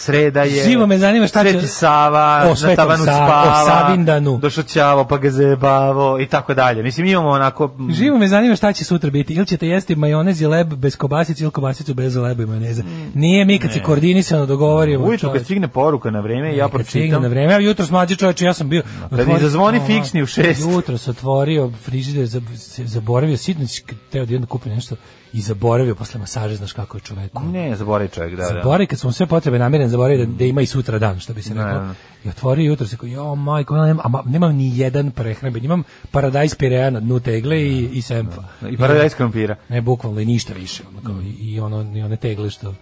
G: Sreda je.
H: Živo me zanima šta će-
G: Sveti Sava,
H: O,
G: na
H: Svetom
G: tavanu
H: Sa- o
G: spava.
H: Savindanu.
G: Došao ćavo, pa ga zajebavo i tako dalje. Mislim, imamo onako... mm,
H: Živo me zanima šta će sutra biti. Ili ćete jesti majonez i leb bez kobasice ili kobasicu bez leba i majoneza. Nije mi kad se koordinisano dogovorimo.
G: Mm. Ujutro
H: čoveče.
G: kad stigne poruka na vreme, ja
H: Kad stigne
G: pročitam.
H: na vreme, ja jutro mlađi čoveče, ja sam bio...
G: Pa kad
H: otvorio-
G: izazvoni
H: Ova,
G: fiksni u šest.
H: Jutro se otvorio frižider, zab- se- zaboravio, sitno si teo da jedno kupim nešto i zaboravio posle masaže, znaš kako je čovek.
G: Ne, zaboravi čovjek, Mm, da, da.
H: Zaboravi kad su mu sve potrebe namiren, zaboravi da, da ima i sutra dan, što bi se reklo.
G: da.
H: I otvorio jutro se kao, jo, majko, ja nemam, a ma- nemam ni jedan prehramben, imam paradajz pirea na dnu tegle i, i semfa.
G: I paradajz krompira.
H: Ne, bukvalno i ništa više. Ono, kao, i, i ono, i one tegle što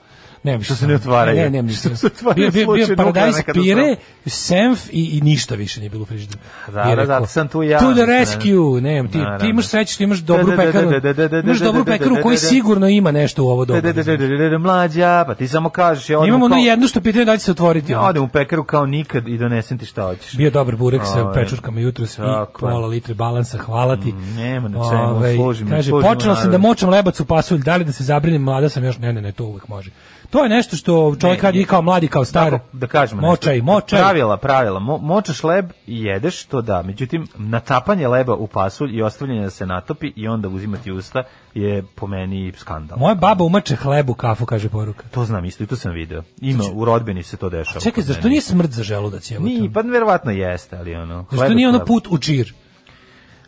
H: Nemam
G: Što se ne otvaraju.
H: Ne, nemam ništa.
G: Što se
H: Bio,
G: otvaraju
H: bio, bio
G: slučaj
H: paradajz
G: nuklearne
H: pire,
G: katastrofe.
H: senf i, i ništa više nije bilo u frižideru.
G: Da,
H: Bio
G: da,
H: rekao,
G: da, sam tu ja.
H: To the
G: Ne.
H: rescue, nemam, ti, ti
G: Naravno.
H: imaš sreću, što imaš
G: Da,
H: dobru
G: da, da,
H: pekaru.
G: da, da, da, da,
H: Imaš
G: da,
H: dobru
G: da, da,
H: pekaru
G: da,
H: koja
G: da, da.
H: sigurno ima nešto u ovo doba.
G: Da, da, da, da, da, da, mlađa, pa ti samo kažeš. Ja odem
H: znači. Imamo
G: u
H: ono
G: kao-
H: jedno što pitanje da li će se otvoriti.
G: Ja
H: ono.
G: odem u pekaru kao nikad i donesem ti šta hoćeš.
H: Bio dobar burek sa
G: Ove,
H: pečurkama jutros i
G: tako je. Mhm.
H: pola litre balansa, hvala ti.
G: nema na čemu, služi mi,
H: Ovaj, kaže,
G: služi
H: počela sam da
G: narod.
H: močam lebac u pasulj, da li da se zabrinem, mlada sam još, ne, ne, ne, to uvek može. To je nešto što čovjek
G: Ne,
H: radi i kao mladi, kao star.
G: Tako, da kažemo
H: Močaj,
G: nešto.
H: močaj.
G: Pravila, pravila. Mo, močaš leb i jedeš, to da. Međutim, natapanje leba u pasulj i ostavljanje da se natopi i onda uzimati u usta je po meni skandal.
H: Moja baba umače hlebu, kafu, kaže poruka.
G: To znam isto i to sam video. Ima, u rodbini se to dešava.
H: Znači, Čekaj,
G: kod
H: zašto
G: mene.
H: nije smrt za želudac? jebote?
G: Ni, pa verovatno jeste, ali ono...
H: Zašto
G: hleb
H: nije
G: je
H: ono
G: hleb.
H: put u čir?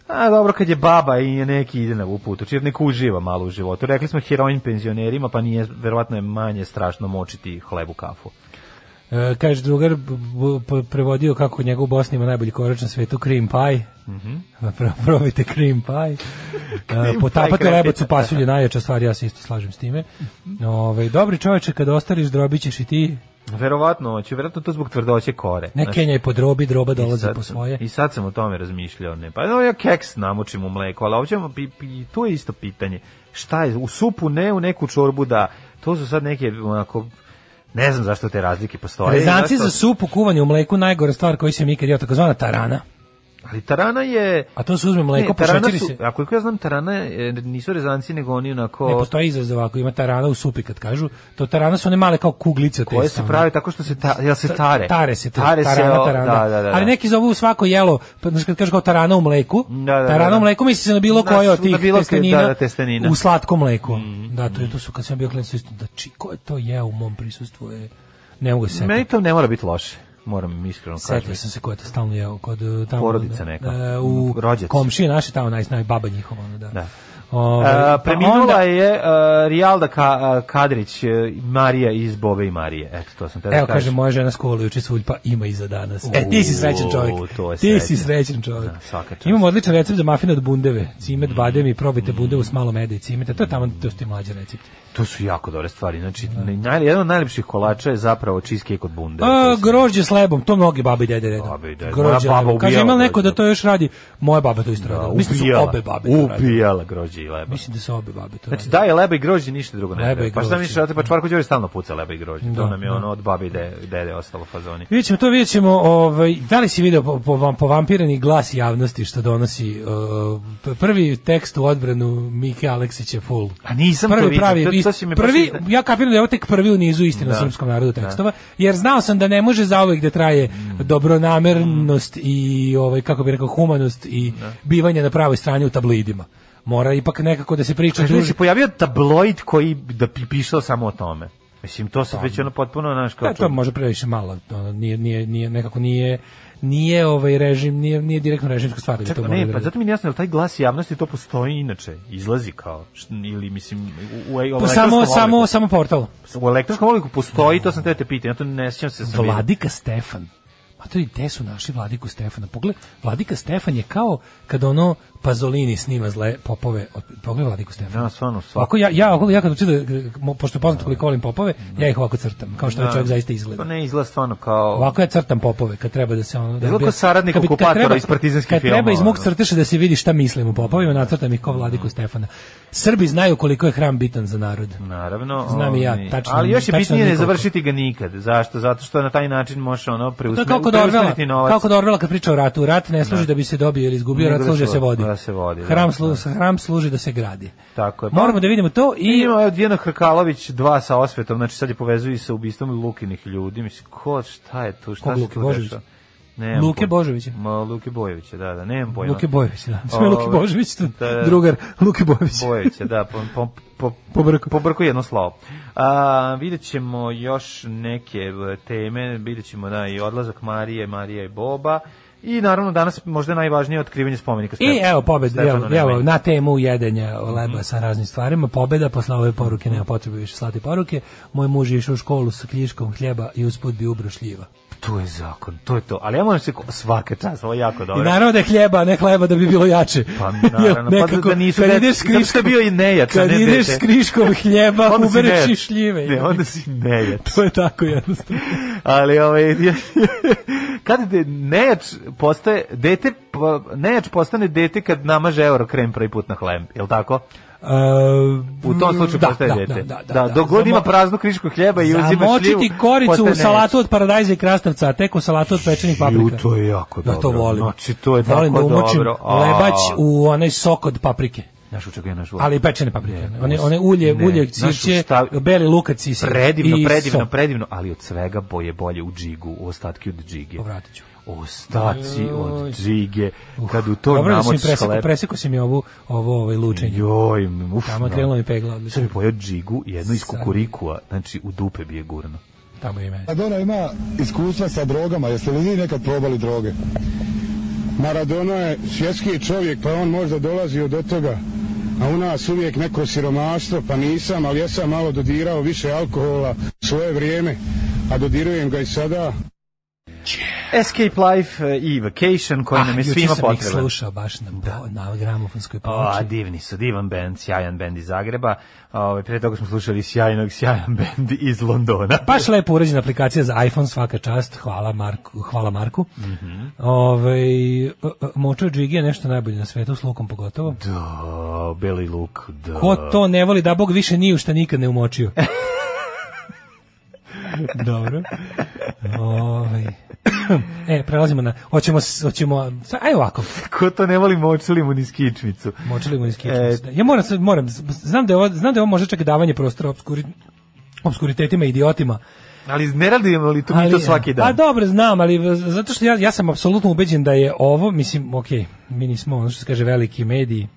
G: A dobro, kad je baba i je neki ide na uputu, čir neko uživa malo u životu. Rekli smo heroin penzionerima, pa nije, verovatno je manje strašno močiti hlebu kafu.
H: E, kaže drugar, b- b- p- prevodio kako njegov u Bosni ima najbolji korač na svetu, cream pie.
G: Mhm.
H: Pa pro- Probajte cream pie. E, Potapate
G: krepita.
H: lebac u pasulje, najjača stvar, ja se isto slažem s time. Ove, dobri čoveče, kad ostariš, drobit ćeš i ti.
G: Verovatno, hoće, verovatno to zbog tvrdoće kore.
H: Ne
G: Znaš,
H: Kenja i podrobi, droba
G: I
H: dolazi
G: sad
H: po
G: sam-
H: svoje.
G: I sad sam o tome razmišljao, ne. Pa no, ja keks namočim u mleko, ali ovdje pi, pi, to je isto pitanje. Šta je, u supu ne, u neku čorbu da. To su sad neke, onako, ne znam zašto te razlike postoje.
H: Rezanci
G: Zašto-
H: za supu, kuvanje u mleku, najgora stvar koju sam ikad jeo, takozvana tarana.
G: Ali tarana je...
H: A to se uzme mleko,
G: Ne, tarana
H: pošećeri
G: su,
H: se.
G: a koliko ja znam, tarana je, e, nisu rezanci, nego oni onako...
H: Ne postoji izraz za ovako, ima tarana u supi kad kažu. To tarana su one male kao kuglice. te
G: koje se
H: same.
G: prave tako što se ta, jel se tare?
H: Tare se,
G: E, tare se,
H: tarana,
G: o,
H: tarana.
G: Da, da, da.
H: Ali neki zovu svako jelo, pa znaš kad kažeš kao tarana u mleku,
G: Da, da, da,
H: tarana u
G: da.
H: mleku misli se na bilo
G: Na
H: koje od
G: svu-
H: tih
G: na bilo koje,
H: testenina,
G: da, da, testenina. Mm.
H: u slatkom mleku. Da, to, je, to su kad sam bio klinac isto, da či, ko je to jeo u mom prisustvu je, ne mogu se
G: Meni
H: setiti.
G: to ne mora biti loše, moram iskreno
H: Setio
G: kažem.
H: sam se ko je to stalno jeo kod e, tamo
G: Porodica neka.
H: e, u
G: Rođaci.
H: komšije naše tamo naj naj baba njihova ono, da.
G: Da.
H: Ovaj,
G: E,
H: pa
G: preminula
H: onda-
G: je e, Rijalda Ka- e, Kadrić, e, Marija iz Bobe i Marije. Eto, to sam te
H: Evo kaže moja žena skovala juče svulj pa ima i za danas. E ti si srećan čovjek.
G: U, to je
H: Ti
G: srećan.
H: si srećan čovjek.
G: Da, svaka čast.
H: ovaj, Imamo odličan recept za mafine od bundeve.
G: Mm.
H: Cimet, badem i probajte bundevu s malo meda i cimeta. To je tamo to su ti mlađi recepti.
G: To su jako dobre stvari. Znači, naj, jedan od najljepših kolača je zapravo cheesecake od bunde.
H: A,
G: To sam-
H: grožđe s lebom, to mnogi babe i dede redom.
G: Babe i dede.
H: Grožđe
G: Moja
H: s
G: baba
H: lebom. Kaže,
G: ubijala
H: ima li neko da
G: grožđe.
H: to još radi? Moja baba to isto radila. Mislim da su
G: Ubijala.
H: obe babe to radile.
G: Ubijala grođe i leba.
H: Mislim da su obe babe to
G: Znači,
H: radile.
G: da je leba i grožđe, ništa drugo ne
H: Leba i
G: treba. Pa šta
H: grožđe.
G: misliš, pa Čvarko Đorđe stalno puca leba i grožđe.
H: Da,
G: to nam je
H: da.
G: ono od babi i de- dede ostalo u fazoni.
H: Vidjet ćemo to, vidjet ćemo, ovaj, da li si video po, po, vam- povampirani glas javnosti što donosi uh, p- prvi tekst u odbranu Mike Aleksića full.
G: A Pa nisam to
H: prvi
G: vidio,
H: pravi,
G: to-
H: ist-
G: to si mi baš
H: prvi,
G: izne-
H: ja kapiram da je ovo tek prvi u nizu istine o
G: Da. Mm.
H: srpskom narodu tekstova, jer znao sam da ne može zauvek da traje dobronamernost i ovaj, kako bi rekao, humanost i bivanje na pravoj strani u tablidima. Mora ipak nekako da se priča
G: Znači,
H: druži.
G: se pojavio tabloid koji da pi- pišao samo o tome. Mislim, to se već ono potpuno, znaš,
H: Da,
G: kao
H: Pa, E, to
G: čudno.
H: može previše malo, ono, nije, nije, nije, nekako nije, nije ovaj režim, nije, nije direktno režimska stvar. da bi to
G: Čekaj,
H: morali da
G: ne, pa
H: rade.
G: zato mi nije jasno, je li taj glas javnosti to postoji inače, izlazi kao, št- ili mislim, u, u, u
H: Pa
G: elektronskom
H: samo,
G: obliku.
H: samo, samo portal.
G: U elektronskom obliku postoji, to sam te te pitao, ja to ne sjećam se da sam vidio.
H: Vladika Stefan. Pa to i gde su našli Vladiku Stefana? Pogledaj, Vladika Stefan je kao kad ono Pazolini snima zle popove. od- Pogledaj Vladiku Stefana.
G: Da, stvarno, svako.
H: Ovako, ja, ja, ovako, ja kad učitam, pošto poznato koliko volim popove, ja ih ovako crtam, kao što ovaj čovjek zaista izgleda.
G: To ne izgleda stvarno kao...
H: Ovako ja crtam popove kad treba da se ono da
G: Izgleda
H: bi-
G: kao saradnik
H: kad bi- kad
G: okupatora
H: treba-
G: iz partizanskih
H: Kad treba
G: filmova,
H: iz mog
G: ono.
H: crteša da se vidi šta mislim o popovima, nacrtam ih kao vladiku Stefana. Srbi znaju koliko je hram bitan za narod.
G: Naravno.
H: Znam i ja,
G: ovaj,
H: tačno-
G: Ali još je
H: tačno
G: bitnije ne
H: nekoliko.
G: završiti ga nikad. Zašto? Zato što na taj način možeš ono
H: To je
G: preusmeriti
H: kao kod Orvela,
G: novac.
H: kao kod Orvela kad priča o ratu. Rat ne služi da, bi se dobio ili izgubio,
G: Nego
H: rat
G: da
H: služi da se
G: se-
H: vodi.
G: da se vodi, da.
H: hram, slu, hram služi da se gradi.
G: Tako je.
H: Moramo da vidimo to
G: I
H: i...
G: ima od Dijana Hrkalović dva sa osvetom, znači sad je povezuju i sa ubistvom Lukinih ljudi. Mislim, ko, šta je tu, šta
H: Kog
G: se
H: Luke
G: tu
H: Božovića?
G: dešava? Nemam
H: Luke
G: pojma.
H: Božovića?
G: Ma, Luke Bojevića, da, da, nemam pojma.
H: Luke Bojević, da. Sve
G: Ove,
H: Luke Božević, to
G: da, da.
H: drugar Luke Bojević.
G: Bojevića, da, po, po, po,
H: Po brku.
G: jedno slovo. A, vidjet ćemo još neke e, teme, vidjet ćemo da, i odlazak Marije, Marija i Boba, i naravno danas možda najvažnije otkrivanje spomenika.
H: I
G: Stefanu-
H: evo pobeda,
G: Stefanu
H: evo, evo,
G: Nemanji.
H: na temu jedenja
G: Mhm.
H: leba sa raznim stvarima, pobeda, posle ove poruke nema potrebe više slati poruke, moj muž je išao u školu sa kljiškom hljeba i usput bi ubro šljiva.
G: To je zakon, to je to. Ali ja moram se ko- svaka čast, ovo je jako dobro.
H: I naravno da je hljeba, a ne hleba da bi bilo jače.
G: Pa naravno, pa da nisu
H: kad
G: deca-
H: ideš s
G: zato što je bio i nejač, a
H: Kad
G: ne
H: ideš
G: dete.
H: s kriškom hljeba,
G: Onda si
H: ubereš
G: nejač.
H: i šljive.
G: Ne, onda si nejač.
H: To je tako jednostavno.
G: Ali ovaj kad de nejač postaje dete pa, nejač postane dete kad namaže euro krem prvi put na hleb, je l' tako?
H: Uh,
G: U tom slučaju
H: da,
G: postaje
H: da,
G: dete.
H: Da, da,
G: da, dok god
H: Zamo-
G: ima praznu krišku hljeba i uzima šljivu.
H: Zamočiti koricu
G: postaje
H: u
G: nejač.
H: salatu od paradajza i krastavca, a tek u salatu od pečenih paprika.
G: Ju, to je jako
H: Da, to
G: dobro.
H: volim.
G: Znači, to je
H: volim
G: tako
H: da umočim
G: dobro. A.
H: lebać u onaj sok od paprike.
G: Znaš u čega je naš
H: Ali i pečene paprike.
G: Ne,
H: one,
G: us-
H: one ulje,
G: ne.
H: ulje
G: Znaš u
H: cviće,
G: šta-
H: beli lukac i sir.
G: Predivno,
H: I
G: predivno,
H: sok.
G: predivno, ali od svega boje bolje u džigu, u ostatke od džige.
H: Povratit ću.
G: Ostaci
H: Joj.
G: od džige, kad u to
H: Dobro da si mi
G: namočiš
H: presekao,
G: hleb.
H: presekao si mi ovu, ovo ovaj lučenje.
G: Joj, uf.
H: Tamo
G: no.
H: krenulo mi pegla, odlično.
G: Sad bi pojao džigu, jedno iz
H: Sad.
G: kukurikua, znači u dupe bi je gurno.
H: Tamo je i mene.
L: Maradona ima iskustva sa drogama, jeste li vi nekad probali droge? Maradona je svjetski čovjek, pa on možda dolazi od toga. A u nas uvijek neko siromaštvo, pa nisam, ali ja sam malo dodirao više alkohola svoje vrijeme, a dodirujem ga i sada.
G: Escape Life e, i Vacation koji nam je
H: Pa, juče
G: svima
H: sam ih
G: potreban.
H: slušao baš na, na gramofonskoj
G: A,
H: ploči.
G: divni su, divan band, sjajan band iz Zagreba. Ove, pre toga smo slušali sjajnog, sjajan band iz Londona.
H: Baš lepo urađena aplikacija za iPhone, svaka čast, hvala Marku. Hvala Marku.
G: Mhm.
H: Ovaj, e, e, Močo Džigi je nešto najbolje na svetu, s lukom pogotovo.
G: Da, beli luk, da.
H: Ko to ne voli, da Bog više nije u šta nikad ne umočio. Dobro. Ovaj. E, prelazimo na... Hoćemo, s- hoćemo... sa- Aj ovako,
G: Ko to ne voli močili mu niz kičmicu.
H: močili mu iz kičmice,
G: E,
H: da. Ja moram, sad- moram, znam da je ovo, znam da je ovo možda čak davanje prostora obskuri, obskuritetima i idiotima,
G: Ali ne radimo li to, mi
H: Ali,
G: to svaki dan?
H: Pa dobro, znam, ali v- zato što ja, ja sam apsolutno ubeđen da je ovo, mislim, ok, mi nismo ono što se kaže veliki mediji,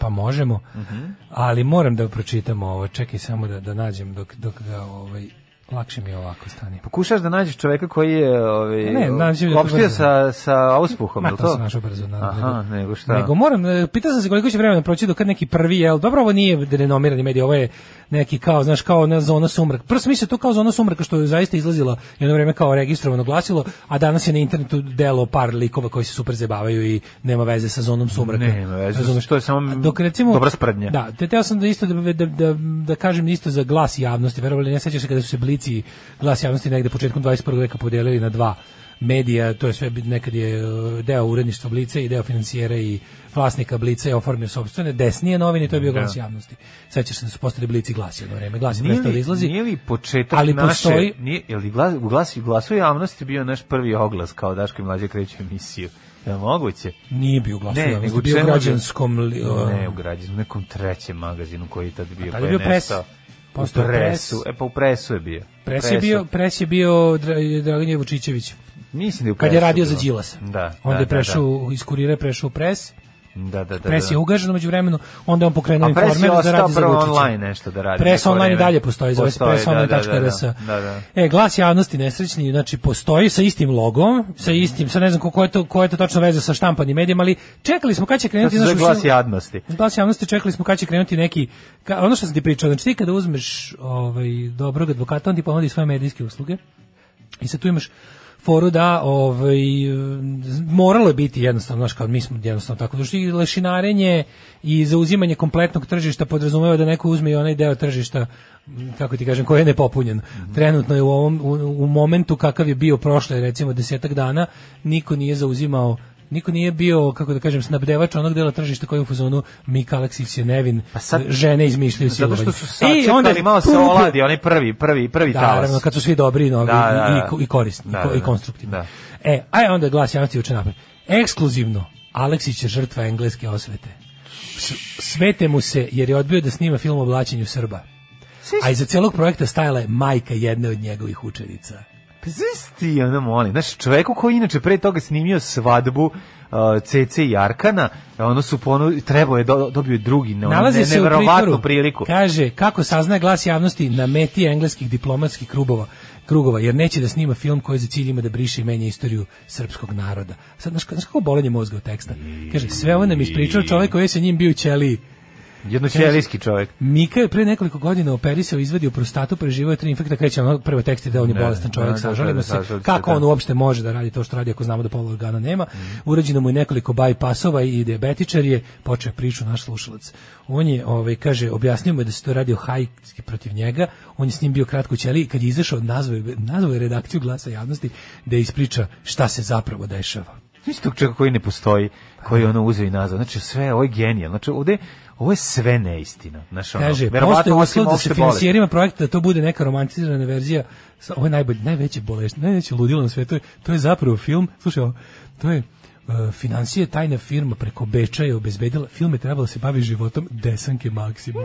H: pa možemo,
G: Mhm.
H: ali moram da pročitam ovo, čekaj samo da, da nađem dok, dok ga, ovaj, lakše mi je ovako stani.
G: Pokušaš da nađeš čoveka koji je ovaj,
H: Ne, nađem da to
G: opštio
H: brzo.
G: sa, sa auspuhom,
H: Ma,
G: je li
H: to
G: to?
H: sam našao brzo, naravno,
G: Aha,
H: nego-
G: nego šta?
H: Nego moram, e, pitao sam se koliko će vremena proći do kad neki prvi, jel, dobro, ovo nije renomirani medij, ovo je neki kao, znaš, kao ona zona sumraka. Prvo sam mislio to kao zona sumraka što je zaista izlazila jedno vreme ono kao registrovano glasilo, a danas je na internetu delo par likova koji se super zabavaju i nema veze sa zonom sumraka.
G: Nema veze,
H: Razumeš?
G: to je samo
H: A dok, recimo,
G: dobra sprdnja.
H: Da, te teo sam da isto da, da, da, da kažem isto za glas javnosti, verovali ne sećaš se kada su se blici glas javnosti negde početkom 21. veka podelili na dva medija, to je sve bi- nekad je e, deo uredništva Blice i deo financijera i vlasnika Blice je oformio sopstvene desnije novine, i to je bio glas
G: Da.
H: javnosti. Sećaš se da su postali Blici i glas jedno vreme, glas je
G: Nije
H: prestao da
G: li,
H: izlazi.
G: nije li početak
H: ali
G: naše,
H: postoji-
G: nije, je li glas, u glasu, glasu javnosti bio naš prvi oglas kao Daško i Mlađe kreću emisiju? Je li moguće?
H: Nije bio glas
G: Ne,
H: javnosti,
G: nego
H: bio u
G: čemu-
H: građanskom... li-
G: Ne, u građanskom, u nekom trećem magazinu koji je tad bio.
H: tad
G: pa
H: je bio pres.
G: nestao.
H: Postao
G: u
H: pres.
G: presu. E pa u presu je bio.
H: Pres je
G: Presu.
H: bio, pres je bio Dra- Dragan je Vučićević.
G: Mislim da je u
H: Kad je
G: presu
H: radio za
G: bilo.
H: Đilasa.
G: Da.
H: Onda
G: da,
H: je
G: da,
H: prešao u- iz kurira je prešao u pres.
G: Da, da, da. da,
H: Pres je ugažen među vremenu, onda je on pokrenuo
G: A pres je
H: informer da
G: ostao
H: radi Mm, za
G: prvo
H: Vučića.
G: online nešto da radi.
H: Pres
G: neko
H: online i
G: vreme.
H: dalje postoji, zove se
G: Postoji, da, da, da,
H: presonline.rs.
G: Da, da.
H: E, glas javnosti nesrećni, znači postoji sa istim logom, sa
G: Mhm.
H: istim, sa ne znam ko- koja je to, koja je to tačno veze sa štampanim medijima, ali čekali smo kad će
G: To
H: krenuti...
G: se zove
H: znaš, u
G: glas
H: svim-
G: jadnosti.
H: Glas javnosti čekali smo kad će krenuti neki ka- ono što sam ti pričao, znači ti kada uzmeš ovaj dobrog advokata, on ti ponudi svoje medijske usluge. I sad tu imaš foru da ovaj z- moralo je biti jednostavno znaš kao mi smo jednostavno tako došli i lešinarenje i zauzimanje kompletnog tržišta podrazumeva da neko uzme i onaj deo tržišta m, kako ti kažem koji je nepopunjen
G: Mhm.
H: trenutno je u ovom u, u momentu kakav je bio prošle recimo desetak dana niko nije zauzimao niko nije bio kako da kažem snabdevač onog dela tržišta koji je u fazonu Mika Aleksić je nevin
G: sad-
H: žene izmišljaju
G: Zato što
H: silovanje.
G: su
H: ovaj. I onda
G: sačekali,
H: je-
G: malo se oladi, onaj prvi, prvi, prvi
H: da,
G: talas.
H: naravno, kad su svi dobri novi
G: Da, da, da.
H: i, i, i korisni
G: Da,
H: i, ko-
G: da, da.
H: i konstruktivni.
G: Da.
H: E, a je onda glas javnosti juče napred. Ekskluzivno, Aleksić je žrtva engleske osvete. S- Svete mu se jer je odbio da snima film o oblačenju Srba. A iza celog projekta stajala je majka jedne od njegovih učenica.
G: Pa znaš ti, ono molim, znaš, čoveku koji je inače pre toga snimio svadbu uh, CC i Arkana, ono su ponu, trebao je, do, dobio je drugi, ne, ono,
H: Nalazi
G: ne,
H: se u
G: neverovatnu
H: pritvoru.
G: priliku.
H: Kaže, kako saznaje glas javnosti na meti engleskih diplomatskih krugova, krugova jer neće da snima film koji za cilj ima da briše i menja istoriju srpskog naroda. Sad, znaš, ka- znaš kako bolenje mozga od teksta? Kaže, sve ovo nam ispričao čovjek koji je sa njim bio u ćeliji.
G: Jednoćelijski čovjek.
H: Mika je pre nekoliko godina operisao, izvadio prostatu, preživio je tri infekta, kreće ono prvo tekst je da on je
G: Da,
H: bolestan čovjek,
G: da, da,
H: sažalimo
G: da,
H: se,
G: sažalite se,
H: kako
G: da. Mhm.
H: on uopšte može da radi to što radi ako znamo da pola organa nema. Urađeno mu je nekoliko bajpasova i diabetičar je, počeo je priču naš slušalac. On je, ovaj, kaže, objasnio mu je da se to radio hajski protiv njega, on je s njim bio kratko u ćeliji, kad je izašao, nazvao je, nazvao je redakciju glasa javnosti da ispriča šta se zapravo dešava.
G: Znači tog čovjeka koji ne postoji, koji je ono uzeo i nazvao. Znači sve, ovo je genijal. Znači ovde, ovo je sve neistina. Znači, ono,
H: Kaže,
G: verovatno
H: postoji
G: osim
H: uslov da
G: opšte
H: se
G: bolesti.
H: finansjerima projekta da to bude neka romantizirana verzija. sa- Ovo je najbolje, najveće bolest, najveće ludilo na svetu. To je zapravo film, slušaj, ovo, to je e, financije tajna firma preko Beča je obezbedila, film je trebalo da se bavi životom Desanke Maksimum.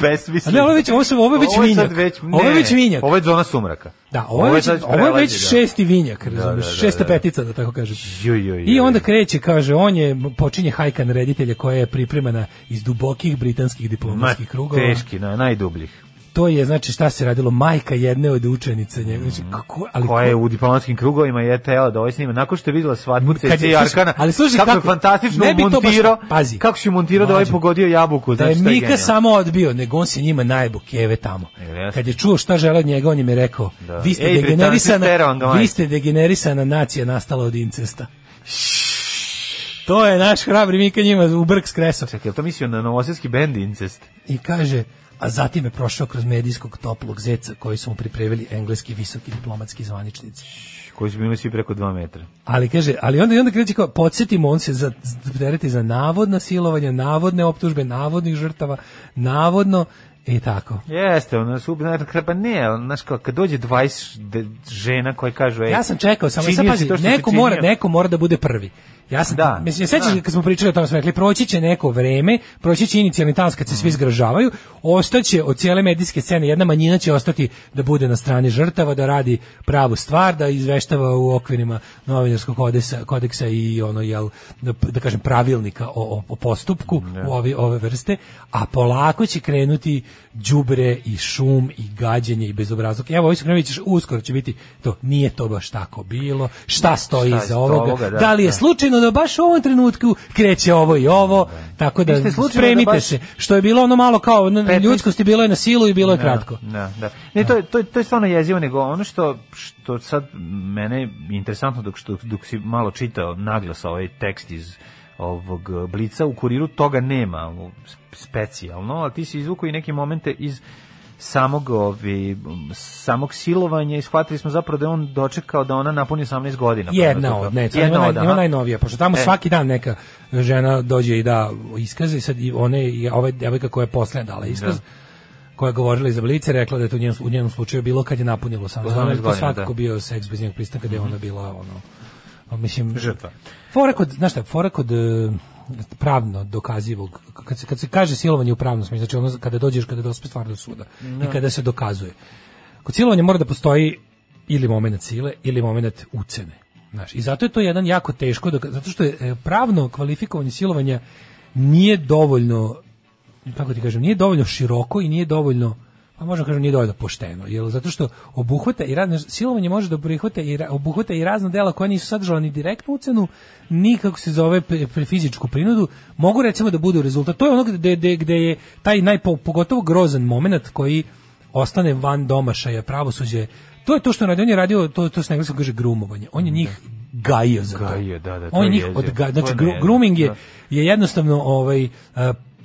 G: Besmisleno.
H: Ali ovo je već- ovo su- ovo je već
G: sad
H: vinjak. Ovo je
G: ne,
H: već vinjak.
G: Ovo je zona sumraka.
H: Da, ovo je već,
G: sad
H: ovo je već
G: prelazi, da.
H: šesti vinjak,
G: Da,
H: razumeš,
G: da, da,
H: šesta
G: da.
H: petica, da tako kažem.
G: Ju, ju, ju.
H: I onda kreće, kaže, on je, počinje hajkan reditelja koja je pripremana iz dubokih britanskih
G: Ma,
H: diplomatskih krugova.
G: teški, na, najdubljih.
H: To je, znači, šta se radilo, majka jedne od učenica njegove, znači, kako, ali
G: Mm. koja je u diplomatskim krugovima je tela da ovaj snima. Nakon što je vidjela svadbu
H: Kad je-
G: Cece i Arkana,
H: ali slušaj
G: kako, je
H: kako-
G: fantastično
H: ne bi to baš-
G: montirao,
H: pazi.
G: kako si montirao da ovaj
H: Mlađe.
G: pogodio jabuku.
H: da je
G: znači, to
H: Mika
G: genijalno.
H: samo odbio, nego on se njima najbu keve tamo.
G: Jeste.
H: Kad je čuo šta žele od njega, on im je rekao,
G: Da.
H: vi, ste
G: Ej, Britanci, stero vam
H: degenerisana,
G: ga, majke."
H: vi ste degenerisana nacija nastala od incesta. To je naš hrabri Mika njima u brk s kresom.
G: Čekaj, je li to mislio na novosadski bend Incest?
H: I kaže, a zatim je prošao kroz medijskog toplog zeca koji su mu pripremili engleski visoki diplomatski zvaničnici.
G: Koji su bili svi preko 2 metra.
H: Ali kaže, ali onda i onda kreće kao podsjetimo, on se za tereti za navodna silovanja, navodne optužbe, navodnih žrtava, navodno i tako.
G: Jeste, ono su ubili, pa ne, ali, znaš kao, kad dođe 20 de- žena koje kažu, ej,
H: Ja sam čekao samo
G: činio
H: sad
G: si
H: pazi,
G: to što si
H: neko mora,
G: činio.
H: neko mora da bude prvi. Ja sam,
G: Da.
H: da, mislim, se sećaš
G: Da.
H: kad smo pričali o tome, smo rekli, proći će neko vreme, proći će inicijalni talans kad se
G: Mhm.
H: svi zgražavaju, ostaće od cijele medijske scene, jedna manjina će ostati da bude na strani žrtava, da radi pravu stvar, da izveštava u okvirima novinarskog kodeksa, kodeksa i ono, jel, da, da kažem, pravilnika o, o, o postupku
G: Mhm,
H: u ovi, ove vrste, a polako će krenuti đubre i šum i gađenje i bezobrazluk. Evo, ovi su krenuli, ćeš- uskoro će biti to, nije to baš tako bilo, šta stoji
G: Šta je
H: iza
G: iza
H: ovoga,
G: ovoga, da,
H: da li je
G: da.
H: slučajno da baš u ovom trenutku kreće ovo i ovo, tako da
G: Jeste slučajno da
H: spremite
G: baš-
H: se, što je bilo ono malo kao, na- na
G: 15
H: ljudskosti bilo je na silu i bilo je
G: Da,
H: kratko.
G: Da, da. Ne, to, je- to, je- to je stvarno jezivo, nego ono što, što sad mene je interesantno dok, što, dok si malo čitao naglas ovaj tekst iz ovog eh, blica, u kuriru toga nema u- specijalno, ali ti si izvukao i neke momente iz samog ovi, m, samog silovanja i shvatili smo zapravo da je on dočekao da ona napuni 18 godina. pa
H: Jedna od, ne, sad ima, naj, ima najnovija, pošto tamo
G: E.
H: svaki dan neka žena dođe i da iskaze i sad i one, i ova devojka koja je posljedna dala iskaz,
G: Da.
H: koja je govorila iz blice, rekla da je to u njenom, u njenom slučaju bilo kad je napunilo sam.
G: 18
H: Znači, to
G: godina,
H: je svakako
G: da. Mhm.
H: bio seks bez njenog pristanka, da je ona bila, ono, a mislim,
G: Žrtva.
H: Fora kod, znaš šta, fora kod e, pravno dokazivog, kad se, kad se kaže silovanje u pravnom smislu, znači ono kada dođeš, kada dospe stvar do suda i kada se dokazuje. Kod silovanja mora da postoji ili momenat sile ili momenat ucene. Znaš, I zato je to jedan jako teško, doka- zato što je e, pravno kvalifikovanje silovanja nije dovoljno, kako ti kažem, nije dovoljno široko i nije dovoljno pa možda kažem nije dovoljno pošteno, jer zato što obuhvata i radne silovanje može da prihvata i ra- obuhvata i razna dela koja nisu sadržala ni direktnu ucenu, ni kako se zove pe- pe- fizičku prinudu, mogu recimo da budu rezultat. To je ono gde, gde, gde je taj najpo, pogotovo grozan momenat koji ostane van domašaja pravosuđe. To je to što je radio, on je radio, to, to se na engleskom kaže grumovanje. On je njih gajio za to.
G: Mhm. Gajio, da, da, to
H: on je
G: je
H: njih
G: jezivo.
H: odga,
G: To
H: znači
G: je
H: gru-
G: nejezivo,
H: grooming je
G: da.
H: je jednostavno ovaj e,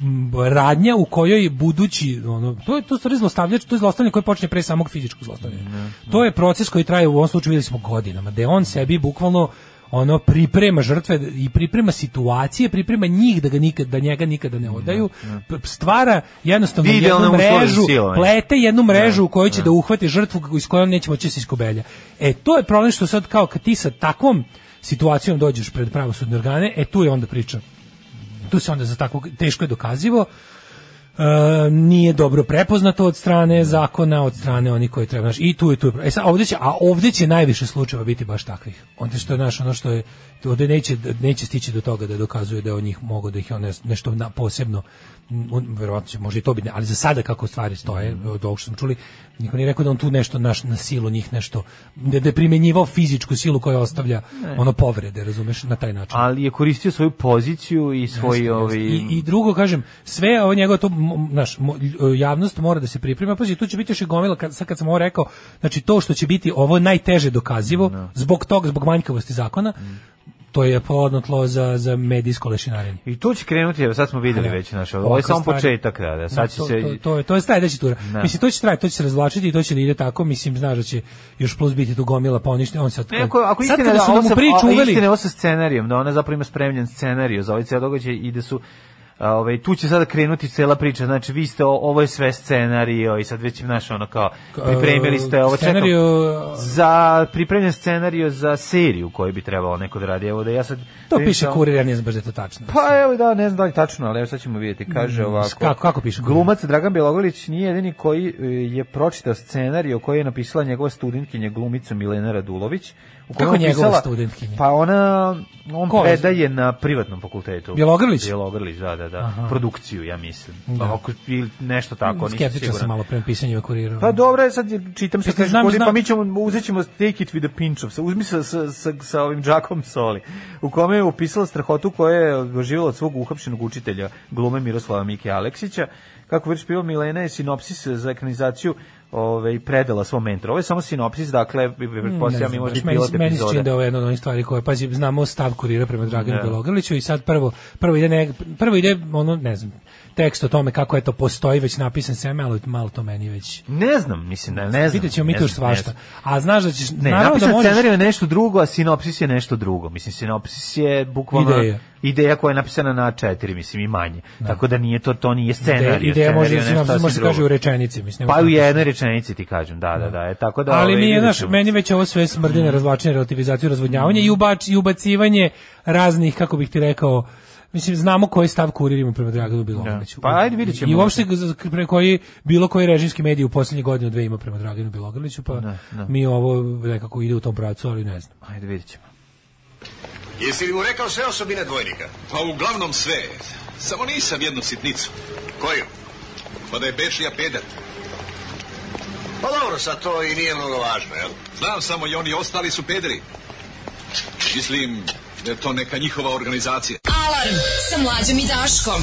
H: m, radnja u kojoj budući ono to je to stvari zlostavljač, to je zlostavljanje koje počinje pre samog fizičkog zlostavljanja. To je proces koji traje u ovom slučaju videli smo godinama, da on sebi bukvalno ono priprema žrtve i priprema situacije, priprema njih da ga nikad da njega nikada ne odaju, p- stvara jednostavno
G: Idealne
H: jednu
G: uslove za
H: mrežu,
G: silovanje.
H: ple- plete jednu mrežu u kojoj će da uhvati žrtvu kako- iz koje on neće moći da se iskobelja. E, to je problem što sad kao kad ti sa takvom situacijom dođeš pred pravosudne organe, e tu je onda priča. Tu se onda za takvog teško je dokazivo e, nije dobro prepoznato od strane zakona, od strane onih koji treba, znaš, i tu i tu. je pro- E sad, ovdje će, a ovdje će najviše slučajeva biti baš takvih. Onda što je, znaš, ono što je, ovdje neće, neće stići do toga da dokazuje da je od njih mogu da ih je on nes- nešto na, posebno, m, on, verovatno će, može i to biti, ali za sada kako stvari stoje, od ovog što smo čuli, niko nije rekao da on tu nešto naš, na silu njih nešto, da da je primenjivao fizičku silu koja ostavlja
G: Ne.
H: ono povrede, razumeš, na taj način.
G: ali je koristio svoju poziciju i svoj
H: Jeste,
G: ovaj
H: jeste. I, i drugo kažem sve ovo njegovo to m, znaš mo- lj- e, javnost mora da se priprema pa tu će biti još i gomila kad sad kad sam ovo rekao znači to što će biti ovo najteže dokazivo zbog tog zbog manjkavosti zakona
G: Mm.
H: to je plodno tlo za za medijsko lešinarenje
G: I tu će krenuti, evo sad smo videli
H: Da.
G: već naš, ovo je
H: Ovakve
G: samo
H: stvari.
G: početak, da, da, sad će
H: to,
G: se...
H: to, to, je, to je sledeća tura.
G: Da.
H: Mislim, to će trajati, to će se razvlačiti i to će da ide tako, mislim, znaš da će još plus biti tu gomila ponište, on sad...
G: Ne, E, ako, ako
H: sad
G: istina,
H: kada
G: da,
H: su nam
G: ovo
H: u
G: sa,
H: priču
G: ovo,
H: uveli-
G: istina je ovo sa scenarijom, da ona zapravo ima spremljen scenarij za ovaj cijel događaj i da su a, Ovaj, tu će sada krenuti cela priča, znači vi ste, o- ovo je sve scenario i sad već im naš ono kao, pripremili ste
H: e,
G: ovo, čekam,
H: Scenario-
G: za pripremljen scenario za seriju koju bi trebalo neko da radi, evo da ja sad...
H: To
G: vidim
H: piše
G: samo-
H: kurir, ja ne znam baš da je to tačno.
G: Pa evo da, ne znam da li tačno, ali evo sad ćemo vidjeti. Kaže
H: Mm,
G: ovako.
H: kako- kako piše?
G: Glumac Dragan Bjelogrlić nije jedini koji e, je pročitao scenarij koji je napisala njegova studentkinja glumica Milena Radulović. U kojem
H: Kako
G: je
H: njegova
G: napisala-
H: studentkinja?
G: Pa ona, on
H: Ko je?
G: predaje na privatnom fakultetu.
H: Bjelogrlić?
G: Bjelogrlić, da, da, da.
H: Aha.
G: Produkciju, ja mislim.
H: Da.
G: Ako, ili nešto tako, nisam
H: Skeptičan sam
G: siguran.
H: malo prema pisanjima kurira. ono,
G: Pa dobro, je, sad je- čitam se
H: Mislim,
G: kaže
H: znam,
G: Kolin,
H: znam.
G: pa mi ćemo uzet ćemo take it with a pinch of, sa- uzmi sa, sa, sa, sa ovim džakom soli, u kome je opisala strahotu koja je doživjela od svog uhapšenog učitelja glume Miroslava Mike Aleksića. Kako već pio Milena je sinopsis za ekranizaciju ove, predala svom mentoru. Ovo je samo sinopsis, dakle, pretpostavljam i možda i
H: Hmm, baš, meni-
G: pilot
H: Meni se čini da
G: epizode.
H: je ovo jedna od onih stvari koje, pazi, znamo stav kurira prema Draganu
G: Da.
H: Bjelogrliću i sad prvo, prvo ide, neg, prvo ide ono, ne znam, tekst o tome kako je to postoji, već napisan sve, malo, malo to meni već...
G: Ne znam, mislim da ne znam.
H: Vidjet ćemo mi
G: ne
H: tu još
G: znam, ne
H: svašta.
G: znam.
H: A znaš da ćeš...
G: Ne,
H: naravno da
G: napisan
H: možeš...
G: scenarij je nešto drugo, a sinopsis je nešto drugo. Mislim, sinopsis je bukvalno
H: Ideja.
G: ideja, koja je napisana na četiri, mislim, i manje. Tako da nije to, to nije scenarij.
H: Ideja- ideja
G: scenarij
H: može
G: je
H: se
G: nešto
H: napisati,
G: sasvim
H: može se
G: drugo.
H: kaže u rečenici, mislim, ne
G: Pa u
H: može se
G: jednoj rečenici ti kažem, da, da, da. E, tako da,
H: ali
G: ovaj,
H: mi je,
G: vidjet
H: znaš,
G: ćemo.
H: meni već ovo sve smrdi na razvlačenje, relativizaciju, razvodnjavanje i, ubač, i ubacivanje raznih, kako bih ti rekao, Mislim, znamo koji stav kurir ima prema Draganu Bilogrliću.
G: Da. Pa, ajde, vidjet ćemo.
H: I uopšte za- prema koji, bilo koji režimski medij u posljednjih godinu dve ima prema Draganu Bilogrliću, pa
G: da.
H: mi ovo nekako ide u tom pravcu, ali ne znam.
G: Ajde, vidjet ćemo.
M: Jesi li mu rekao sve osobine dvojnika?
N: Pa uglavnom sve. Samo nisam jednu sitnicu.
M: Koju?
N: Pa da je Bečija pedat.
M: Pa dobro, sad to i nije mnogo važno, jel?
N: Znam samo i oni ostali su pederi. Mislim da je to neka njihova organizacija.
K: Alarm sa mlađom i Daškom.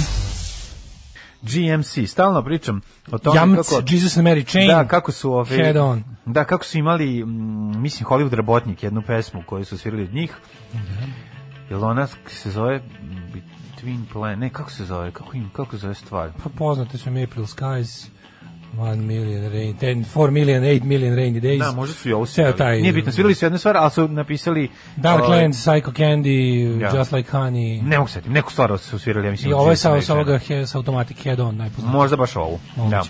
G: GMC, stalno pričam o tome
H: Jamc,
G: kako...
H: Jesus and Mary Chain,
G: Da, kako su ovi...
H: Head On.
G: Da, kako su imali, mm, mislim, Hollywood Rabotnik, jednu pesmu koju su svirali od njih.
H: Mhm.
G: Jel ona se zove Between Plan... Ne, kako se zove? Kako, im, kako se zove stvar?
H: Pa poznate su mi April Skies, 1 million rain, 10, 4 million, 8 million rainy days.
G: Da, možda su i ovo
H: Ceo
G: svirali.
H: taj-
G: Nije bitno, svirali su jednu stvar, ali su napisali...
H: Dark
G: ovaj,
H: Lands, Psycho Candy,
G: Ja.
H: Just Like Honey.
G: Ne mogu se setiti, neku stvar su svirali, ja mislim.
H: I
G: od
H: ovo je
G: Jason
H: sa,
G: Mraz.
H: sa ovoga he, sa Automatic Head On najpoznatiji.
G: Možda baš ovu. Da.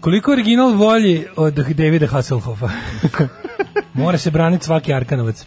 H: Koliko je original bolji od Davida Hasselhoffa? Mora se braniti svaki Arkanovac.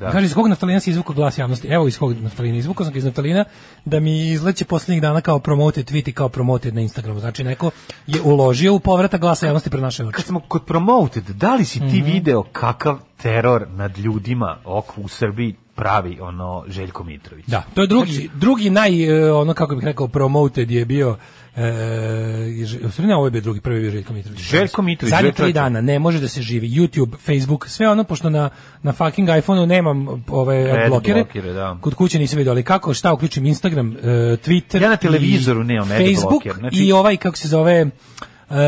G: Da.
H: Kaže, iz kog naftalina si izvukao glas javnosti? Evo iz kog naftalina. Izvukao sam ga iz naftalina da mi izleće posljednjih dana kao promoted tweet i kao promoted na Instagramu. Znači, neko je uložio u povrata glasa javnosti pred naše oči.
G: Kad smo kod promoted, da li si ti
H: Mhm.
G: video kakav teror nad ljudima oko u Srbiji pravi ono Željko Mitrović?
H: Da, to je drugi,
G: Znači-
H: drugi naj, e, ono kako bih rekao, promoted je bio E, Ž- u stvari ne, ovo je bio drugi, prvi je bio Željko Mitrović.
G: Željko Mitrović,
H: Zadnje
G: Željko
H: tri
G: Mitrović.
H: dana, ne može da se živi. YouTube, Facebook, sve ono, pošto na, na fucking iPhone-u nemam ove
G: Red
H: blokere.
G: blokere, da.
H: Kod kuće nisam vidio, ali kako, šta, uključim Instagram, e, Twitter.
G: Ja na
H: i
G: televizoru nemam red
H: Facebook
G: bloker, znači-
H: i ovaj, kako se zove, e,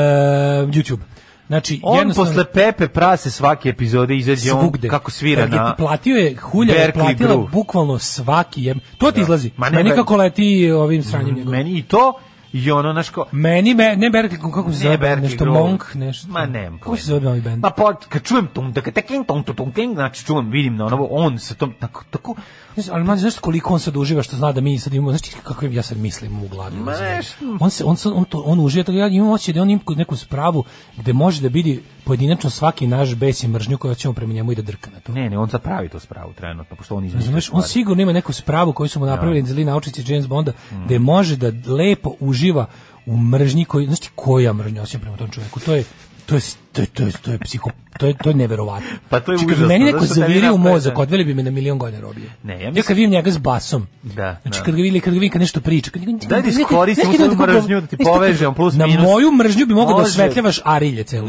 H: YouTube. Znači,
G: On
H: jednostavno-
G: posle Pepe prase svake epizode izađe on
H: svugde.
G: kako svira
H: Kad je
G: na...
H: platio je hulja je
G: Berkeley
H: platila
G: Groove.
H: bukvalno svaki jem. To ti izlazi.
G: Ma
H: Ma
G: ne,
H: ne, meni
G: Ber-
H: kako leti ovim sranjem.
G: Mm, Meni i to i ono naš ko...
H: Meni me, ne Berkeley, kako se
G: Ne,
H: zove,
G: Berkeley
H: nešto
G: Groove.
H: Monk, nešto.
G: Ma nemam
H: Kako se
G: pojma.
H: zove novi band?
G: Ma pa kad čujem tum da tekin tum tum tum ting, znači čujem vidim na ono on sa tom tako tako
H: Ne znam, ali mlađe, znaš koliko on sad uživa što zna da mi sad imamo, znaš ti kako ja sad mislim u glavi.
G: Ma
H: razumeš?
G: nešto.
H: On, se, on, sad- on, to, on uživa, tako ja imam osjećaj da on ima neku spravu gde može da vidi pojedinačno svaki naš bes i mržnju koju ćemo prema njemu i da drka na to.
G: Ne, ne, on sad pravi to spravu trenutno, pošto on izmišlja.
H: Razumeš, on sigurno ima neku spravu koju su mu napravili zli naučici James Bonda, mm. da je može da lepo uživa u mržnji koji, znaš ti koja mržnja osim prema tom čovjeku, to je to je to je to je to je psiho to je to je neverovatno.
G: Pa to je
H: Čekaj,
G: užasno,
H: Meni neko
G: zato što tebi
H: zavirio u
G: napravi-
H: mozak, odveli bi me na milion godina robije.
G: Ne, ja
H: ja,
G: mislim-
H: kad vidim njega s basom.
G: Da,
H: Znači
G: da.
H: kad ga vidim kad ga vidim kad nešto priča, kad njega-
G: Daj da
H: neki-
G: iskoristim
H: neki
G: tvoju
H: ljudi koji-
G: mržnju da ti
H: nešto-
G: povežem, plus,
H: Na
G: minus.
H: moju mržnju bi mogao da
G: Može.
H: osvetljavaš arilje celo.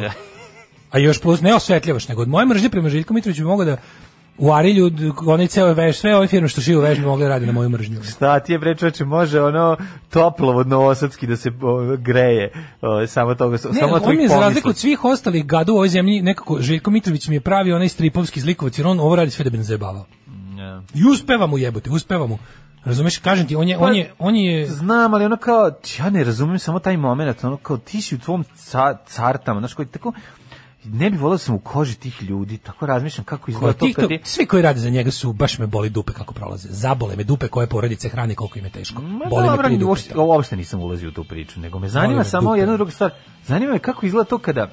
H: A još plus ne osvetljavaš, nego od moje mržnje prema Željku Mitroviću bi mogao da u Arilju, d- onaj ceo veš, sve ove firme što šiju veš bi mogli da rade na moju mržnju.
G: Šta ti je bre čoveče, može ono toplovod novosadski da se o, greje, o, samo toga,
H: Ne,
G: samo
H: on mi je
G: tvojih
H: za
G: pomisli.
H: razliku od svih ostalih gadu u ovoj zemlji, nekako Željko Mitrović mi je pravi onaj stripovski zlikovac, jer on ovo radi sve da bi nas zajebavao.
G: Ja.
H: I uspeva mu jebote, uspeva mu. Razumeš, kažem ti, on
G: Pa,
H: je, on je, on je...
G: Znam, ali ono kao, ja ne razumijem samo taj moment, ono kao ti si u tvom ca, cartama, znaš koji tako, ne bi volao da sam u koži tih ljudi, tako razmišljam kako izgleda
H: Ko,
G: to
H: tih,
G: kad
H: to,
G: je...
H: svi koji rade za njega su, baš me boli dupe kako prolaze. Zabole me dupe koje porodice hrane, koliko im je teško. Boli me
G: Dobro,
H: tri dupe.
G: uopšte, uopšte nisam ulazio u tu priču, nego me zanima
H: me
G: samo
H: dupe.
G: jedna druga stvar. Zanima me kako izgleda to kada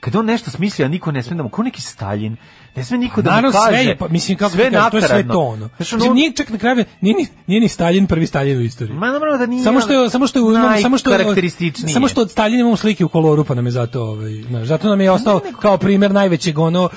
G: kada on nešto smisli, a niko ne sme da mu, kao neki Stalin, ne sme niko da mu
H: Naravno,
G: kaže.
H: sve je, pa, mislim, kako sve
G: sve
H: to je sve
G: nakaradno.
H: to ono.
G: Znaš,
H: Mislim, nije čak na kraju, nije, ni- nije ni Stalin prvi Stalin u istoriji.
G: Ma naravno da nije. ono
H: Samo što je, samo što je, imam, samo što je,
G: najkarakterističnije.
H: samo što od Staljina imamo slike u koloru, pa nam je zato, ovaj, znaš, zato nam je ostao kao primjer najvećeg ono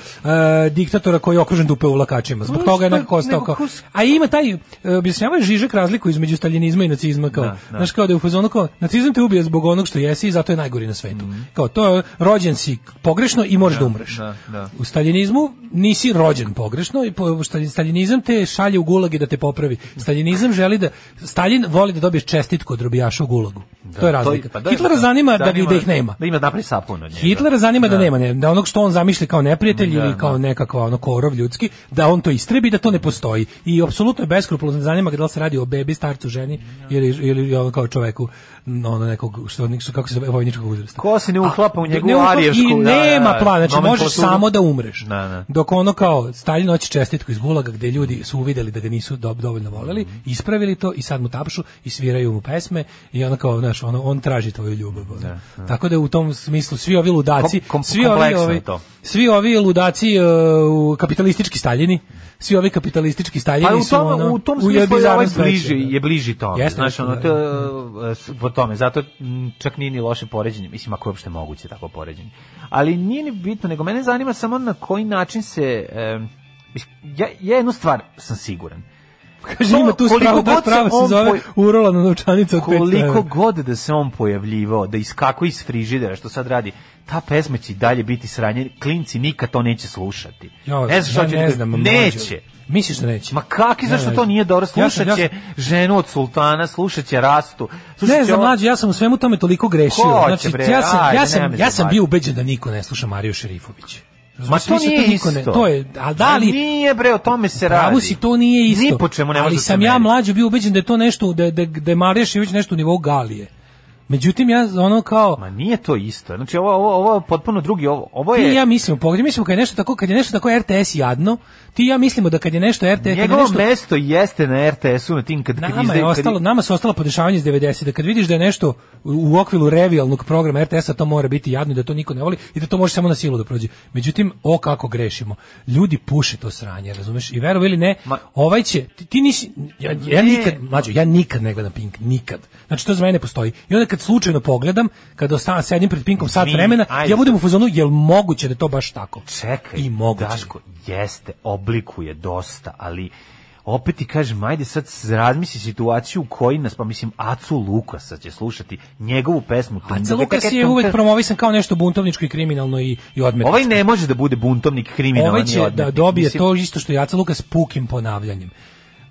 H: e, diktatora koji je okružen dupe u lakačima. Zbog
G: Ma,
H: toga je
G: šta-
H: nekako ostao
G: nego
H: kao.
G: kus-
H: A ima taj e, objašnjavaju Žižek razliku između staljinizma i nacizma kao.
G: Da, da.
H: Znaš kao da je u fazonu kao nacizam te ubija zbog onog što jesi i zato je najgori na svetu. Kao to je rođen si pogrešno i možeš da, umreš.
G: Mhm. Da, da.
H: U staljinizmu nisi rođen pogrešno i po- stalj- staljinizam te šalje u gulage da te popravi. Staljinizam želi da Staljin voli da dobiješ čestitku od robijaša u gulagu. to je razlika.
G: pa da,
H: Hitlera
G: da,
H: zanima da, da, da ih nema.
G: Da ima napravi sapun od njega.
H: Hitlera zanima da, nema, ne, da onog što on zamišlja kao neprijatelj
G: Da,
H: ili kao nekakva ono korov ljudski, da on to istrebi, da to ne postoji. I apsolutno je beskrupulozno zanima ga da li se radi o bebi, starcu, ženi ili ili ono kao čoveku no, ono nekog što nisu kako se zove vojničkog uzrasta.
G: Ko se ne uhlapa u
H: Ne
G: njegovu
H: uhlapa
G: arijevsku?
H: I
G: da, da,
H: nema
G: da,
H: plana, znači možeš
G: nomenklaturu.
H: samo da umreš.
G: Da, da.
H: Dok ono kao Staljin hoće čestitku iz gulaga gde ljudi su uvideli da ga nisu do- dovoljno voleli,
G: Mhm.
H: ispravili to i sad mu tapšu i sviraju mu pesme i ono kao, znaš, ono, on traži tvoju ljubav. ono. Tako da u tom smislu svi ovi ludaci,
G: Kom- kom-
H: svi ovi,
G: kompleksno
H: ovi,
G: je to.
H: svi ovi ludaci e, u kapitalistički Staljini, svi ovi kapitalistički Staljini
G: Pa u
H: su
G: tom,
H: ono,
G: u tom smislu je
H: jebizarnom
G: ovaj
H: svetu,
G: bliži,
H: da.
G: je bliži tome.
H: Jeste,
G: Znaš,
H: jeste,
G: ono,
H: da.
G: to, e, s- po tome, zato m, čak nije ni loše poređenje, mislim, ako je uopšte moguće tako poređenje. Ali nije ni bitno, nego mene zanima samo na koji način se... e, mislim, ja, ja jednu stvar sam siguran.
H: Kaže, ima tu
G: Koliko
H: spravu, ta
G: god se
H: sprava se
G: on
H: zove
G: poj-
H: urola na novčanica od 500
G: koliko
H: evra.
G: god da se on pojavljivao, da iskako iz frižidera što sad radi, ta pesma će i dalje biti sranje, klinci nikad to neće slušati.
H: Jo,
G: ne znam
H: ja
G: što će,
H: ne znam, mlađo.
G: neće.
H: Misliš da neće?
G: Ma kaki,
H: Ne,
G: zašto
H: ne.
G: to nije dobro?
H: Ja sam-
G: Slušat će
H: ja
G: ženu od sultana, slušat će rastu. Slušat
H: Ne
G: će
H: znam,
G: ovo-
H: mlađe, ja sam u svemu tome toliko grešio.
G: Ko hoće,
H: znači,
G: bre,
H: ja sam,
G: ajde,
H: ja sam,
G: nemoj
H: ja
G: se
H: sam
G: baviti.
H: bio ubeđen da niko ne sluša Mariju Šerifović.
G: Ma
H: Razumeš,
G: to
H: mislim,
G: nije
H: niko ne-
G: isto.
H: to je, a da
G: Ma
H: li,
G: Nije bre, o tome se radi.
H: Pravo si, to nije isto.
G: Ni po čemu ne može
H: Ali
G: da se
H: sam ja
G: meri.
H: mlađo bio ubeđen da je to nešto, da, da, da je Marija Šerifović nešto u nivou Galije. Međutim, ja ono kao...
G: Ma nije to isto. Znači, ovo, ovo, ovo je potpuno drugi, ovo, ovo
H: Ti i
G: je...
H: ja mislimo, pogrešno mislimo kad je nešto tako, kad je nešto tako RTS jadno, ti i ja mislimo da kad je nešto RTS, kad je
G: Njegovo
H: nešto
G: mesto jeste na RTS-u, na tim kad, kad
H: Nama
G: izdaje-
H: je
G: kad-
H: ostalo, nama su ostala podešavanja iz 90 da kad vidiš da je nešto u- u okviru revijalnog programa RTS-a to mora biti jadno i da to niko ne voli i da to može samo na silu da prođe. Međutim, o kako grešimo. Ljudi puše to sranje, razumeš? I verovali ili ne, ovaj će ti, ti nisi ja, ja nikad, mlađo, ja nikad ne gledam Pink, nikad. Znači to za mene ne postoji. I onda kad slučajno pogledam, kad ostanem sedim pred Pinkom sat
G: Izvini,
H: vremena,
G: ajde.
H: ja budem u fazonu jel moguće da je to baš tako?
G: Čekaj,
H: I moguće.
G: Daško, jeste, oblikuje dosta, ali opet ti kažem, ajde sad razmisli situaciju u koji nas, pa mislim, Acu Lukasa će slušati njegovu pesmu.
H: Aca Lukas je uvek promovisan kao nešto buntovničko i kriminalno i, i odmetničko.
G: Ovaj ne može da bude buntovnik, kriminalan
H: Ovaj
G: i
H: će da
G: odmetnik.
H: dobije
G: Mislim,
H: to isto što Jaca Lukas pukim ponavljanjem.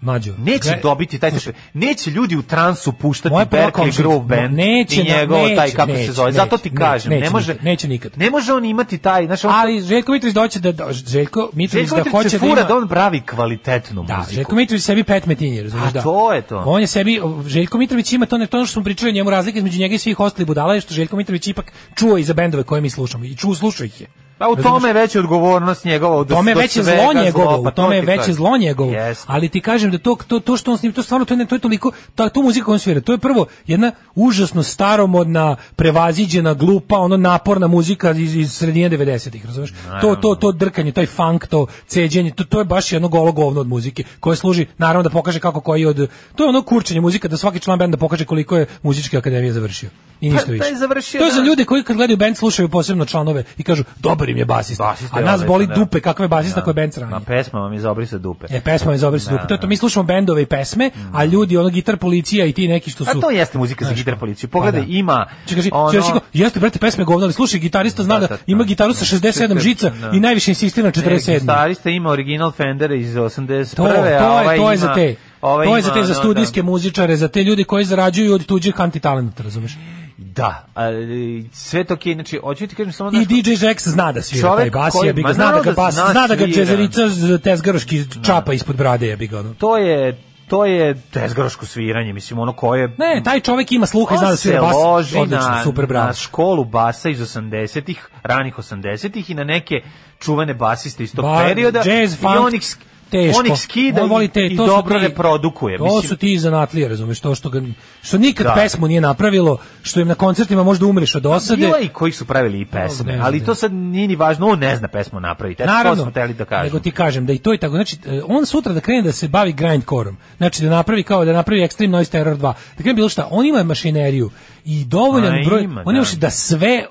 H: Mađo.
G: Neće
H: gle-
G: dobiti taj slušaj, neće ljudi u transu puštati
H: Moja prva
G: Berkeley
H: komšinica-
G: Grove Band
H: neće
G: i
H: na-
G: njegov taj
H: neće,
G: kako
H: neće,
G: se zove. Zato ti
H: neće,
G: kažem,
H: neće
G: ne može
H: nikad, neće nikad.
G: Ne može on imati taj, znaš, on
H: Ali Željko Mitrović doće da, da Željko Mitrović
G: Željko
H: da
G: Mitrović
H: hoće
G: se
H: da
G: fura
H: ima
G: da on pravi kvalitetnu
H: Da,
G: muziku.
H: Željko Mitrović sebi pet metinje, razumiješ,
G: A,
H: da.
G: to je to.
H: On je sebi, Željko Mitrović ima to, ne, to ono što smo pričali o njemu, razlika između njega i svih ostalih budala je što Željko Mitrović ipak čuo i za bendove koje mi slušamo i čuo, slušao ih je.
G: Pa u tome je veća odgovornost njegova.
H: U tome je veće zlo
G: pa
H: njegovo, u tome je veće zlo njegovo. Ali ti kažem da to to to što on snima, to stvarno to je ne- to je toliko ta tu muzika koju on svira, to je prvo jedna užasno staromodna, prevaziđena, glupa, ono naporna muzika iz, iz sredine 90-ih, razumeš? To to to drkanje, taj funk, to ceđenje, to to je baš jedno golo govno od muzike koje služi naravno da pokaže kako koji od to je ono kurčenje muzika da svaki član benda pokaže koliko je muzičke akademije završio. I ništa
G: Pa,
H: više.
G: pa je završio,
H: to je za
G: da.
H: ljude koji kad gledaju band slušaju posebno članove i kažu dobar im je basista.
G: je
H: A nas
G: odličan,
H: boli
G: da.
H: dupe kakve basista koje band sranje.
G: Ma pesma vam je za obrisa dupe.
H: E, pesma je za obrisa
G: Da, Mm.
H: dupe. To je to, mi slušamo bendove i pesme, a ljudi, ono, gitar policija i ti neki što su...
G: A to jeste muzika za
H: Znaš,
G: gitar policiju. Pogledaj,
H: Pa da.
G: ima...
H: Čekaj, kaži,
G: ono-
H: čekaj, čekaj, jeste, brate, pesme govno, ali slušaj, gitarista zna da, ima gitaru sa 67 žica
G: Da.
H: i najviše insistira na
G: Ne,
H: 47.
G: Gitarista ima original Fender iz 81.
H: To, to, je,
G: a ovaj
H: to je
G: ima-
H: za te.
G: ovaj
H: to je za
G: ima,
H: te, za
G: ono,
H: studijske muzičare, za te ljudi koji zarađuju od tuđih antitalenata, razumeš?
G: Da, ali sve to okej, znači, hoću ti kažem samo...
H: I
G: znaš,
H: DJ Rex zna da svira
G: Čovek
H: taj bas,
G: koji-
H: jebi ga,
G: ma
H: zna da
G: naravno
H: ga
G: da
H: bas,
G: zna
H: zna da ga
G: svira.
H: džezerica z- tezgaroški čapa ispod brade, jebi ga, ono.
G: To je to je tezgaroško sviranje, mislim ono koje
H: Ne, taj čovek ima sluha Pa i zna da
G: On
H: svira
G: se
H: bas.
G: loži
H: Odlično,
G: na,
H: super bravo.
G: na školu basa iz 80-ih, ranih 80-ih i na neke čuvene basiste iz tog
H: Ba-
G: perioda.
H: jazz,
G: i
H: funk,
G: on ih, sk-
H: teško.
G: On ih skida
H: On voli te-
G: i, i
H: to su
G: dobro
H: ti-
G: reprodukuje.
H: To
G: mislim,
H: su ti zanatlije, razumeš, to što, ga, što nikad
G: Da.
H: pesmu nije napravilo, što im na koncertima možda umreš od osade.
G: Bilo je i koji su pravili i pesme,
H: Pa, Ne znam,
G: ali
H: ne.
G: to sad nije ni važno, on ne zna pesmu napraviti. Eto, to smo hteli da kažemo.
H: Nego ti kažem da i to i tako. Znači, e, on sutra da krene da se bavi grindcoreom, znači da napravi kao da napravi Extreme Noise Terror 2, da krene bilo šta, on ima mašineriju i dovoljan
G: A,
H: broj,
G: ima,
H: on ima
G: da.
H: še da sve, e,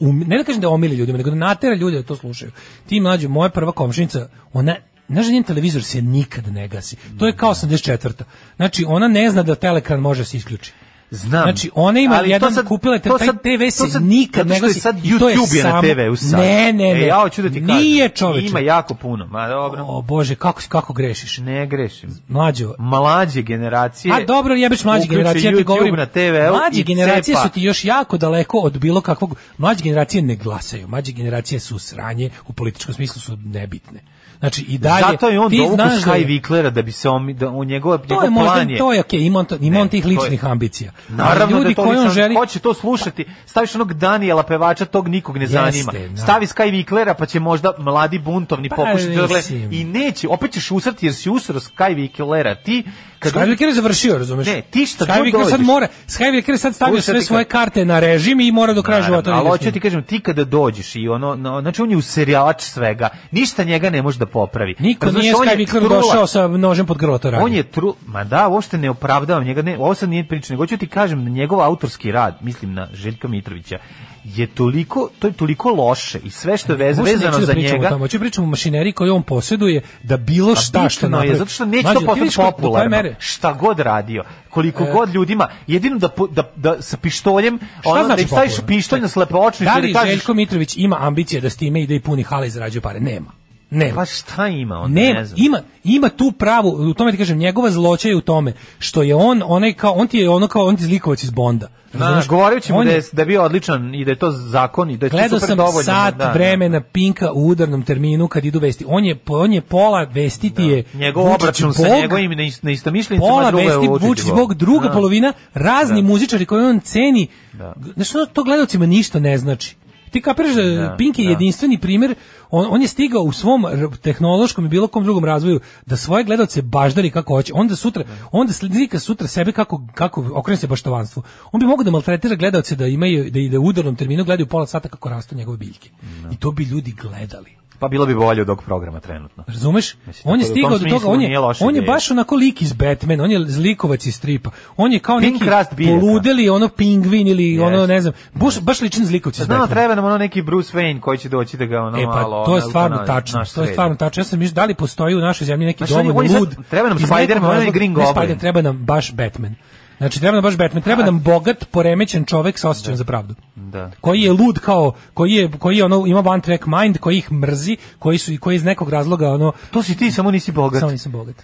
H: um- ne da kažem da omili ljudima, nego da natera ljude da to slušaju. Ti mlađe, moja prva komšinica, ona Znaš, njen televizor se nikad ne gasi. To je kao 84. Znači, ona ne zna da telekran može da se isključi.
G: Znam.
H: Znači, ona ima
G: Ali to
H: jedan,
G: sad-
H: kupila je te-
G: to
H: taj
G: sad-
H: TV se
G: to sad-
H: nikad
G: zato
H: ne
G: što je
H: gasi.
G: sad
H: I to je
G: YouTube je na
H: samo-
G: TV-u sad.
H: Ne, ne, ne.
G: E, ja hoću da ti kažem.
H: Nije čoveče.
G: Ima jako puno. Ma dobro.
H: O bože, kako kako grešiš?
G: Ne grešim.
H: Mlađo.
G: Mlađe generacije.
H: A dobro, jebeš mlađe
G: uključe
H: generacije, ja ti
G: YouTube
H: govorim.
G: na TV-u
H: mlađe
G: i
H: generacije
G: cepa.
H: su ti još jako daleko od bilo kakvog. Mlađe generacije ne glasaju. Mlađe generacije su sranje, u političkom smislu su nebitne. Znači i dalje
G: Zato je on
H: ti
G: dovuku
H: znaš da je-
G: Sky Viklera da bi se on, da u njegov,
H: To
G: njegov
H: je možda
G: plan je.
H: to je okej, ima on, to- ima on tih
G: to je-
H: ličnih ambicija. Ali
G: Naravno
H: ljudi
G: da to
H: koji on
G: nisam-
H: želi
G: Ko će to slušati? Staviš onog Daniela pevača, tog nikog ne
H: Jeste,
G: zanima.
H: da.
G: Stavi Sky Viklera, pa će možda mladi buntovni
H: Pa,
G: pokušati da gleda.
H: mislim.
G: I neće, opet ćeš usrati jer si usro Sky Viklera. Ti, kad
H: Skyvik je završio, razumeš?
G: Ne, ti šta god
H: Skyvik sad
G: dođeš.
H: mora, Skyvik je sad stavio
G: Slušaj,
H: sve
G: ti
H: svoje
G: kad-
H: karte na režim i mora do kraja
G: Naravno,
H: života. da
G: Ali
H: ide s
G: hoću
H: njim.
G: ti kažem, ti kada dođeš i ono, no, znači on je userijač svega, ništa njega ne može da popravi.
H: Niko
G: Razumeš,
H: nije
G: on je
H: Skyvikleru
G: trula.
H: došao sa nožem pod grlo to radi.
G: On je tru, ma da, uopšte ne opravdavam njega, ne, ovo sad nije priča, nego ću ti kažem da njegov autorski rad, mislim na Željka Mitrovića, je toliko, to je toliko loše i sve što je vez,
H: Uopšte neću
G: E, vezano
H: da
G: za
H: pričam o
G: njega, Pa
H: tome, Hoću pričamo o mašineriji koju on posjeduje da bilo šta što
G: bitno
H: napravi.
G: je, zato što neće
H: Mlađe,
G: to
H: ti
G: postati
H: vidiš ko- do koje
G: popularno.
H: mere?
G: Šta god radio, koliko
H: E.
G: god ljudima, jedino da, po- da, da sa pištoljem,
H: Šta
G: ono, da
H: znači
G: im staviš
H: popularno?
G: pištolj na
H: Da
G: slepočnicu i
H: li
G: da kažeš,
H: Željko Mitrović ima ambicije da s time ide i puni hale i zarađuje pare? Nema. Nema.
G: pa šta ima on,
H: Nema,
G: ne znam.
H: ima, ima tu pravu, u tome ti kažem, njegova zloća je u tome što je on, onaj kao, on ti je ono kao, on ti je zlikovac iz Bonda.
G: Znaš,
H: Razumeš?
G: govorio ćemo
H: On
G: da
H: je-
G: je, da je bio odličan i da je to zakon i da je to
H: Gledao
G: super
H: sam
G: dovoljno.
H: sat
G: da, da.
H: vremena Pinka u udarnom terminu kad idu vesti. On je, on je pola vestiti je
G: Njegov
H: Vučić
G: obračun sa
H: Bog,
G: njegovim neis- neistomišljenicima,
H: pola
G: druga je
H: vesti
G: Vučić
H: Vučić Bog, druga
G: Da.
H: polovina, razni
G: Da.
H: muzičari koje on ceni.
G: Da.
H: Znaš, ono, to gledalcima ništa ne znači. Ti kapiraš da
G: Da,
H: Pink je
G: da.
H: jedinstveni primjer, on, on je stigao u svom r- tehnološkom i bilo kom drugom razvoju da svoje gledalce baždari kako hoće. Onda sutra, onda slika sutra sebe kako, kako okrene se baštovanstvu. On bi mogao da maltretira gledalce da imaju, da ide u udarnom terminu, gledaju pola sata kako rastu njegove biljke. I to bi ljudi gledali.
G: Pa bilo bi bolje od ovog programa trenutno.
H: Razumeš?
G: Mislim,
H: on je
G: tako da u
H: stigao
G: tom
H: do toga,
G: smislu
H: on
G: nije
H: je,
G: loša
H: on je
G: ideja.
H: baš onako lik iz Batmana, on je zlikovac iz stripa. On je kao
G: Pink
H: neki
G: rast biljaka.
H: poludeli ono pingvin ili ono
G: Jeste.
H: ne znam, baš, baš ličan zlikovac iz
G: Znamo,
H: Batmana.
G: treba nam ono neki Bruce Wayne koji će doći da ga ono
H: znači? E
G: malo...
H: pa to je
G: ono,
H: stvarno
G: na-
H: tačno,
G: naš
H: to je
G: sredi.
H: stvarno tačno. Ja sam mislio da li postoji u našoj zemlji neki
G: Znaš, on je-
H: dovoljno
G: on je sad-
H: lud.
G: treba nam
H: iz nekog
G: Spider-Man, on je
H: razloga-
G: Green
H: ne
G: Goblin.
H: Spider, treba nam baš Batman. Znači treba nam baš Batman, treba nam bogat, poremećen čovek sa osjećajem za pravdu.
G: Da.
H: Koji je lud kao koji je koji je ono ima one track mind, koji ih mrzi, koji su i koji iz nekog razloga ono
G: To si ti, samo nisi bogat.
H: samo nisam bogat.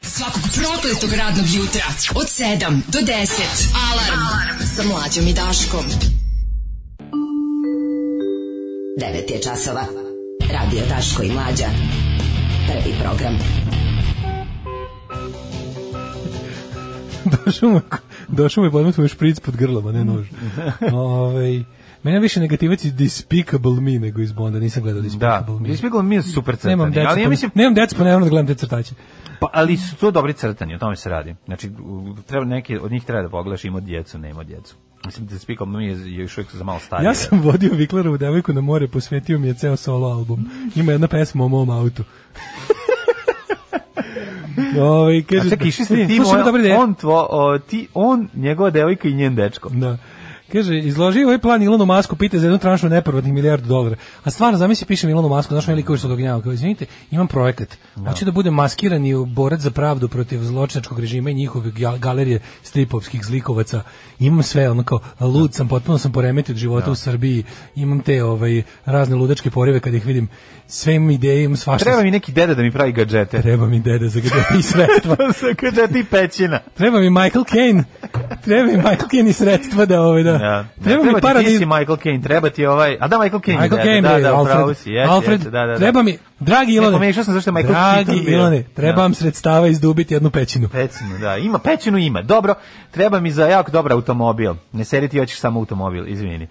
K: Svakog prokletog radnog jutra od 7 do 10. Alarm, Alarm. sa mlađom i Daškom. 9 je časova. Radio Daško i Mlađa. Prvi program.
H: došao mu, došao mu i podmetio mu špric pod grlom, a ne nož. Ovaj Mene je više negativac iz Despicable Me nego iz Bonda, nisam gledao Despicable Me.
G: Despicable Me je super crtani,
H: Nemam decu,
G: ali ja mislim-
H: nemam decu, pa nemam da gledam te crtače.
G: Pa, ali su to dobri crtani, o tome se radi. Znači, u- treba neki od njih treba da pogledaš, ima djecu, nema djecu. Mislim da spikao mi je je još uvijek za malo starije.
H: Ja sam vodio Viklerovu devojku na more, posvetio mi je ceo solo album. Ima jedna pesma o mom autu. Ovaj kaže.
G: A čekaj, išli ste ti,
H: Slušaj,
G: moja-
H: dobar dan.
G: on, tvo, o, ti, on, njegova devojka i njen dečko.
H: Da. Kaže, izloži ovaj plan Ilonu Masku, pita za jednu tranšu neprvatnih milijardu dolara. A stvarno, zamisli, pišem Ilonu Masku, znaš veliko što dognjava. Kao, izvinite, imam projekat. Hoću da budem maskirani u borac za pravdu protiv zločinačkog režima i njihove gal- galerije stripovskih zlikovaca. Imam sve, ono kao, lud sam, potpuno sam poremetio od života
G: Da.
H: u Srbiji. Imam te ovaj, razne ludačke porive kad ih vidim. Sve imam ideje, imam svašta.
G: Znači, Treba mi neki deda da mi pravi gadžete.
H: Treba mi deda za gadžete i sredstva.
G: za gadžete i pećina.
H: Treba mi Michael Caine. Treba mi Michael Caine i sredstva da ovaj da.
G: Da,
H: Treba mi
G: treba, treba ti,
H: para da
G: ti
H: iz-
G: si Michael Caine, treba ti ovaj... A da, Michael Caine.
H: Michael
G: je
H: Caine,
G: deda, da,
H: bre,
G: da,
H: Alfred.
G: pravo si, jeste,
H: Alfred,
G: jeste, da, da, da.
H: treba mi, dragi
G: Ne,
H: Ilone,
G: pomiješao sam zašto je Michael
H: dragi
G: Keaton bio.
H: Ilone, treba
G: Da.
H: vam sredstava izdubiti jednu pećinu.
G: Pećinu, da. Ima, pećinu ima. Dobro, treba mi za jako dobar automobil. Ne seri ti hoćeš samo automobil, izvini.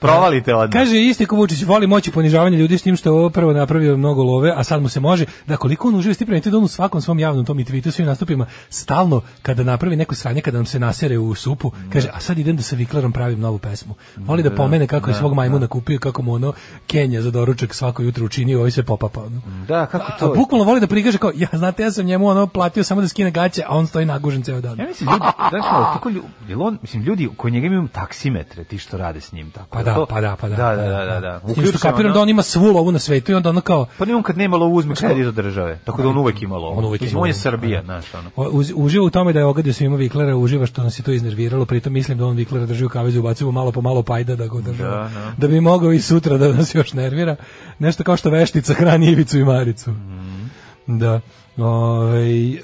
G: Provalite odmah.
H: Kaže isti ko Vučić voli moći ponižavanje ljudi s tim što je ovo prvo napravio mnogo love, a sad mu se može da koliko on uživa s tim prema, to je da on u svakom svom javnom tom i tweetu svim nastupima stalno kada napravi neko sranje kada nam se nasere u supu, kaže a sad idem da sa Viklerom pravim novu pesmu. Voli da
G: Da,
H: pomene kako je
G: da,
H: svog
G: da.
H: majmuna kupio, kako mu ono Kenja za doručak svako jutro učinio, ovaj se popapa. ono.
G: Da, kako
H: A
G: to?
H: bukvalno voli da prikaže kao ja znate ja sam njemu ono platio samo da skine gaće, a on stoji nagužen ceo dan.
G: Ja mislim, ljudi, znaš, malo, tako lju- jel on, mislim, ljudi koji njega imaju taksimetre, ti što rade s njim, tako.
H: Pa da,
G: to-
H: pa da, pa da.
G: Da, da, da, da. ono-
H: S tim što kapiram da on ima svu lovu na svetu i onda ono kao
G: Pa ni on kad nema lovu uzme
H: Kao-
G: kredit od države. Tako da on uvek ima lovu.
H: On uvek
G: Mislim,
H: ima
G: on je
H: lovu,
G: Srbija, znaš, ono.
H: O- uz- uživa u tome da je ogadio svima Viklera, uživa što nas je to iznerviralo, pritom mislim da on Viklera drži u kavezu, ubacimo malo po malo pajda da ga održava.
G: Da, da.
H: bi mogao i sutra da nas još nervira. Nešto kao što veštica hrani Ivicu i Maricu.
G: Mhm.
H: Da. Ovaj, e,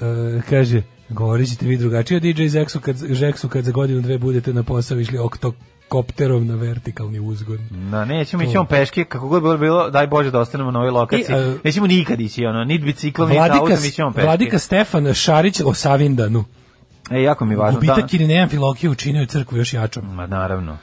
H: kaže, govorit ćete vi drugačije o DJ Zeksu kad, Žeksu kad za godinu dve budete na posao išli oktokopterom na vertikalni uzgon.
G: Na, nećemo
H: To.
G: ići on peške, kako god bilo, bilo, daj Bože da ostanemo na ovoj lokaciji.
H: I, e,
G: nećemo nikad ići, ono, nit biciklom, nit
H: Vladika,
G: autom, ići on peške.
H: Vladika Stefan Šarić o Savindanu.
G: E, jako mi je važno.
H: Gubitak
G: da-
H: Irineja Amfilokija učinio je crkvu još jačom.
G: Ma, naravno.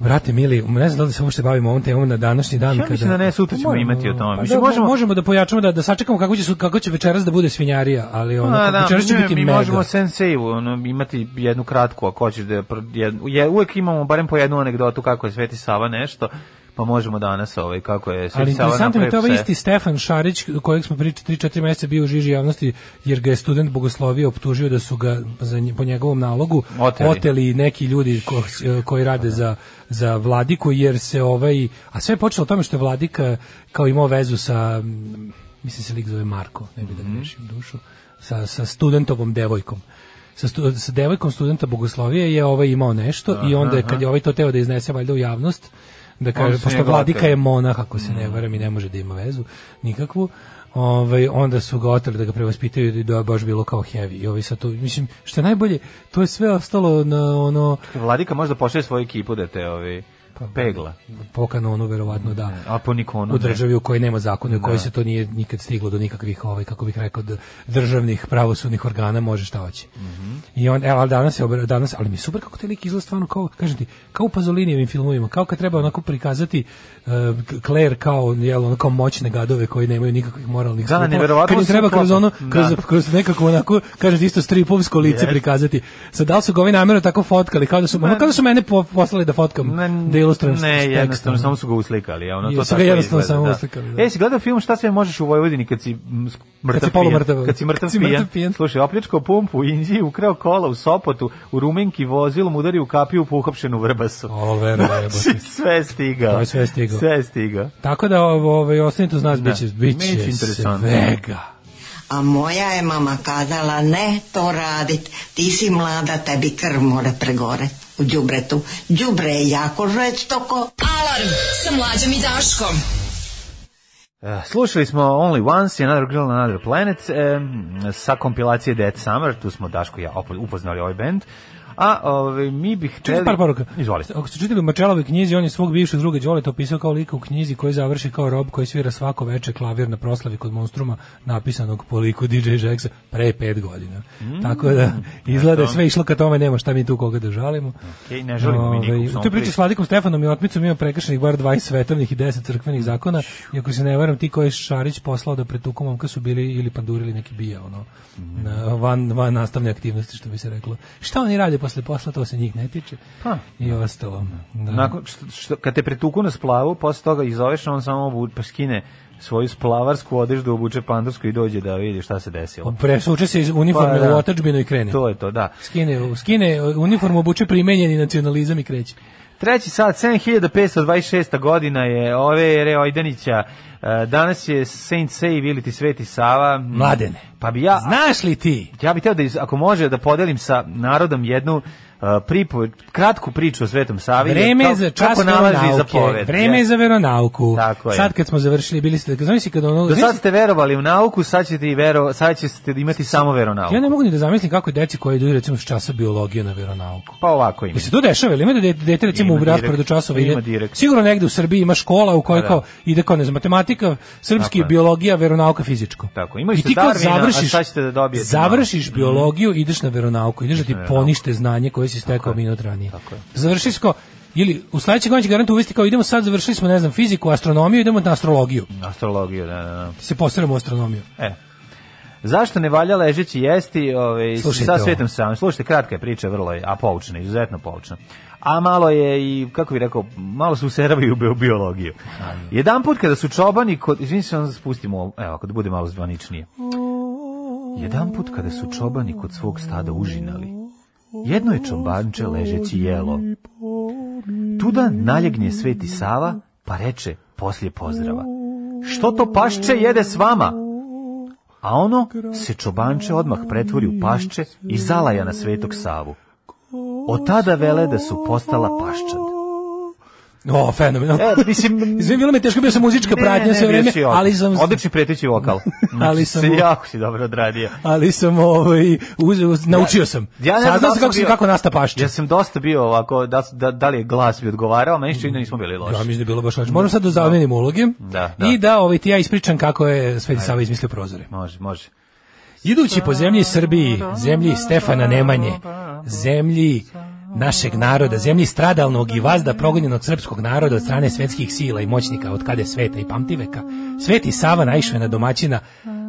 H: Brate mili, ne znam da li se uopšte bavimo ovom temom na današnji dan.
G: Ja mislim
H: kada-
G: da ne, sutra ćemo
H: Moramo,
G: imati o tome.
H: Pa
G: Mislim,
H: da, možemo,
G: možemo-
H: možemo da pojačamo, da, da sačekamo kako će, su- kako će večeras da bude svinjarija, ali ono,
G: A,
H: kako
G: Pa da,
H: večeras će
G: mi-
H: biti
G: mi
H: mega.
G: možemo sensei ono, imati jednu kratku, ako hoćeš da je, pro- jednu- je, uvek imamo barem po jednu anegdotu kako je Sveti Sava nešto, pa možemo danas ovaj, kako je Sveti
H: Ali
G: Sava
H: interesantno mi je to ovaj
G: napravio
H: isti
G: pse.
H: Stefan Šarić, kojeg smo prije 3-4 mjeseca bio u žiži javnosti, jer ga je student bogoslovio optužio da su ga za, nje- po njegovom nalogu
G: Oteli.
H: neki ljudi ko- koji rade za, za vladiku, jer se ovaj... A sve je počelo o tome što je vladika kao imao vezu sa... mm, Mislim se lik zove Marko, ne bi da grešim dušu, sa, sa studentovom devojkom. Sa, stu, sa devojkom studenta bogoslovije je ovaj imao nešto i onda je, kad je ovaj to teo da iznese valjda u javnost, da
G: Onda
H: kaže,
G: su
H: pošto
G: njega
H: vladika
G: oteli.
H: je monah, ako se ne varam i ne može da ima vezu nikakvu. Ovaj onda su ga oteli da ga prevaspitaju i da je baš bilo kao heavy. I ovi sad to, mislim, što je najbolje, to je sve ostalo na ono
G: Vladika možda pošle svoju ekipu da te ovi,
H: Pa,
G: pegla.
H: po kanonu ono, verovatno da.
G: A po Nikonu
H: u
G: Ono, ne.
H: državi u kojoj nema zakona, i u kojoj
G: Da.
H: se to nije nikad stiglo do nikakvih, ovaj, kako bih rekao, d- državnih pravosudnih organa, može šta hoće.
G: Mhm.
H: I on, evo, ali danas, je obra- danas, ali mi je super kako te lik izgleda stvarno kao, kažem ti, kao u Pazolinijevim filmovima, kao kad treba onako prikazati uh, Claire kao, jel, ono, kao moćne gadove koji nemaju nikakvih moralnih
G: Da,
H: skrupula.
G: neverovatno
H: Kad im
G: su
H: treba kroz ono,
G: klopom.
H: kroz,
G: Da.
H: kroz nekako onako, kažem ti, isto stripovsko lice
G: Yes.
H: prikazati. Sad, da li su ga ovi namjerno tako fotkali, kao da su, ono, kao da su mene po- poslali da fotkam, da ilustrujem s- s
G: Ne,
H: tekstom.
G: jednostavno, samo su ga uslikali. a Ono,
H: I
G: to
H: su ga
G: tako
H: jednostavno
G: izgleda,
H: samo
G: da.
H: uslikali, da.
G: E, si gledao film Šta sve možeš u Vojvodini kad si mm, s-
H: si
G: mrtav pijan?
H: polumrtav.
G: Kad si mrtav
H: Kad si mrtav
G: pijan.
H: pijan.
G: Slušaj, opljačkao pumpu u Indiji, ukrao kola u Sopotu, u Rumenki vozilom udario u kapiju po uhapšenu vrbasu.
H: O, vero, jebote.
G: Znači, sve je stigao.
H: To je sve stigao.
G: Sve je stigao.
H: Tako da ovo ovaj ostanite uz nas biće biće
G: Biće interesantno.
H: svega.
O: A moja je mama kazala, ne to radit, ti si mlada, tebi krv more pregore u đubretu. Đubre je jako žestoko.
K: Alarm sa mlađom i Daškom.
G: Eh, Slušali smo Only Once i Another eh, Girl on Another Planet em, sa kompilacije Dead Summer, tu smo Daško i ja opo- upoznali ovaj band. A ovaj, mi bih hteli...
H: Čekaj par poruka.
G: Izvoli.
H: Ako ste čitali u Mačelovoj knjizi, on je svog bivšeg druga Đoleta opisao kao lika u knjizi koji završi kao rob koji svira svako veče klavir na proslavi kod Monstruma, napisanog po liku DJ Jacksa pre pet godina. Tako da izgleda je
G: eto.
H: sve išlo ka tome, nema šta mi tu koga da žalimo.
G: Okej, ne žalimo mi nikog,
H: Ovaj,
G: samo
H: U toj priči s Vladikom Stefanom i Otmicom ima prekršenih bar 20 svetovnih i 10 crkvenih zakona. I ako se ne varam, ti koji je Šarić poslao da pretuku momka su bili ili pandurili neki bija, ono,
G: Mhm.
H: na van, van nastavne aktivnosti, što bi se reklo. Šta oni rade posle posla, to se njih ne tiče.
G: Pa.
H: I ostalo. Da.
G: Nakon što, što, kad te pretuku na splavu, posle toga i zoveš, on samo obu- pa skine svoju splavarsku odeždu, obuče pandursku i dođe da vidi šta se desilo.
H: Presuče Pa, se iz uniforme
G: Pa, da.
H: u otačbinu i krene.
G: To je to, da.
H: Skine, skine uniformu, obuče primenjeni nacionalizam i kreće.
G: Treći sat, 7526. godina je ove Reo Ajdanića. E, Danas je Saint Save ili ti Sveti Sava.
H: Mladene.
G: Pa bi ja...
H: Znaš li ti?
G: Ja bih teo da, iz- ako može, da podelim sa narodom jednu e, pripo- kratku priču o Svetom Savi.
H: Vreme
G: Pa Kao-
H: je za
G: kako
H: čas
G: nalaži za
H: veronauke.
G: poved.
H: Vreme je
G: Jeste.
H: za veronauku.
G: Tako je.
H: Sad kad smo završili, bili ste, znam si kad ono...
G: Do
H: znaš
G: sad ste verovali u nauku, sad ćete, i vero, sad ćete imati samo veronauku.
H: Ja ne mogu ni da zamislim kako je deci koji idu recimo s časa biologije na veronauku.
G: Pa ovako ima.
H: Jel se to dešava, ili ima da dete, dete recimo
G: Ima
H: u rasporedu
G: direkt.
H: časova
G: Ima
H: ide,
G: direkt.
H: sigurno negde u Srbiji ima škola u kojoj
G: Pa da.
H: kao ide kao ne znam, matematika, srpski,
G: Tako je.
H: biologija, veronauka, fizičko.
G: Tako, imali
H: I
G: ste
H: ti kao
G: Darwina, a
H: završiš,
G: sad ćete da dobijete
H: završiš
G: malo.
H: biologiju, ideš na veronauku, ideš da ti
G: na veronauku.
H: ponište znanje koje si stekao minut ranije.
G: Tako je.
H: Završiš kao, ili u sledećeg godinu će garant uvesti kao idemo sad, završili smo, ne znam, fiziku, astronomiju, idemo na astrologiju.
G: Astrologiju, da, da, da.
H: Se postaramo u astronomiju.
G: E. Zašto ne valja ležeći jesti ovaj,
H: Slušajte
G: sa
H: ovo.
G: svetom samim? Slušajte, kratka je priča, vrlo je, a poučna, izuzetno poučna. A malo je i, kako bih rekao, malo su useravaju u bio- biologiju. Jedan put kada su čobani, kod, izvini se, onda spustimo, ovo, evo, kada bude malo zvaničnije. Jedan put kada su čobani kod svog stada užinali, jedno je čobanče ležeći jelo. Tuda naljegnje Sveti Sava, pa reče poslije pozdrava. Što to pašče jede s vama? a ono se čobanče odmah pretvori u pašče i zalaja na Svetog Savu. Od tada vele da su postala paščad.
H: O, fenomenalno.
G: E, mislim,
H: Izvim, bilo mi je teško, bio sam muzička pratnja sve
G: bio
H: vreme,
G: si odličan.
H: ali sam...
G: Odlični preteći vokal.
H: Ali sam-
G: Znači, jako si dobro odradio.
H: ali sam ovaj uzeo naučio sam.
G: Ja ne znam da
H: Saznao
G: li
H: sam
G: sam
H: kako se
G: bio-
H: kako nasta pašče.
G: Ja sam dosta bio ovako, da, da, da li je glas bi odgovarao, meni što i da nismo bili
H: Ja
G: loši.
H: mislim da je bilo baš odlično. Moram sad da zamenim uloge
G: Da,
H: i da ovaj, ti ja ispričam kako je Sveti Sava izmislio prozore.
G: Može, može.
H: Idući po zemlji Srbiji, zemlji Stefana Nemanje, zemlji našeg naroda, zemlji stradalnog i vazda progonjenog srpskog naroda od strane svetskih sila i moćnika od kada sveta i pamtiveka, Sveti Sava naišao je na domaćina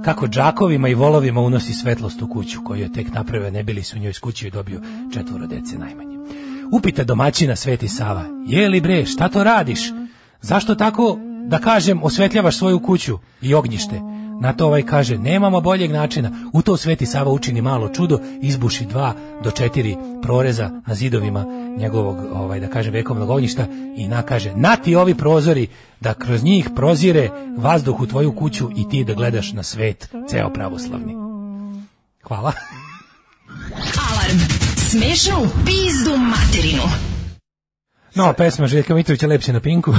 H: kako džakovima i volovima unosi svetlost u kuću koju je tek napravio ne bili su u njoj skućio i dobio četvoro dece najmanje. Upita domaćina Sveti Sava, je li bre, šta to radiš? Zašto tako, da kažem, osvetljavaš svoju kuću i ognjište? Na to ovaj kaže, nemamo boljeg načina. U to Sveti Sava učini malo čudo, izbuši dva do četiri proreza na zidovima njegovog, ovaj, da kažem, vekovnog ognjišta i nakaže, na ti ovi prozori, da kroz njih prozire vazduh u tvoju kuću i ti da gledaš na svet, ceo pravoslavni. Hvala.
K: Alarm. Smešnu pizdu materinu.
H: No, pesma Željka Mitrovića Lep si na Pinku.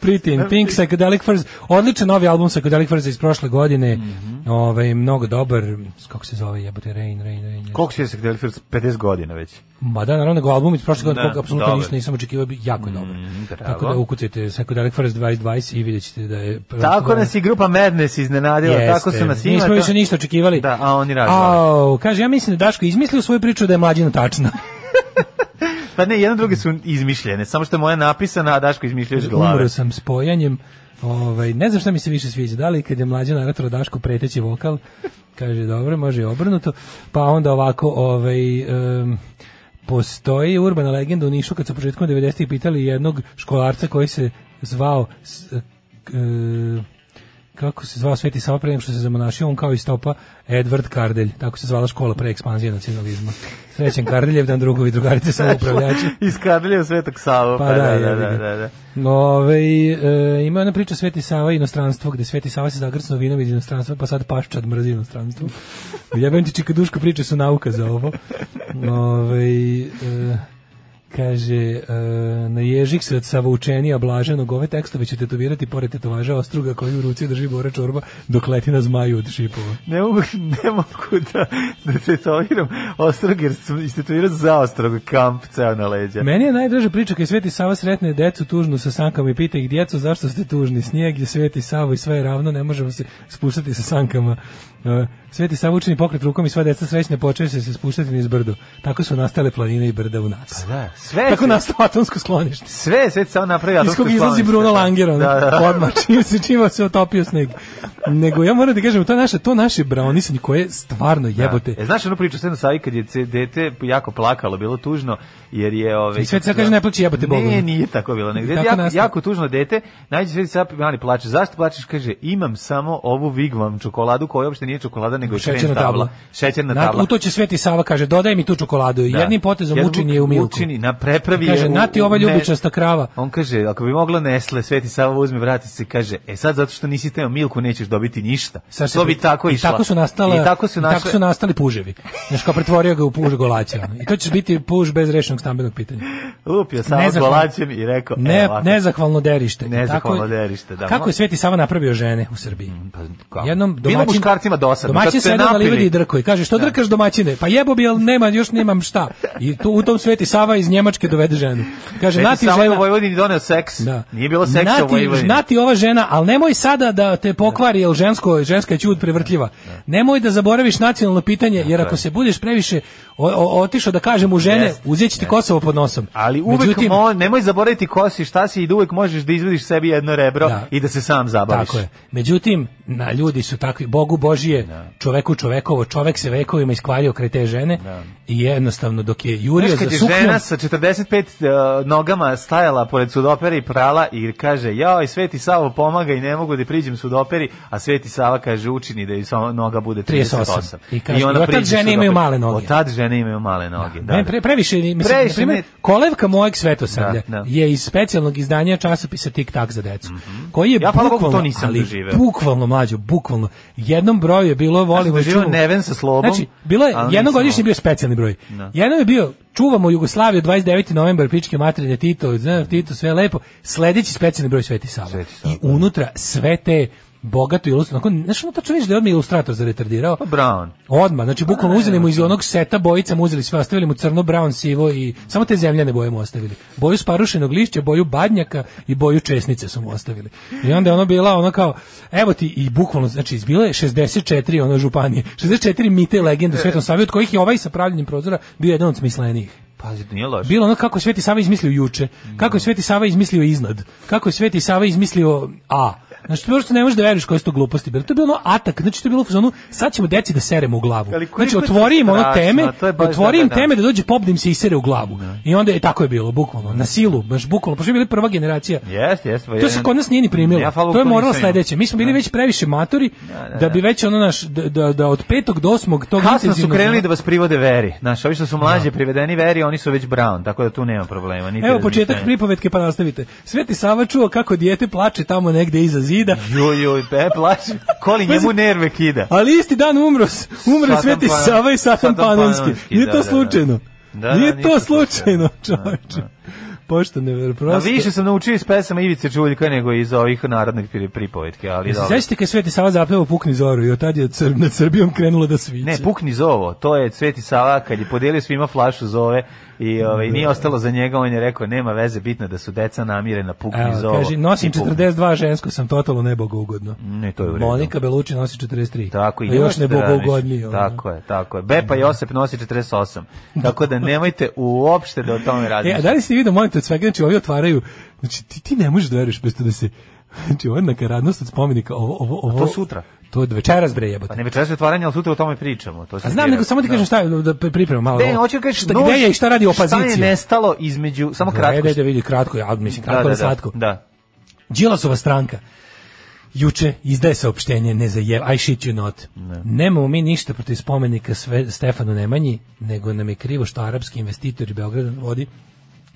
H: Pretty in Pink, Psychedelic Furs. Odličan novi album Psychedelic Furs iz prošle godine.
G: Mhm.
H: ovaj, mnogo dobar. Kako se zove jebote? Rain, Rain, Rain.
G: Koliko si se htjeli first? 50 godina već?
H: Ma da, naravno, nego album iz prošle godine,
G: Da,
H: kog apsolutno
G: dobar. Mhm.
H: ništa nisam očekivao, bi- jako je dobar.
G: bravo.
H: Tako da ukucajte Psychedelic Furs 2020 i vidjet ćete da je...
G: Tako nas i grupa Madness iznenadila,
H: Jeste.
G: tako su nas ima.
H: Nismo
G: to-
H: više ništa očekivali.
G: Da, a oni razvali.
H: Au, kaže, ja mislim da Daško izmislio svoju priču da je mlađina tačna.
G: Pa ne, jedno druge su izmišljene, samo što je moja napisana, a Daško izmišljaš glave.
H: Umro sam spojanjem. Ovaj, ne znam šta mi se više sviđa, da li kad je mlađa naratora Daško preteći vokal, kaže dobro, može i obrnuto, pa onda ovako, ovaj, em, postoji urbana legenda u Nišu kad su početkom 90-ih pitali jednog školarca koji se zvao s- k- e, kako se zvao Sveti Sava pre nego što se zamonašio, on kao i stopa Edward Kardelj, tako se zvala škola pre ekspanzije nacionalizma. Srećen Kardeljev dan drugovi drugarice samoupravljači.
G: Iz Kardelja u Svetog Savu.
H: Pa
G: Pa,
H: da,
G: da, da,
H: jebi
G: da,
H: ga.
G: da, da.
H: Ove, e, ima ona priča Sveti Sava i inostranstvo, gde Sveti Sava se zagrcno vinom iz inostranstva, pa sad paščad mrzi inostranstvo. Jebem ti čikaduška priče su nauka za ovo. Ove, e, Kaže, e, na ježik se od savoučenija blaženog ove tekstove će tetovirati pored tetovaža ostruga koju u ruci drži Bora Čorba dok leti na zmaju od šipova.
G: Ne mogu, ne mogu da, da tetoviram ostrog, jer sam istetovirao za ostrog kamp ceo na leđa.
H: Meni je najdraža priča kad je Sveti Sava sretne decu tužnu sa sankama i pita ih djeco zašto ste tužni, snijeg je Sveti Sava i sve je ravno, ne možemo se spuštati sa sankama. E, Sveti Sava učini pokret rukom i sva deca srećne počeju se se spuštati niz brdo. Tako su nastale planine i brda u nas.
G: Pa da, sve
H: Tako
G: se-
H: nastalo atomsko sklonište.
G: Sve, sve sam napravio.
H: Iz kog izlazi Bruno Langer, ono, odmah, čim se, čim se otopio sneg. Nego ja moram da kažem, to naše, to naše brownisanje koje je stvarno jebote.
G: Da. E, znaš onu priču sve na savi kad je ce- dete jako plakalo, bilo tužno, jer je... ovaj, Ove,
H: I Sveti Sava kaže, ne plači, jebote, Bogu.
G: Ne, nije tako bilo. Nego,
H: I tako
G: jako,
H: nastaje.
G: jako tužno dete, najde Sveti Sava mali plače. Zašto plačeš? Kaže, imam samo ovu Wigwam čokoladu koja uopšte nije čokolada, nego je šećerna tabla. Šećerna
H: Na-
G: tabla.
H: U to će Sveti Sava kaže, dodaj mi tu čokoladu.
G: Da.
H: Jednim potezom
G: Jednom
H: učini je u milku.
G: Učini, na prepravi
H: Kaže,
G: je u-
H: na ti ovaj ova
G: u ne-
H: ljubičasta krava.
G: On kaže, ako bi mogla Nesle, Sveti Sava uzme, vrati se, kaže, e sad zato što nisi teo milku nećeš dobiti ništa.
H: Sad se
G: to bi
H: pri-
G: tako
H: i
G: išla.
H: tako su nastala
G: I tako su,
H: i tako su nastali puževi. Znaš, kao pretvorio ga u puž golaća. ono. I to će biti puž bez rešenog stambenog pitanja.
G: Lupio samo
H: Nezahvalno.
G: golačem i rekao,
H: Ne,
G: e, ovako.
H: nezahvalno derište. I
G: Nezahvalno
H: tako je-
G: derište, da.
H: Kako je Sveti Sava napravio žene u Srbiji?
G: kako?
H: Jednom
G: Bilo
H: domaćin,
G: muškarcima dosadno, kad
H: Domaćin
G: su se
H: se na
G: napili.
H: livadi i drko i kaže, što drkaš domaćine? Pa jebo bi, ali nema, još nemam šta. I tu, u tom Sveti Sava iz Njemačke dovede ženu. Kaže,
G: Kaže,
H: nati
G: nati Sava je u
H: žena,
G: Vojvodini doneo seks.
H: Da.
G: Nije bilo seksa u
H: Nati,
G: Vojvodini.
H: nati ova žena, ali nemoj sada da te pokvari, jer žensko, ženska je čud prevrtljiva. Nemoj da zaboraviš nacionalno pitanje, jer ako se budeš previše o- o- otišao da kažem u žene,
G: Jeste,
H: uzet će ti Kosovo pod nosom.
G: Ali uvek
H: Međutim,
G: mo- nemoj zaboraviti ko si, šta si i da uvek možeš da izvediš sebi jedno rebro i da se sam zabaviš.
H: Tako je. Međutim, na ljudi su takvi, Bogu Božije, čoveku čovekovo, čovek se vekovima iskvario kraj te žene i jednostavno dok je jurio
G: Znaš
H: za
G: kad je
H: suknjom,
G: žena sa 45 uh, nogama stajala pored sudopera i prala i kaže joj, Sveti Savo pomaga i ne mogu da priđem sudoperi, a Sveti Sava kaže učini da joj samo noga bude 38.
H: 38. I kaže,
G: ona
H: od tad
G: priđe
H: žene
G: sudoperi.
H: imaju male noge.
G: Od tad žene imaju male noge. Da,
H: Ne,
G: da.
H: pre, previše, mislim,
G: Previše
H: na primer,
G: ne-
H: kolevka mojeg svetosavlja
G: Da, da.
H: je iz specijalnog izdanja časopisa Tik Tak za decu, koji je
G: Mhm. Ja, hvala Bogu,
H: bukvalno,
G: to nisam
H: ali
G: doživeo.
H: bukvalno mlađo, bukvalno, jednom broju je bilo, volimo
G: sam doživeo
H: čuvu-
G: Neven sa slobom,
H: Znači, bilo je,
G: ali nisam
H: jednogodišnji
G: ovo.
H: bio specijalni broj.
G: Da.
H: Jednom je bio, čuvamo Jugoslaviju 29. novembar, pičke materinje Tito, znaš, Tito, sve lepo, sledeći specijalni broj Sveti Sava. I unutra sve te bogato ilustrator, znaš, ono tačno vidiš da je odmah ilustrator zaretardirao.
G: Pa Brown.
H: Odmah, znači bukvalno uzeli mu iz onog seta bojica, mu uzeli sve, ostavili mu crno, brown, sivo i samo te zemljane boje mu ostavili. Boju sparušenog lišća, boju badnjaka i boju česnice su mu ostavili. I onda je ono bila ono kao, evo ti i bukvalno, znači izbilo je 64 ono županije, 64 mite i legende u Svetom Savi, od kojih je ovaj sa pravljenjem prozora bio jedan od smislenijih.
G: Pazi, nije loše.
H: Bilo ono kako je Sveti Sava izmislio juče, kako je Sveti Sava izmislio iznad, kako je Sveti Sava izmislio A. Znači, to prosto ne možeš da veruješ koje su to gluposti bile. To je bilo ono atak, znači to je bilo u fazonu, sad ćemo deci da seremo u glavu.
G: Ali koliko
H: Znači,
G: je to
H: otvori im ono
G: strašno,
H: teme,
G: to je baš
H: otvori
G: da,
H: im
G: da, da.
H: teme da dođe pop da im se isere u glavu. I onda je tako je bilo, bukvalno, na silu, baš bukvalno, pošto je bila prva generacija.
G: Jeste, jeste.
H: To se kod nas nije ni primilo.
G: pa Ja, hvala Bogu,
H: to je
G: to
H: moralo
G: nisam imao.
H: sledeće. Mi smo bili već previše matori da,
G: da,
H: bi već ono naš da, da, da od petog do osmog tog
G: Kasno su
H: intenzivnog-
G: krenuli da vas privode veri. Znaš, ovi što su mlađe privedeni veri, oni su već Brown, tako da tu nema problema. Niti
H: Evo početak
G: razmišljanja.
H: pripovetke pa nastavite. Sveti Sava čuo kako dijete plače tamo negde iza zida.
G: Joj, joj, pe, plaći. Koli njemu nerve kida.
H: Ali isti dan umro, s- umre
G: Satan
H: Sveti
G: Pan-
H: Sava i Satan
G: Satan
H: Panonski.
G: Panonski,
H: Nije
G: da,
H: to
G: da, da.
H: slučajno.
G: Da, da,
H: Nije
G: nije
H: to
G: to
H: slučajno, čoveče. Pošto ne
G: A
H: prosto.
G: više sam naučio iz pesama Ivice Čuljka nego iz ovih narodnih pri- pripovetki, ali
H: Se
G: dobro.
H: sećate kad je Sveti Sava zapevao Pukni zoru i od tad je Cr- nad Srbijom krenulo da sviće.
G: Ne, pukni zovo, to je Sveti Sava kad je podelio svima flašu zove i ovaj, nije ostalo za njega, on je rekao, nema veze, bitno je da su deca namirena, pukni
H: Evo,
G: zovo.
H: kaže, nosim
G: I pukni.
H: 42 žensko, sam totalno nebogougodno.
G: Ne, to je u redu.
H: Monika Belucci nosi 43.
G: Tako, i
H: A još
G: nemojte da
H: nebogougodnije.
G: radiš.
H: ono.
G: Tako je, tako je. Bepa Josip nosi 48. Tako da nemojte uopšte da o tome
H: E, a
G: razmišljate.
H: da li ste vidio moment od svega, znači ovi otvaraju, znači ti, ti ne možeš da veruješ bez to da se, znači ovo je nakaradnost od spomenika, ovo, ovo, ovo.
G: to sutra?
H: To je do večeras bre
G: Pa
H: jebote.
G: ne večeras je otvaranje, ali sutra o tome pričamo. To se
H: A znam,
G: dira.
H: nego samo ti
G: Da.
H: kažem šta je, da pripremam malo.
G: Ne,
H: ovo.
G: E, hoću da kažem,
H: šta,
G: nož-
H: gde je i šta radi opozicija.
G: Šta je nestalo između, samo kratko.
H: Gledaj da vidi kratko, ja mislim kratko da,
G: da, da,
H: slatko.
G: Da.
H: Đilasova stranka juče izdaje saopštenje ne za I shit you not. Nemamo mi ništa protiv spomenika sve, Stefanu Nemanji, nego nam je krivo što arapski investitori Beograda na vodi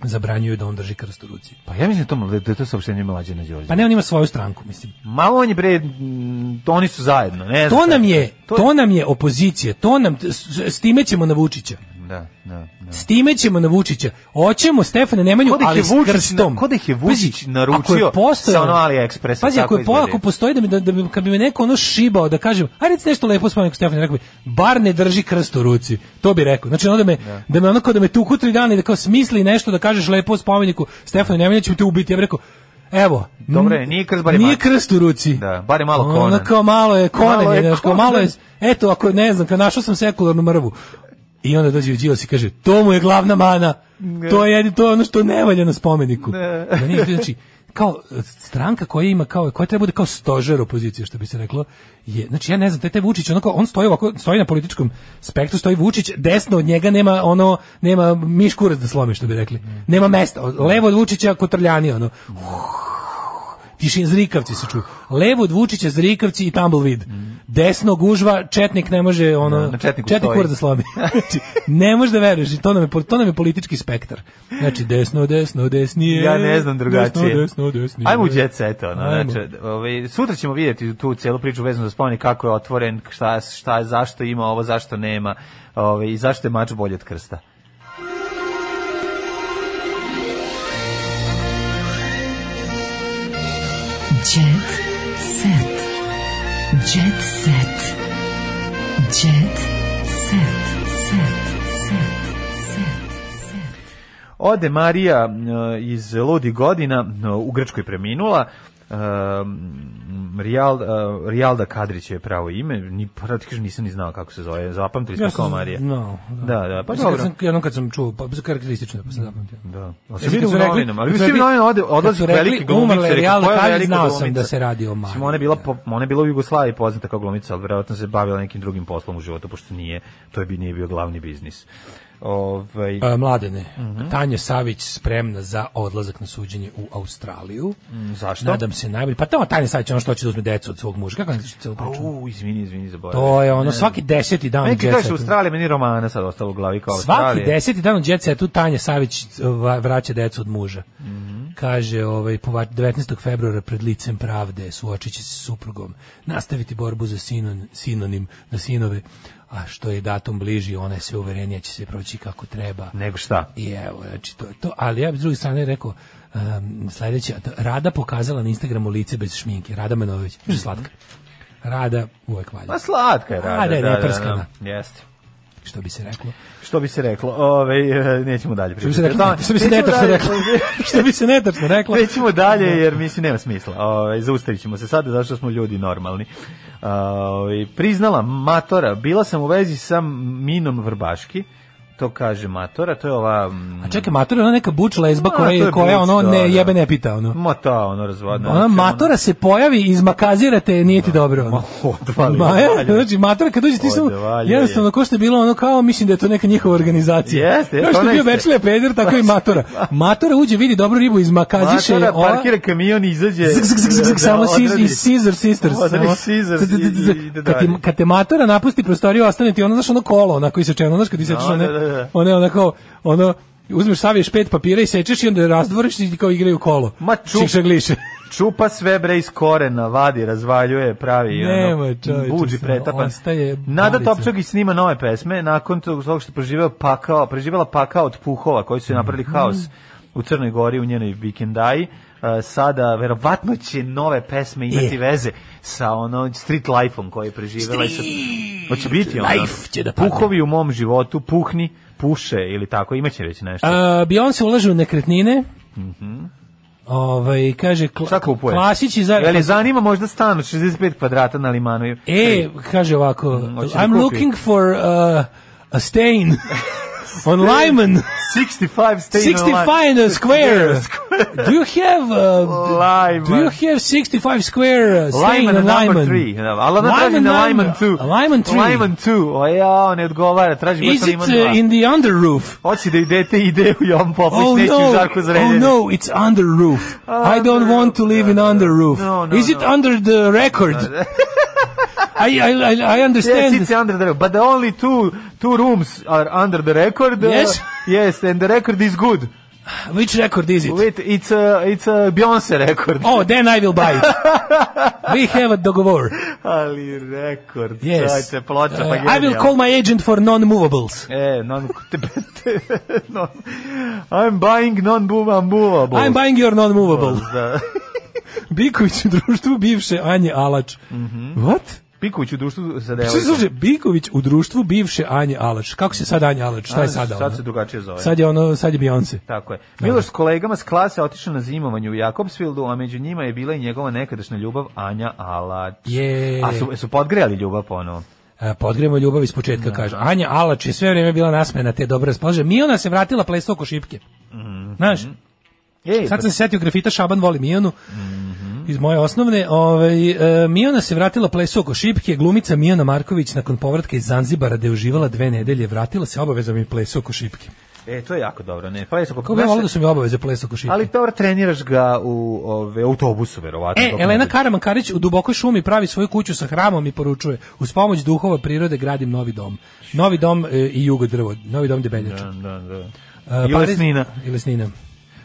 H: zabranjuju da on drži krst u ruci.
G: Pa ja mislim da to mla- da je to saopštenje mlađe Đorđe.
H: Pa ne, on ima svoju stranku, mislim.
G: Ma on je bre, mm, to oni su zajedno, ne znam.
H: To nam je,
G: To-
H: to nam je opozicija, to nam s, s time ćemo na Vučića.
G: Da, da, da.
H: S time ćemo na Vučića. Oćemo Stefana Nemanju,
G: Ko da ih je
H: ali s
G: Vučić na-
H: krstom.
G: ko da ih je
H: Pazi,
G: Vučić
H: ako je
G: naručio
H: postojao-
G: sa ono AliExpressa,
H: Pazi,
G: tako
H: ako, je po,
G: izgleda.
H: ako postoji da mi, da, da bi, kad bi me neko ono šibao, da kažem, aj reci nešto lepo s nekom Stefana, rekao bi, bar ne drži krst u ruci. To bi rekao. Znači, onda me, da. me onako da me tuku tri dana i da kao smisli nešto da kažeš lepo o spomeniku Stefanu Nemanju, ću te ubiti. Ja bih rekao, Evo,
G: Dobro je,
H: m,
G: nije krst, bar je
H: nije
G: mač.
H: krst u ruci.
G: Da, bar je malo
H: Ono
G: Conan.
H: kao malo je Conan,
G: Malo
H: malo
G: je
H: je, znaš, kao malo je,
G: Conan.
H: eto, ako ne znam, kao našao sam sekularnu mrvu. I onda dođe u Đilas i kaže, to mu je glavna mana, to je, to je ono što ne valja na spomeniku.
G: Ne.
H: Da nije, znači, kao e, stranka koja ima kao koja treba bude kao stožer opozicije što bi se reklo je znači ja ne znam taj, taj Vučić onako on stoji ovako stoji na političkom spektru stoji Vučić desno od njega nema ono nema miš kurac da slomi što bi rekli nema mesta Od- levo od Vučića kotrljani ono Tišin zrikavci se čuju. Levo od Vučića zrikavci i tumbleweed. Desno gužva, četnik ne može ono
G: na četniku
H: četnik
G: stoji.
H: mora da slomi. znači, ne može da veruješ, i to nam je po- to nam je politički spektar. Znači desno, desno, desnije.
G: Ja ne znam drugačije.
H: Desno, desno, desnije.
G: Ajmo u jet set, ono,
H: Ajmo.
G: znači, ovaj, sutra ćemo vidjeti tu celu priču vezano za spomenik, kako je otvoren, šta, šta, zašto ima ovo, zašto nema, ovaj, i zašto je mač bolji od krsta.
K: Jet set. Jet set. Jet set. Set. Set. Set.
G: Ode Marija e, iz Ludi godina, e, u Grčkoj preminula, e, m, Rijal, e, Rijalda Kadrić je pravo ime, ni, pravo ti kažem, nisam ni znao kako se zove, zapamtili smo
H: Ja
G: kao
H: sam-
G: Marija.
H: No,
G: da. Da, pa
H: Mislim, kad
G: dobro. Mhm.
H: sam, jednom kad sam čuo, pa karakteristično je, pa sam zapamtio.
G: Da.
H: Kad
G: se
H: su-
G: vidi
H: kad
G: u
H: su rekli-
G: novinama, ali
H: kad
G: u
H: su
G: svim
H: rekli-
G: novinama ode,
H: kad su
G: odlazi
H: rekli,
G: veliki glumica.
H: umrla je
G: rekao,
H: Rijalda
G: koja je
H: Kadrić,
G: velika
H: znao sam
G: glumica?
H: da se radi o Mariji.
G: Mislim, Ona je bila, po- ona je bila u Jugoslaviji poznata kao glumica, ali verovatno se bavila nekim drugim poslom u životu, pošto nije, to je bi nije bio glavni biznis. Ovaj,
H: A, mladene,
G: Mhm.
H: Tanja Savić spremna za odlazak na suđenje u Australiju.
G: Mm, zašto?
H: Nadam se najbolje. Pa to Tanja Savić je ono što će da uzme decu od svog muža. Kako ne znaš celu priču?
G: U, izvini, izvini, zaboravim.
H: To je ono,
G: Ne.
H: svaki deseti dan
G: Neki
H: u Jet
G: kaže
H: Setu.
G: Australija, meni romana sad ostalo u glavi kao
H: Svaki
G: Australija.
H: deseti dan u Jet Setu Tanja Savić e, va- vraća decu od muža.
G: Mhm.
H: Kaže, ovaj, pova- 19. februara pred licem pravde suočit će se s suprugom, nastaviti borbu za sinon, sinonim na sinove, a što je datum bliži, ona je sve uverenija će se proći kako treba.
G: Nego šta?
H: I evo, znači, to je to. Ali ja bi s druge strane rekao, um, sledeće, Rada pokazala na Instagramu lice bez šminke, Rada Manović,
G: Mhm.
H: Kaže, slatka. Rada uvek valja.
G: Ma slatka je rada.
H: Rada je
G: da, da,
H: neprskana.
G: da. Jeste.
H: Što bi se reklo?
G: Što bi se reklo? Ove, e, nećemo dalje
H: Što bi se
G: pričati.
H: reklo?
G: Tamo-
H: Što bi se
G: Nećemo
H: netačno
G: dalje-
H: reklo? Što bi se netačno reklo?
G: Nećemo dalje jer mislim nema smisla. Ovaj zaustavit ćemo se sada zašto smo ljudi normalni. Ovaj priznala Matora, bila sam u vezi sa Minom Vrbaški. To kaže Matora, to je ova mm,
H: A čekaj, matura je ona neka buč lezba
G: A,
H: koja,
G: to
H: je,
G: je
H: koja
G: buč,
H: ono
G: da, da.
H: ne jebe ne pita. Ono.
G: ma ta ono razvodna.
H: Ona matora se pojavi, izmakazirate, nije ti dobro. Ono.
G: odvali,
H: Ma, e,
G: odvali.
H: znači, matora kad dođe ti samo,
G: Odvalio je.
H: jednostavno, ko što je bilo ono kao, mislim da je to neka njihova organizacija.
G: Jeste, jeste,
H: Kao što
G: ona
H: je bio
G: jeste.
H: Bečlija peder, tako i matora. Matora uđe, vidi dobru ribu, izmakaziše.
G: Matora
H: e, ova-
G: parkira kamion i izađe.
H: Zg, zg, zg, zg, zg, Samo Sis-
G: odradi-
H: i Caesar Sisters.
G: odradi
H: samo-
G: Caesar
H: Z- z- z- z-
G: i- i ide
H: Kad ti-
G: dalje.
H: kad te matora napusti prostoriju, ostane ti ono, znaš, ono kolo, onako isečeno, znaš, kad ti sečeš
G: Da,
H: one,
G: da, da, da.
H: one onako, ono, uzmeš, saviješ pet papira i sečeš i onda je razdvoriš i kao igraju kolo.
G: Ma čup,
H: Čikšagliše.
G: čupa sve bre iz korena, vadi, razvaljuje, pravi
H: Nema,
G: ono,
H: čoveče,
G: buđi
H: stvarno,
G: pretapan.
H: ostaje
G: Nada
H: babica.
G: Topčagić snima nove pesme nakon tog tog što je preživeo pakao, preživela pakao od puhova koji su je
H: Mhm.
G: napravili haos u Crnoj Gori u njenoj vikendaji. E, Sada verovatno će nove pesme imati
H: E.
G: veze sa ono street life-om koji je preživela. i sa- Hoće biti ono.
H: life će da padne.
G: Puhovi u mom životu, puhni, puše ili tako, imaće već nešto.
H: A, Beyoncé ulaže u nekretnine,
G: Mhm.
H: ovaj, kaže, kla,
G: Šta kupuje?
H: klasić i za...
G: Jel je zanima možda stan od 65 kvadrata na limanu?
H: E, kaže ovako,
G: Mhm, hoće da
H: I'm
G: kupi.
H: looking for uh, a stain on Lyman.
G: 65 stain on
H: 65
G: Lyman.
H: square. do you have uh,
G: Lyman.
H: Do you have 65 square uh, stain
G: Oh, Lyman
H: on Lyman?
G: number 3. Ali ona traži na Lyman 2.
H: Lyman 3.
G: Lyman 2. O ja, ne odgovara. Traži baš
H: Is
G: na
H: it
G: Lyman
H: uh,
G: 2.
H: in the under roof?
G: Hoće da idete ide u Jovan Popović,
H: Oh
G: neće u
H: no,
G: Žarku
H: oh
G: Zrenjanin.
H: no, it's under roof. I don't want to live in under roof.
G: Ah, No, no,
H: Is it
G: no.
H: under the record? I, I, I- I understand.
G: Yes, it's under the record. But the only two, two rooms are under the record. Uh,
H: Yes.
G: yes, and the record is good.
H: Which record is it?
G: Wait, it's a, it's a Beyoncé record.
H: Oh, then I will buy it. We have a dogovor.
G: Ali rekord.
H: Yes.
G: Čajte, ploča,
H: Uh,
G: pa
H: I will
G: genijalno.
H: call my agent for non-movables.
G: E, non, te, te, non, I'm buying non-movable.
H: I'm buying your non-movable.
G: Da.
H: Biković u društvu bivše Anje Alač.
G: Mhm.
H: What?
G: Pikuć u društvu sa
H: Šta se
G: devojkom.
H: zove Biković u društvu bivše Anje Alač? Kako se sad Anje Alač? Šta je
G: Anja,
H: sada?
G: sad
H: ona?
G: se drugačije zove.
H: Sad je ono, sad je Beyoncé.
G: Tako je. Miloš s kolegama s klase otišao na zimovanje u Jakobsfieldu, a među njima je bila i njegova nekadašnja ljubav Anja Alač.
H: Je.
G: A su, su podgrejali ljubav ponovo.
H: E, Podgrejemo ljubav iz početka, kaže. Anja Alač je sve vrijeme bila nasmena te dobro raspolože. Miona se vratila plesto oko šipke.
G: Mhm.
H: Znaš?
G: Ej,
H: Sad
G: pa-
H: sam se setio grafita Šaban voli Mijonu.
G: Mhm.
H: Iz moje osnovne, ovaj, e, Mijona se vratila plesu oko šipke, glumica Mijona Marković nakon povratka iz Zanzibara da je uživala dve nedelje, vratila se obavezom i plesu oko šipke.
G: E, to je jako dobro. Ne, pa je sako,
H: Kako bi ja volio da su mi obaveze plesu oko šipke?
G: Ali dobro, treniraš ga u ove, autobusu, verovatno.
H: E,
G: dok ne
H: Elena
G: dođe.
H: Karaman Karić u dubokoj šumi pravi svoju kuću sa hramom i poručuje uz pomoć duhova prirode gradim novi dom. Novi dom e, i jugo drvo, novi dom debeljača.
G: Da, da.
H: E,
G: I
H: Pariz-
G: lesnina.
H: I lesnina.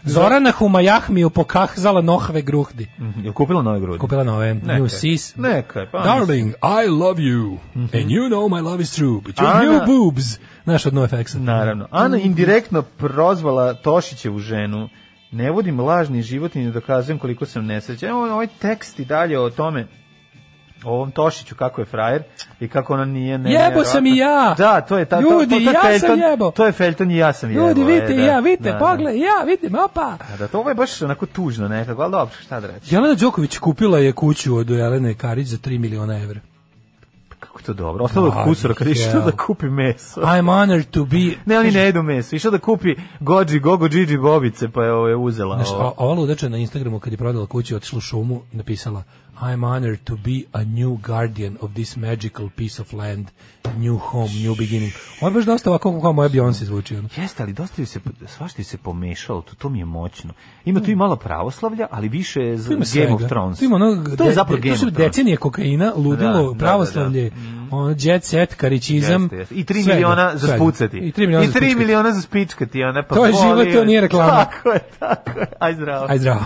H: Zorana Humajahmi u pokahzala nohve gruhdi.
G: Mhm, Je kupila nove grudi?
H: Kupila nove.
G: Neka.
H: New sis.
G: Neka, pa.
H: Darling, I love you.
G: Mhm.
H: And you know my love is true. But your
G: Ana-
H: new boobs. Znaš od NoFX-a.
G: Naravno. Ana
H: Mhm.
G: indirektno prozvala Tošićevu ženu. Ne vodim lažni život i ne dokazujem koliko sam nesrećan. Evo ovaj tekst i dalje o tome o ovom Tošiću kako je frajer i kako ona nije ne
H: Jebo sam i ja.
G: Da, to je ta to-
H: Ljudi,
G: to, to, je
H: ja sam
G: Felton-
H: jebo.
G: To je Felton i ja sam jebo.
H: Ljudi,
G: e,
H: vidite,
G: da.
H: i ja, vidite,
G: Da, da.
H: pogledaj, i ja, vidim, opa.
G: A Da, to ovo je baš onako tužno nekako, ali dobro, šta da reći.
H: Jelena Đoković kupila je kuću od Jelene Karić za 3 miliona evra.
G: Kako je to dobro. Ostalo je
H: Da,
G: kusura kad je išao
H: jel.
G: da kupi meso.
H: I'm honored to be...
G: Ne, oni ne jedu meso. Išao da kupi Goji, Gogo, Gigi bobice, pa je ovaj, uzela.
H: Znaš,
G: ovo.
H: a- ova ludača na Instagramu kad je prodala kuću, otišla u šumu, napisala I'm honored to be a new guardian of this magical piece of land, new home, new beginning. Ovo je baš dosta ovako kao moja Beyoncé zvuči. ono.
G: Jeste, ali dosta ju se, svašta ju se pomešalo, to, to mi je moćno. Ima tu i malo pravoslavlja, ali više je za
H: Tu ima
G: Game
H: svega.
G: of Thrones.
H: Tu ima ono,
G: to je zapravo Game
H: to
G: of
H: su
G: Thrones.
H: decenije kokaina,
G: Da,
H: ludilo,
G: da, da,
H: pravoslavlje, ono, jet set, karičizam.
G: Jeste, jeste. I 3
H: svega,
G: miliona za
H: svega.
G: spucati.
H: I 3 miliona za
G: I 3
H: spucati.
G: miliona za spičkati. Ona, pa
H: To je život,
G: voli-
H: to nije reklama.
G: Tako je, tako je. Aj zdravo.
H: Aj zdravo.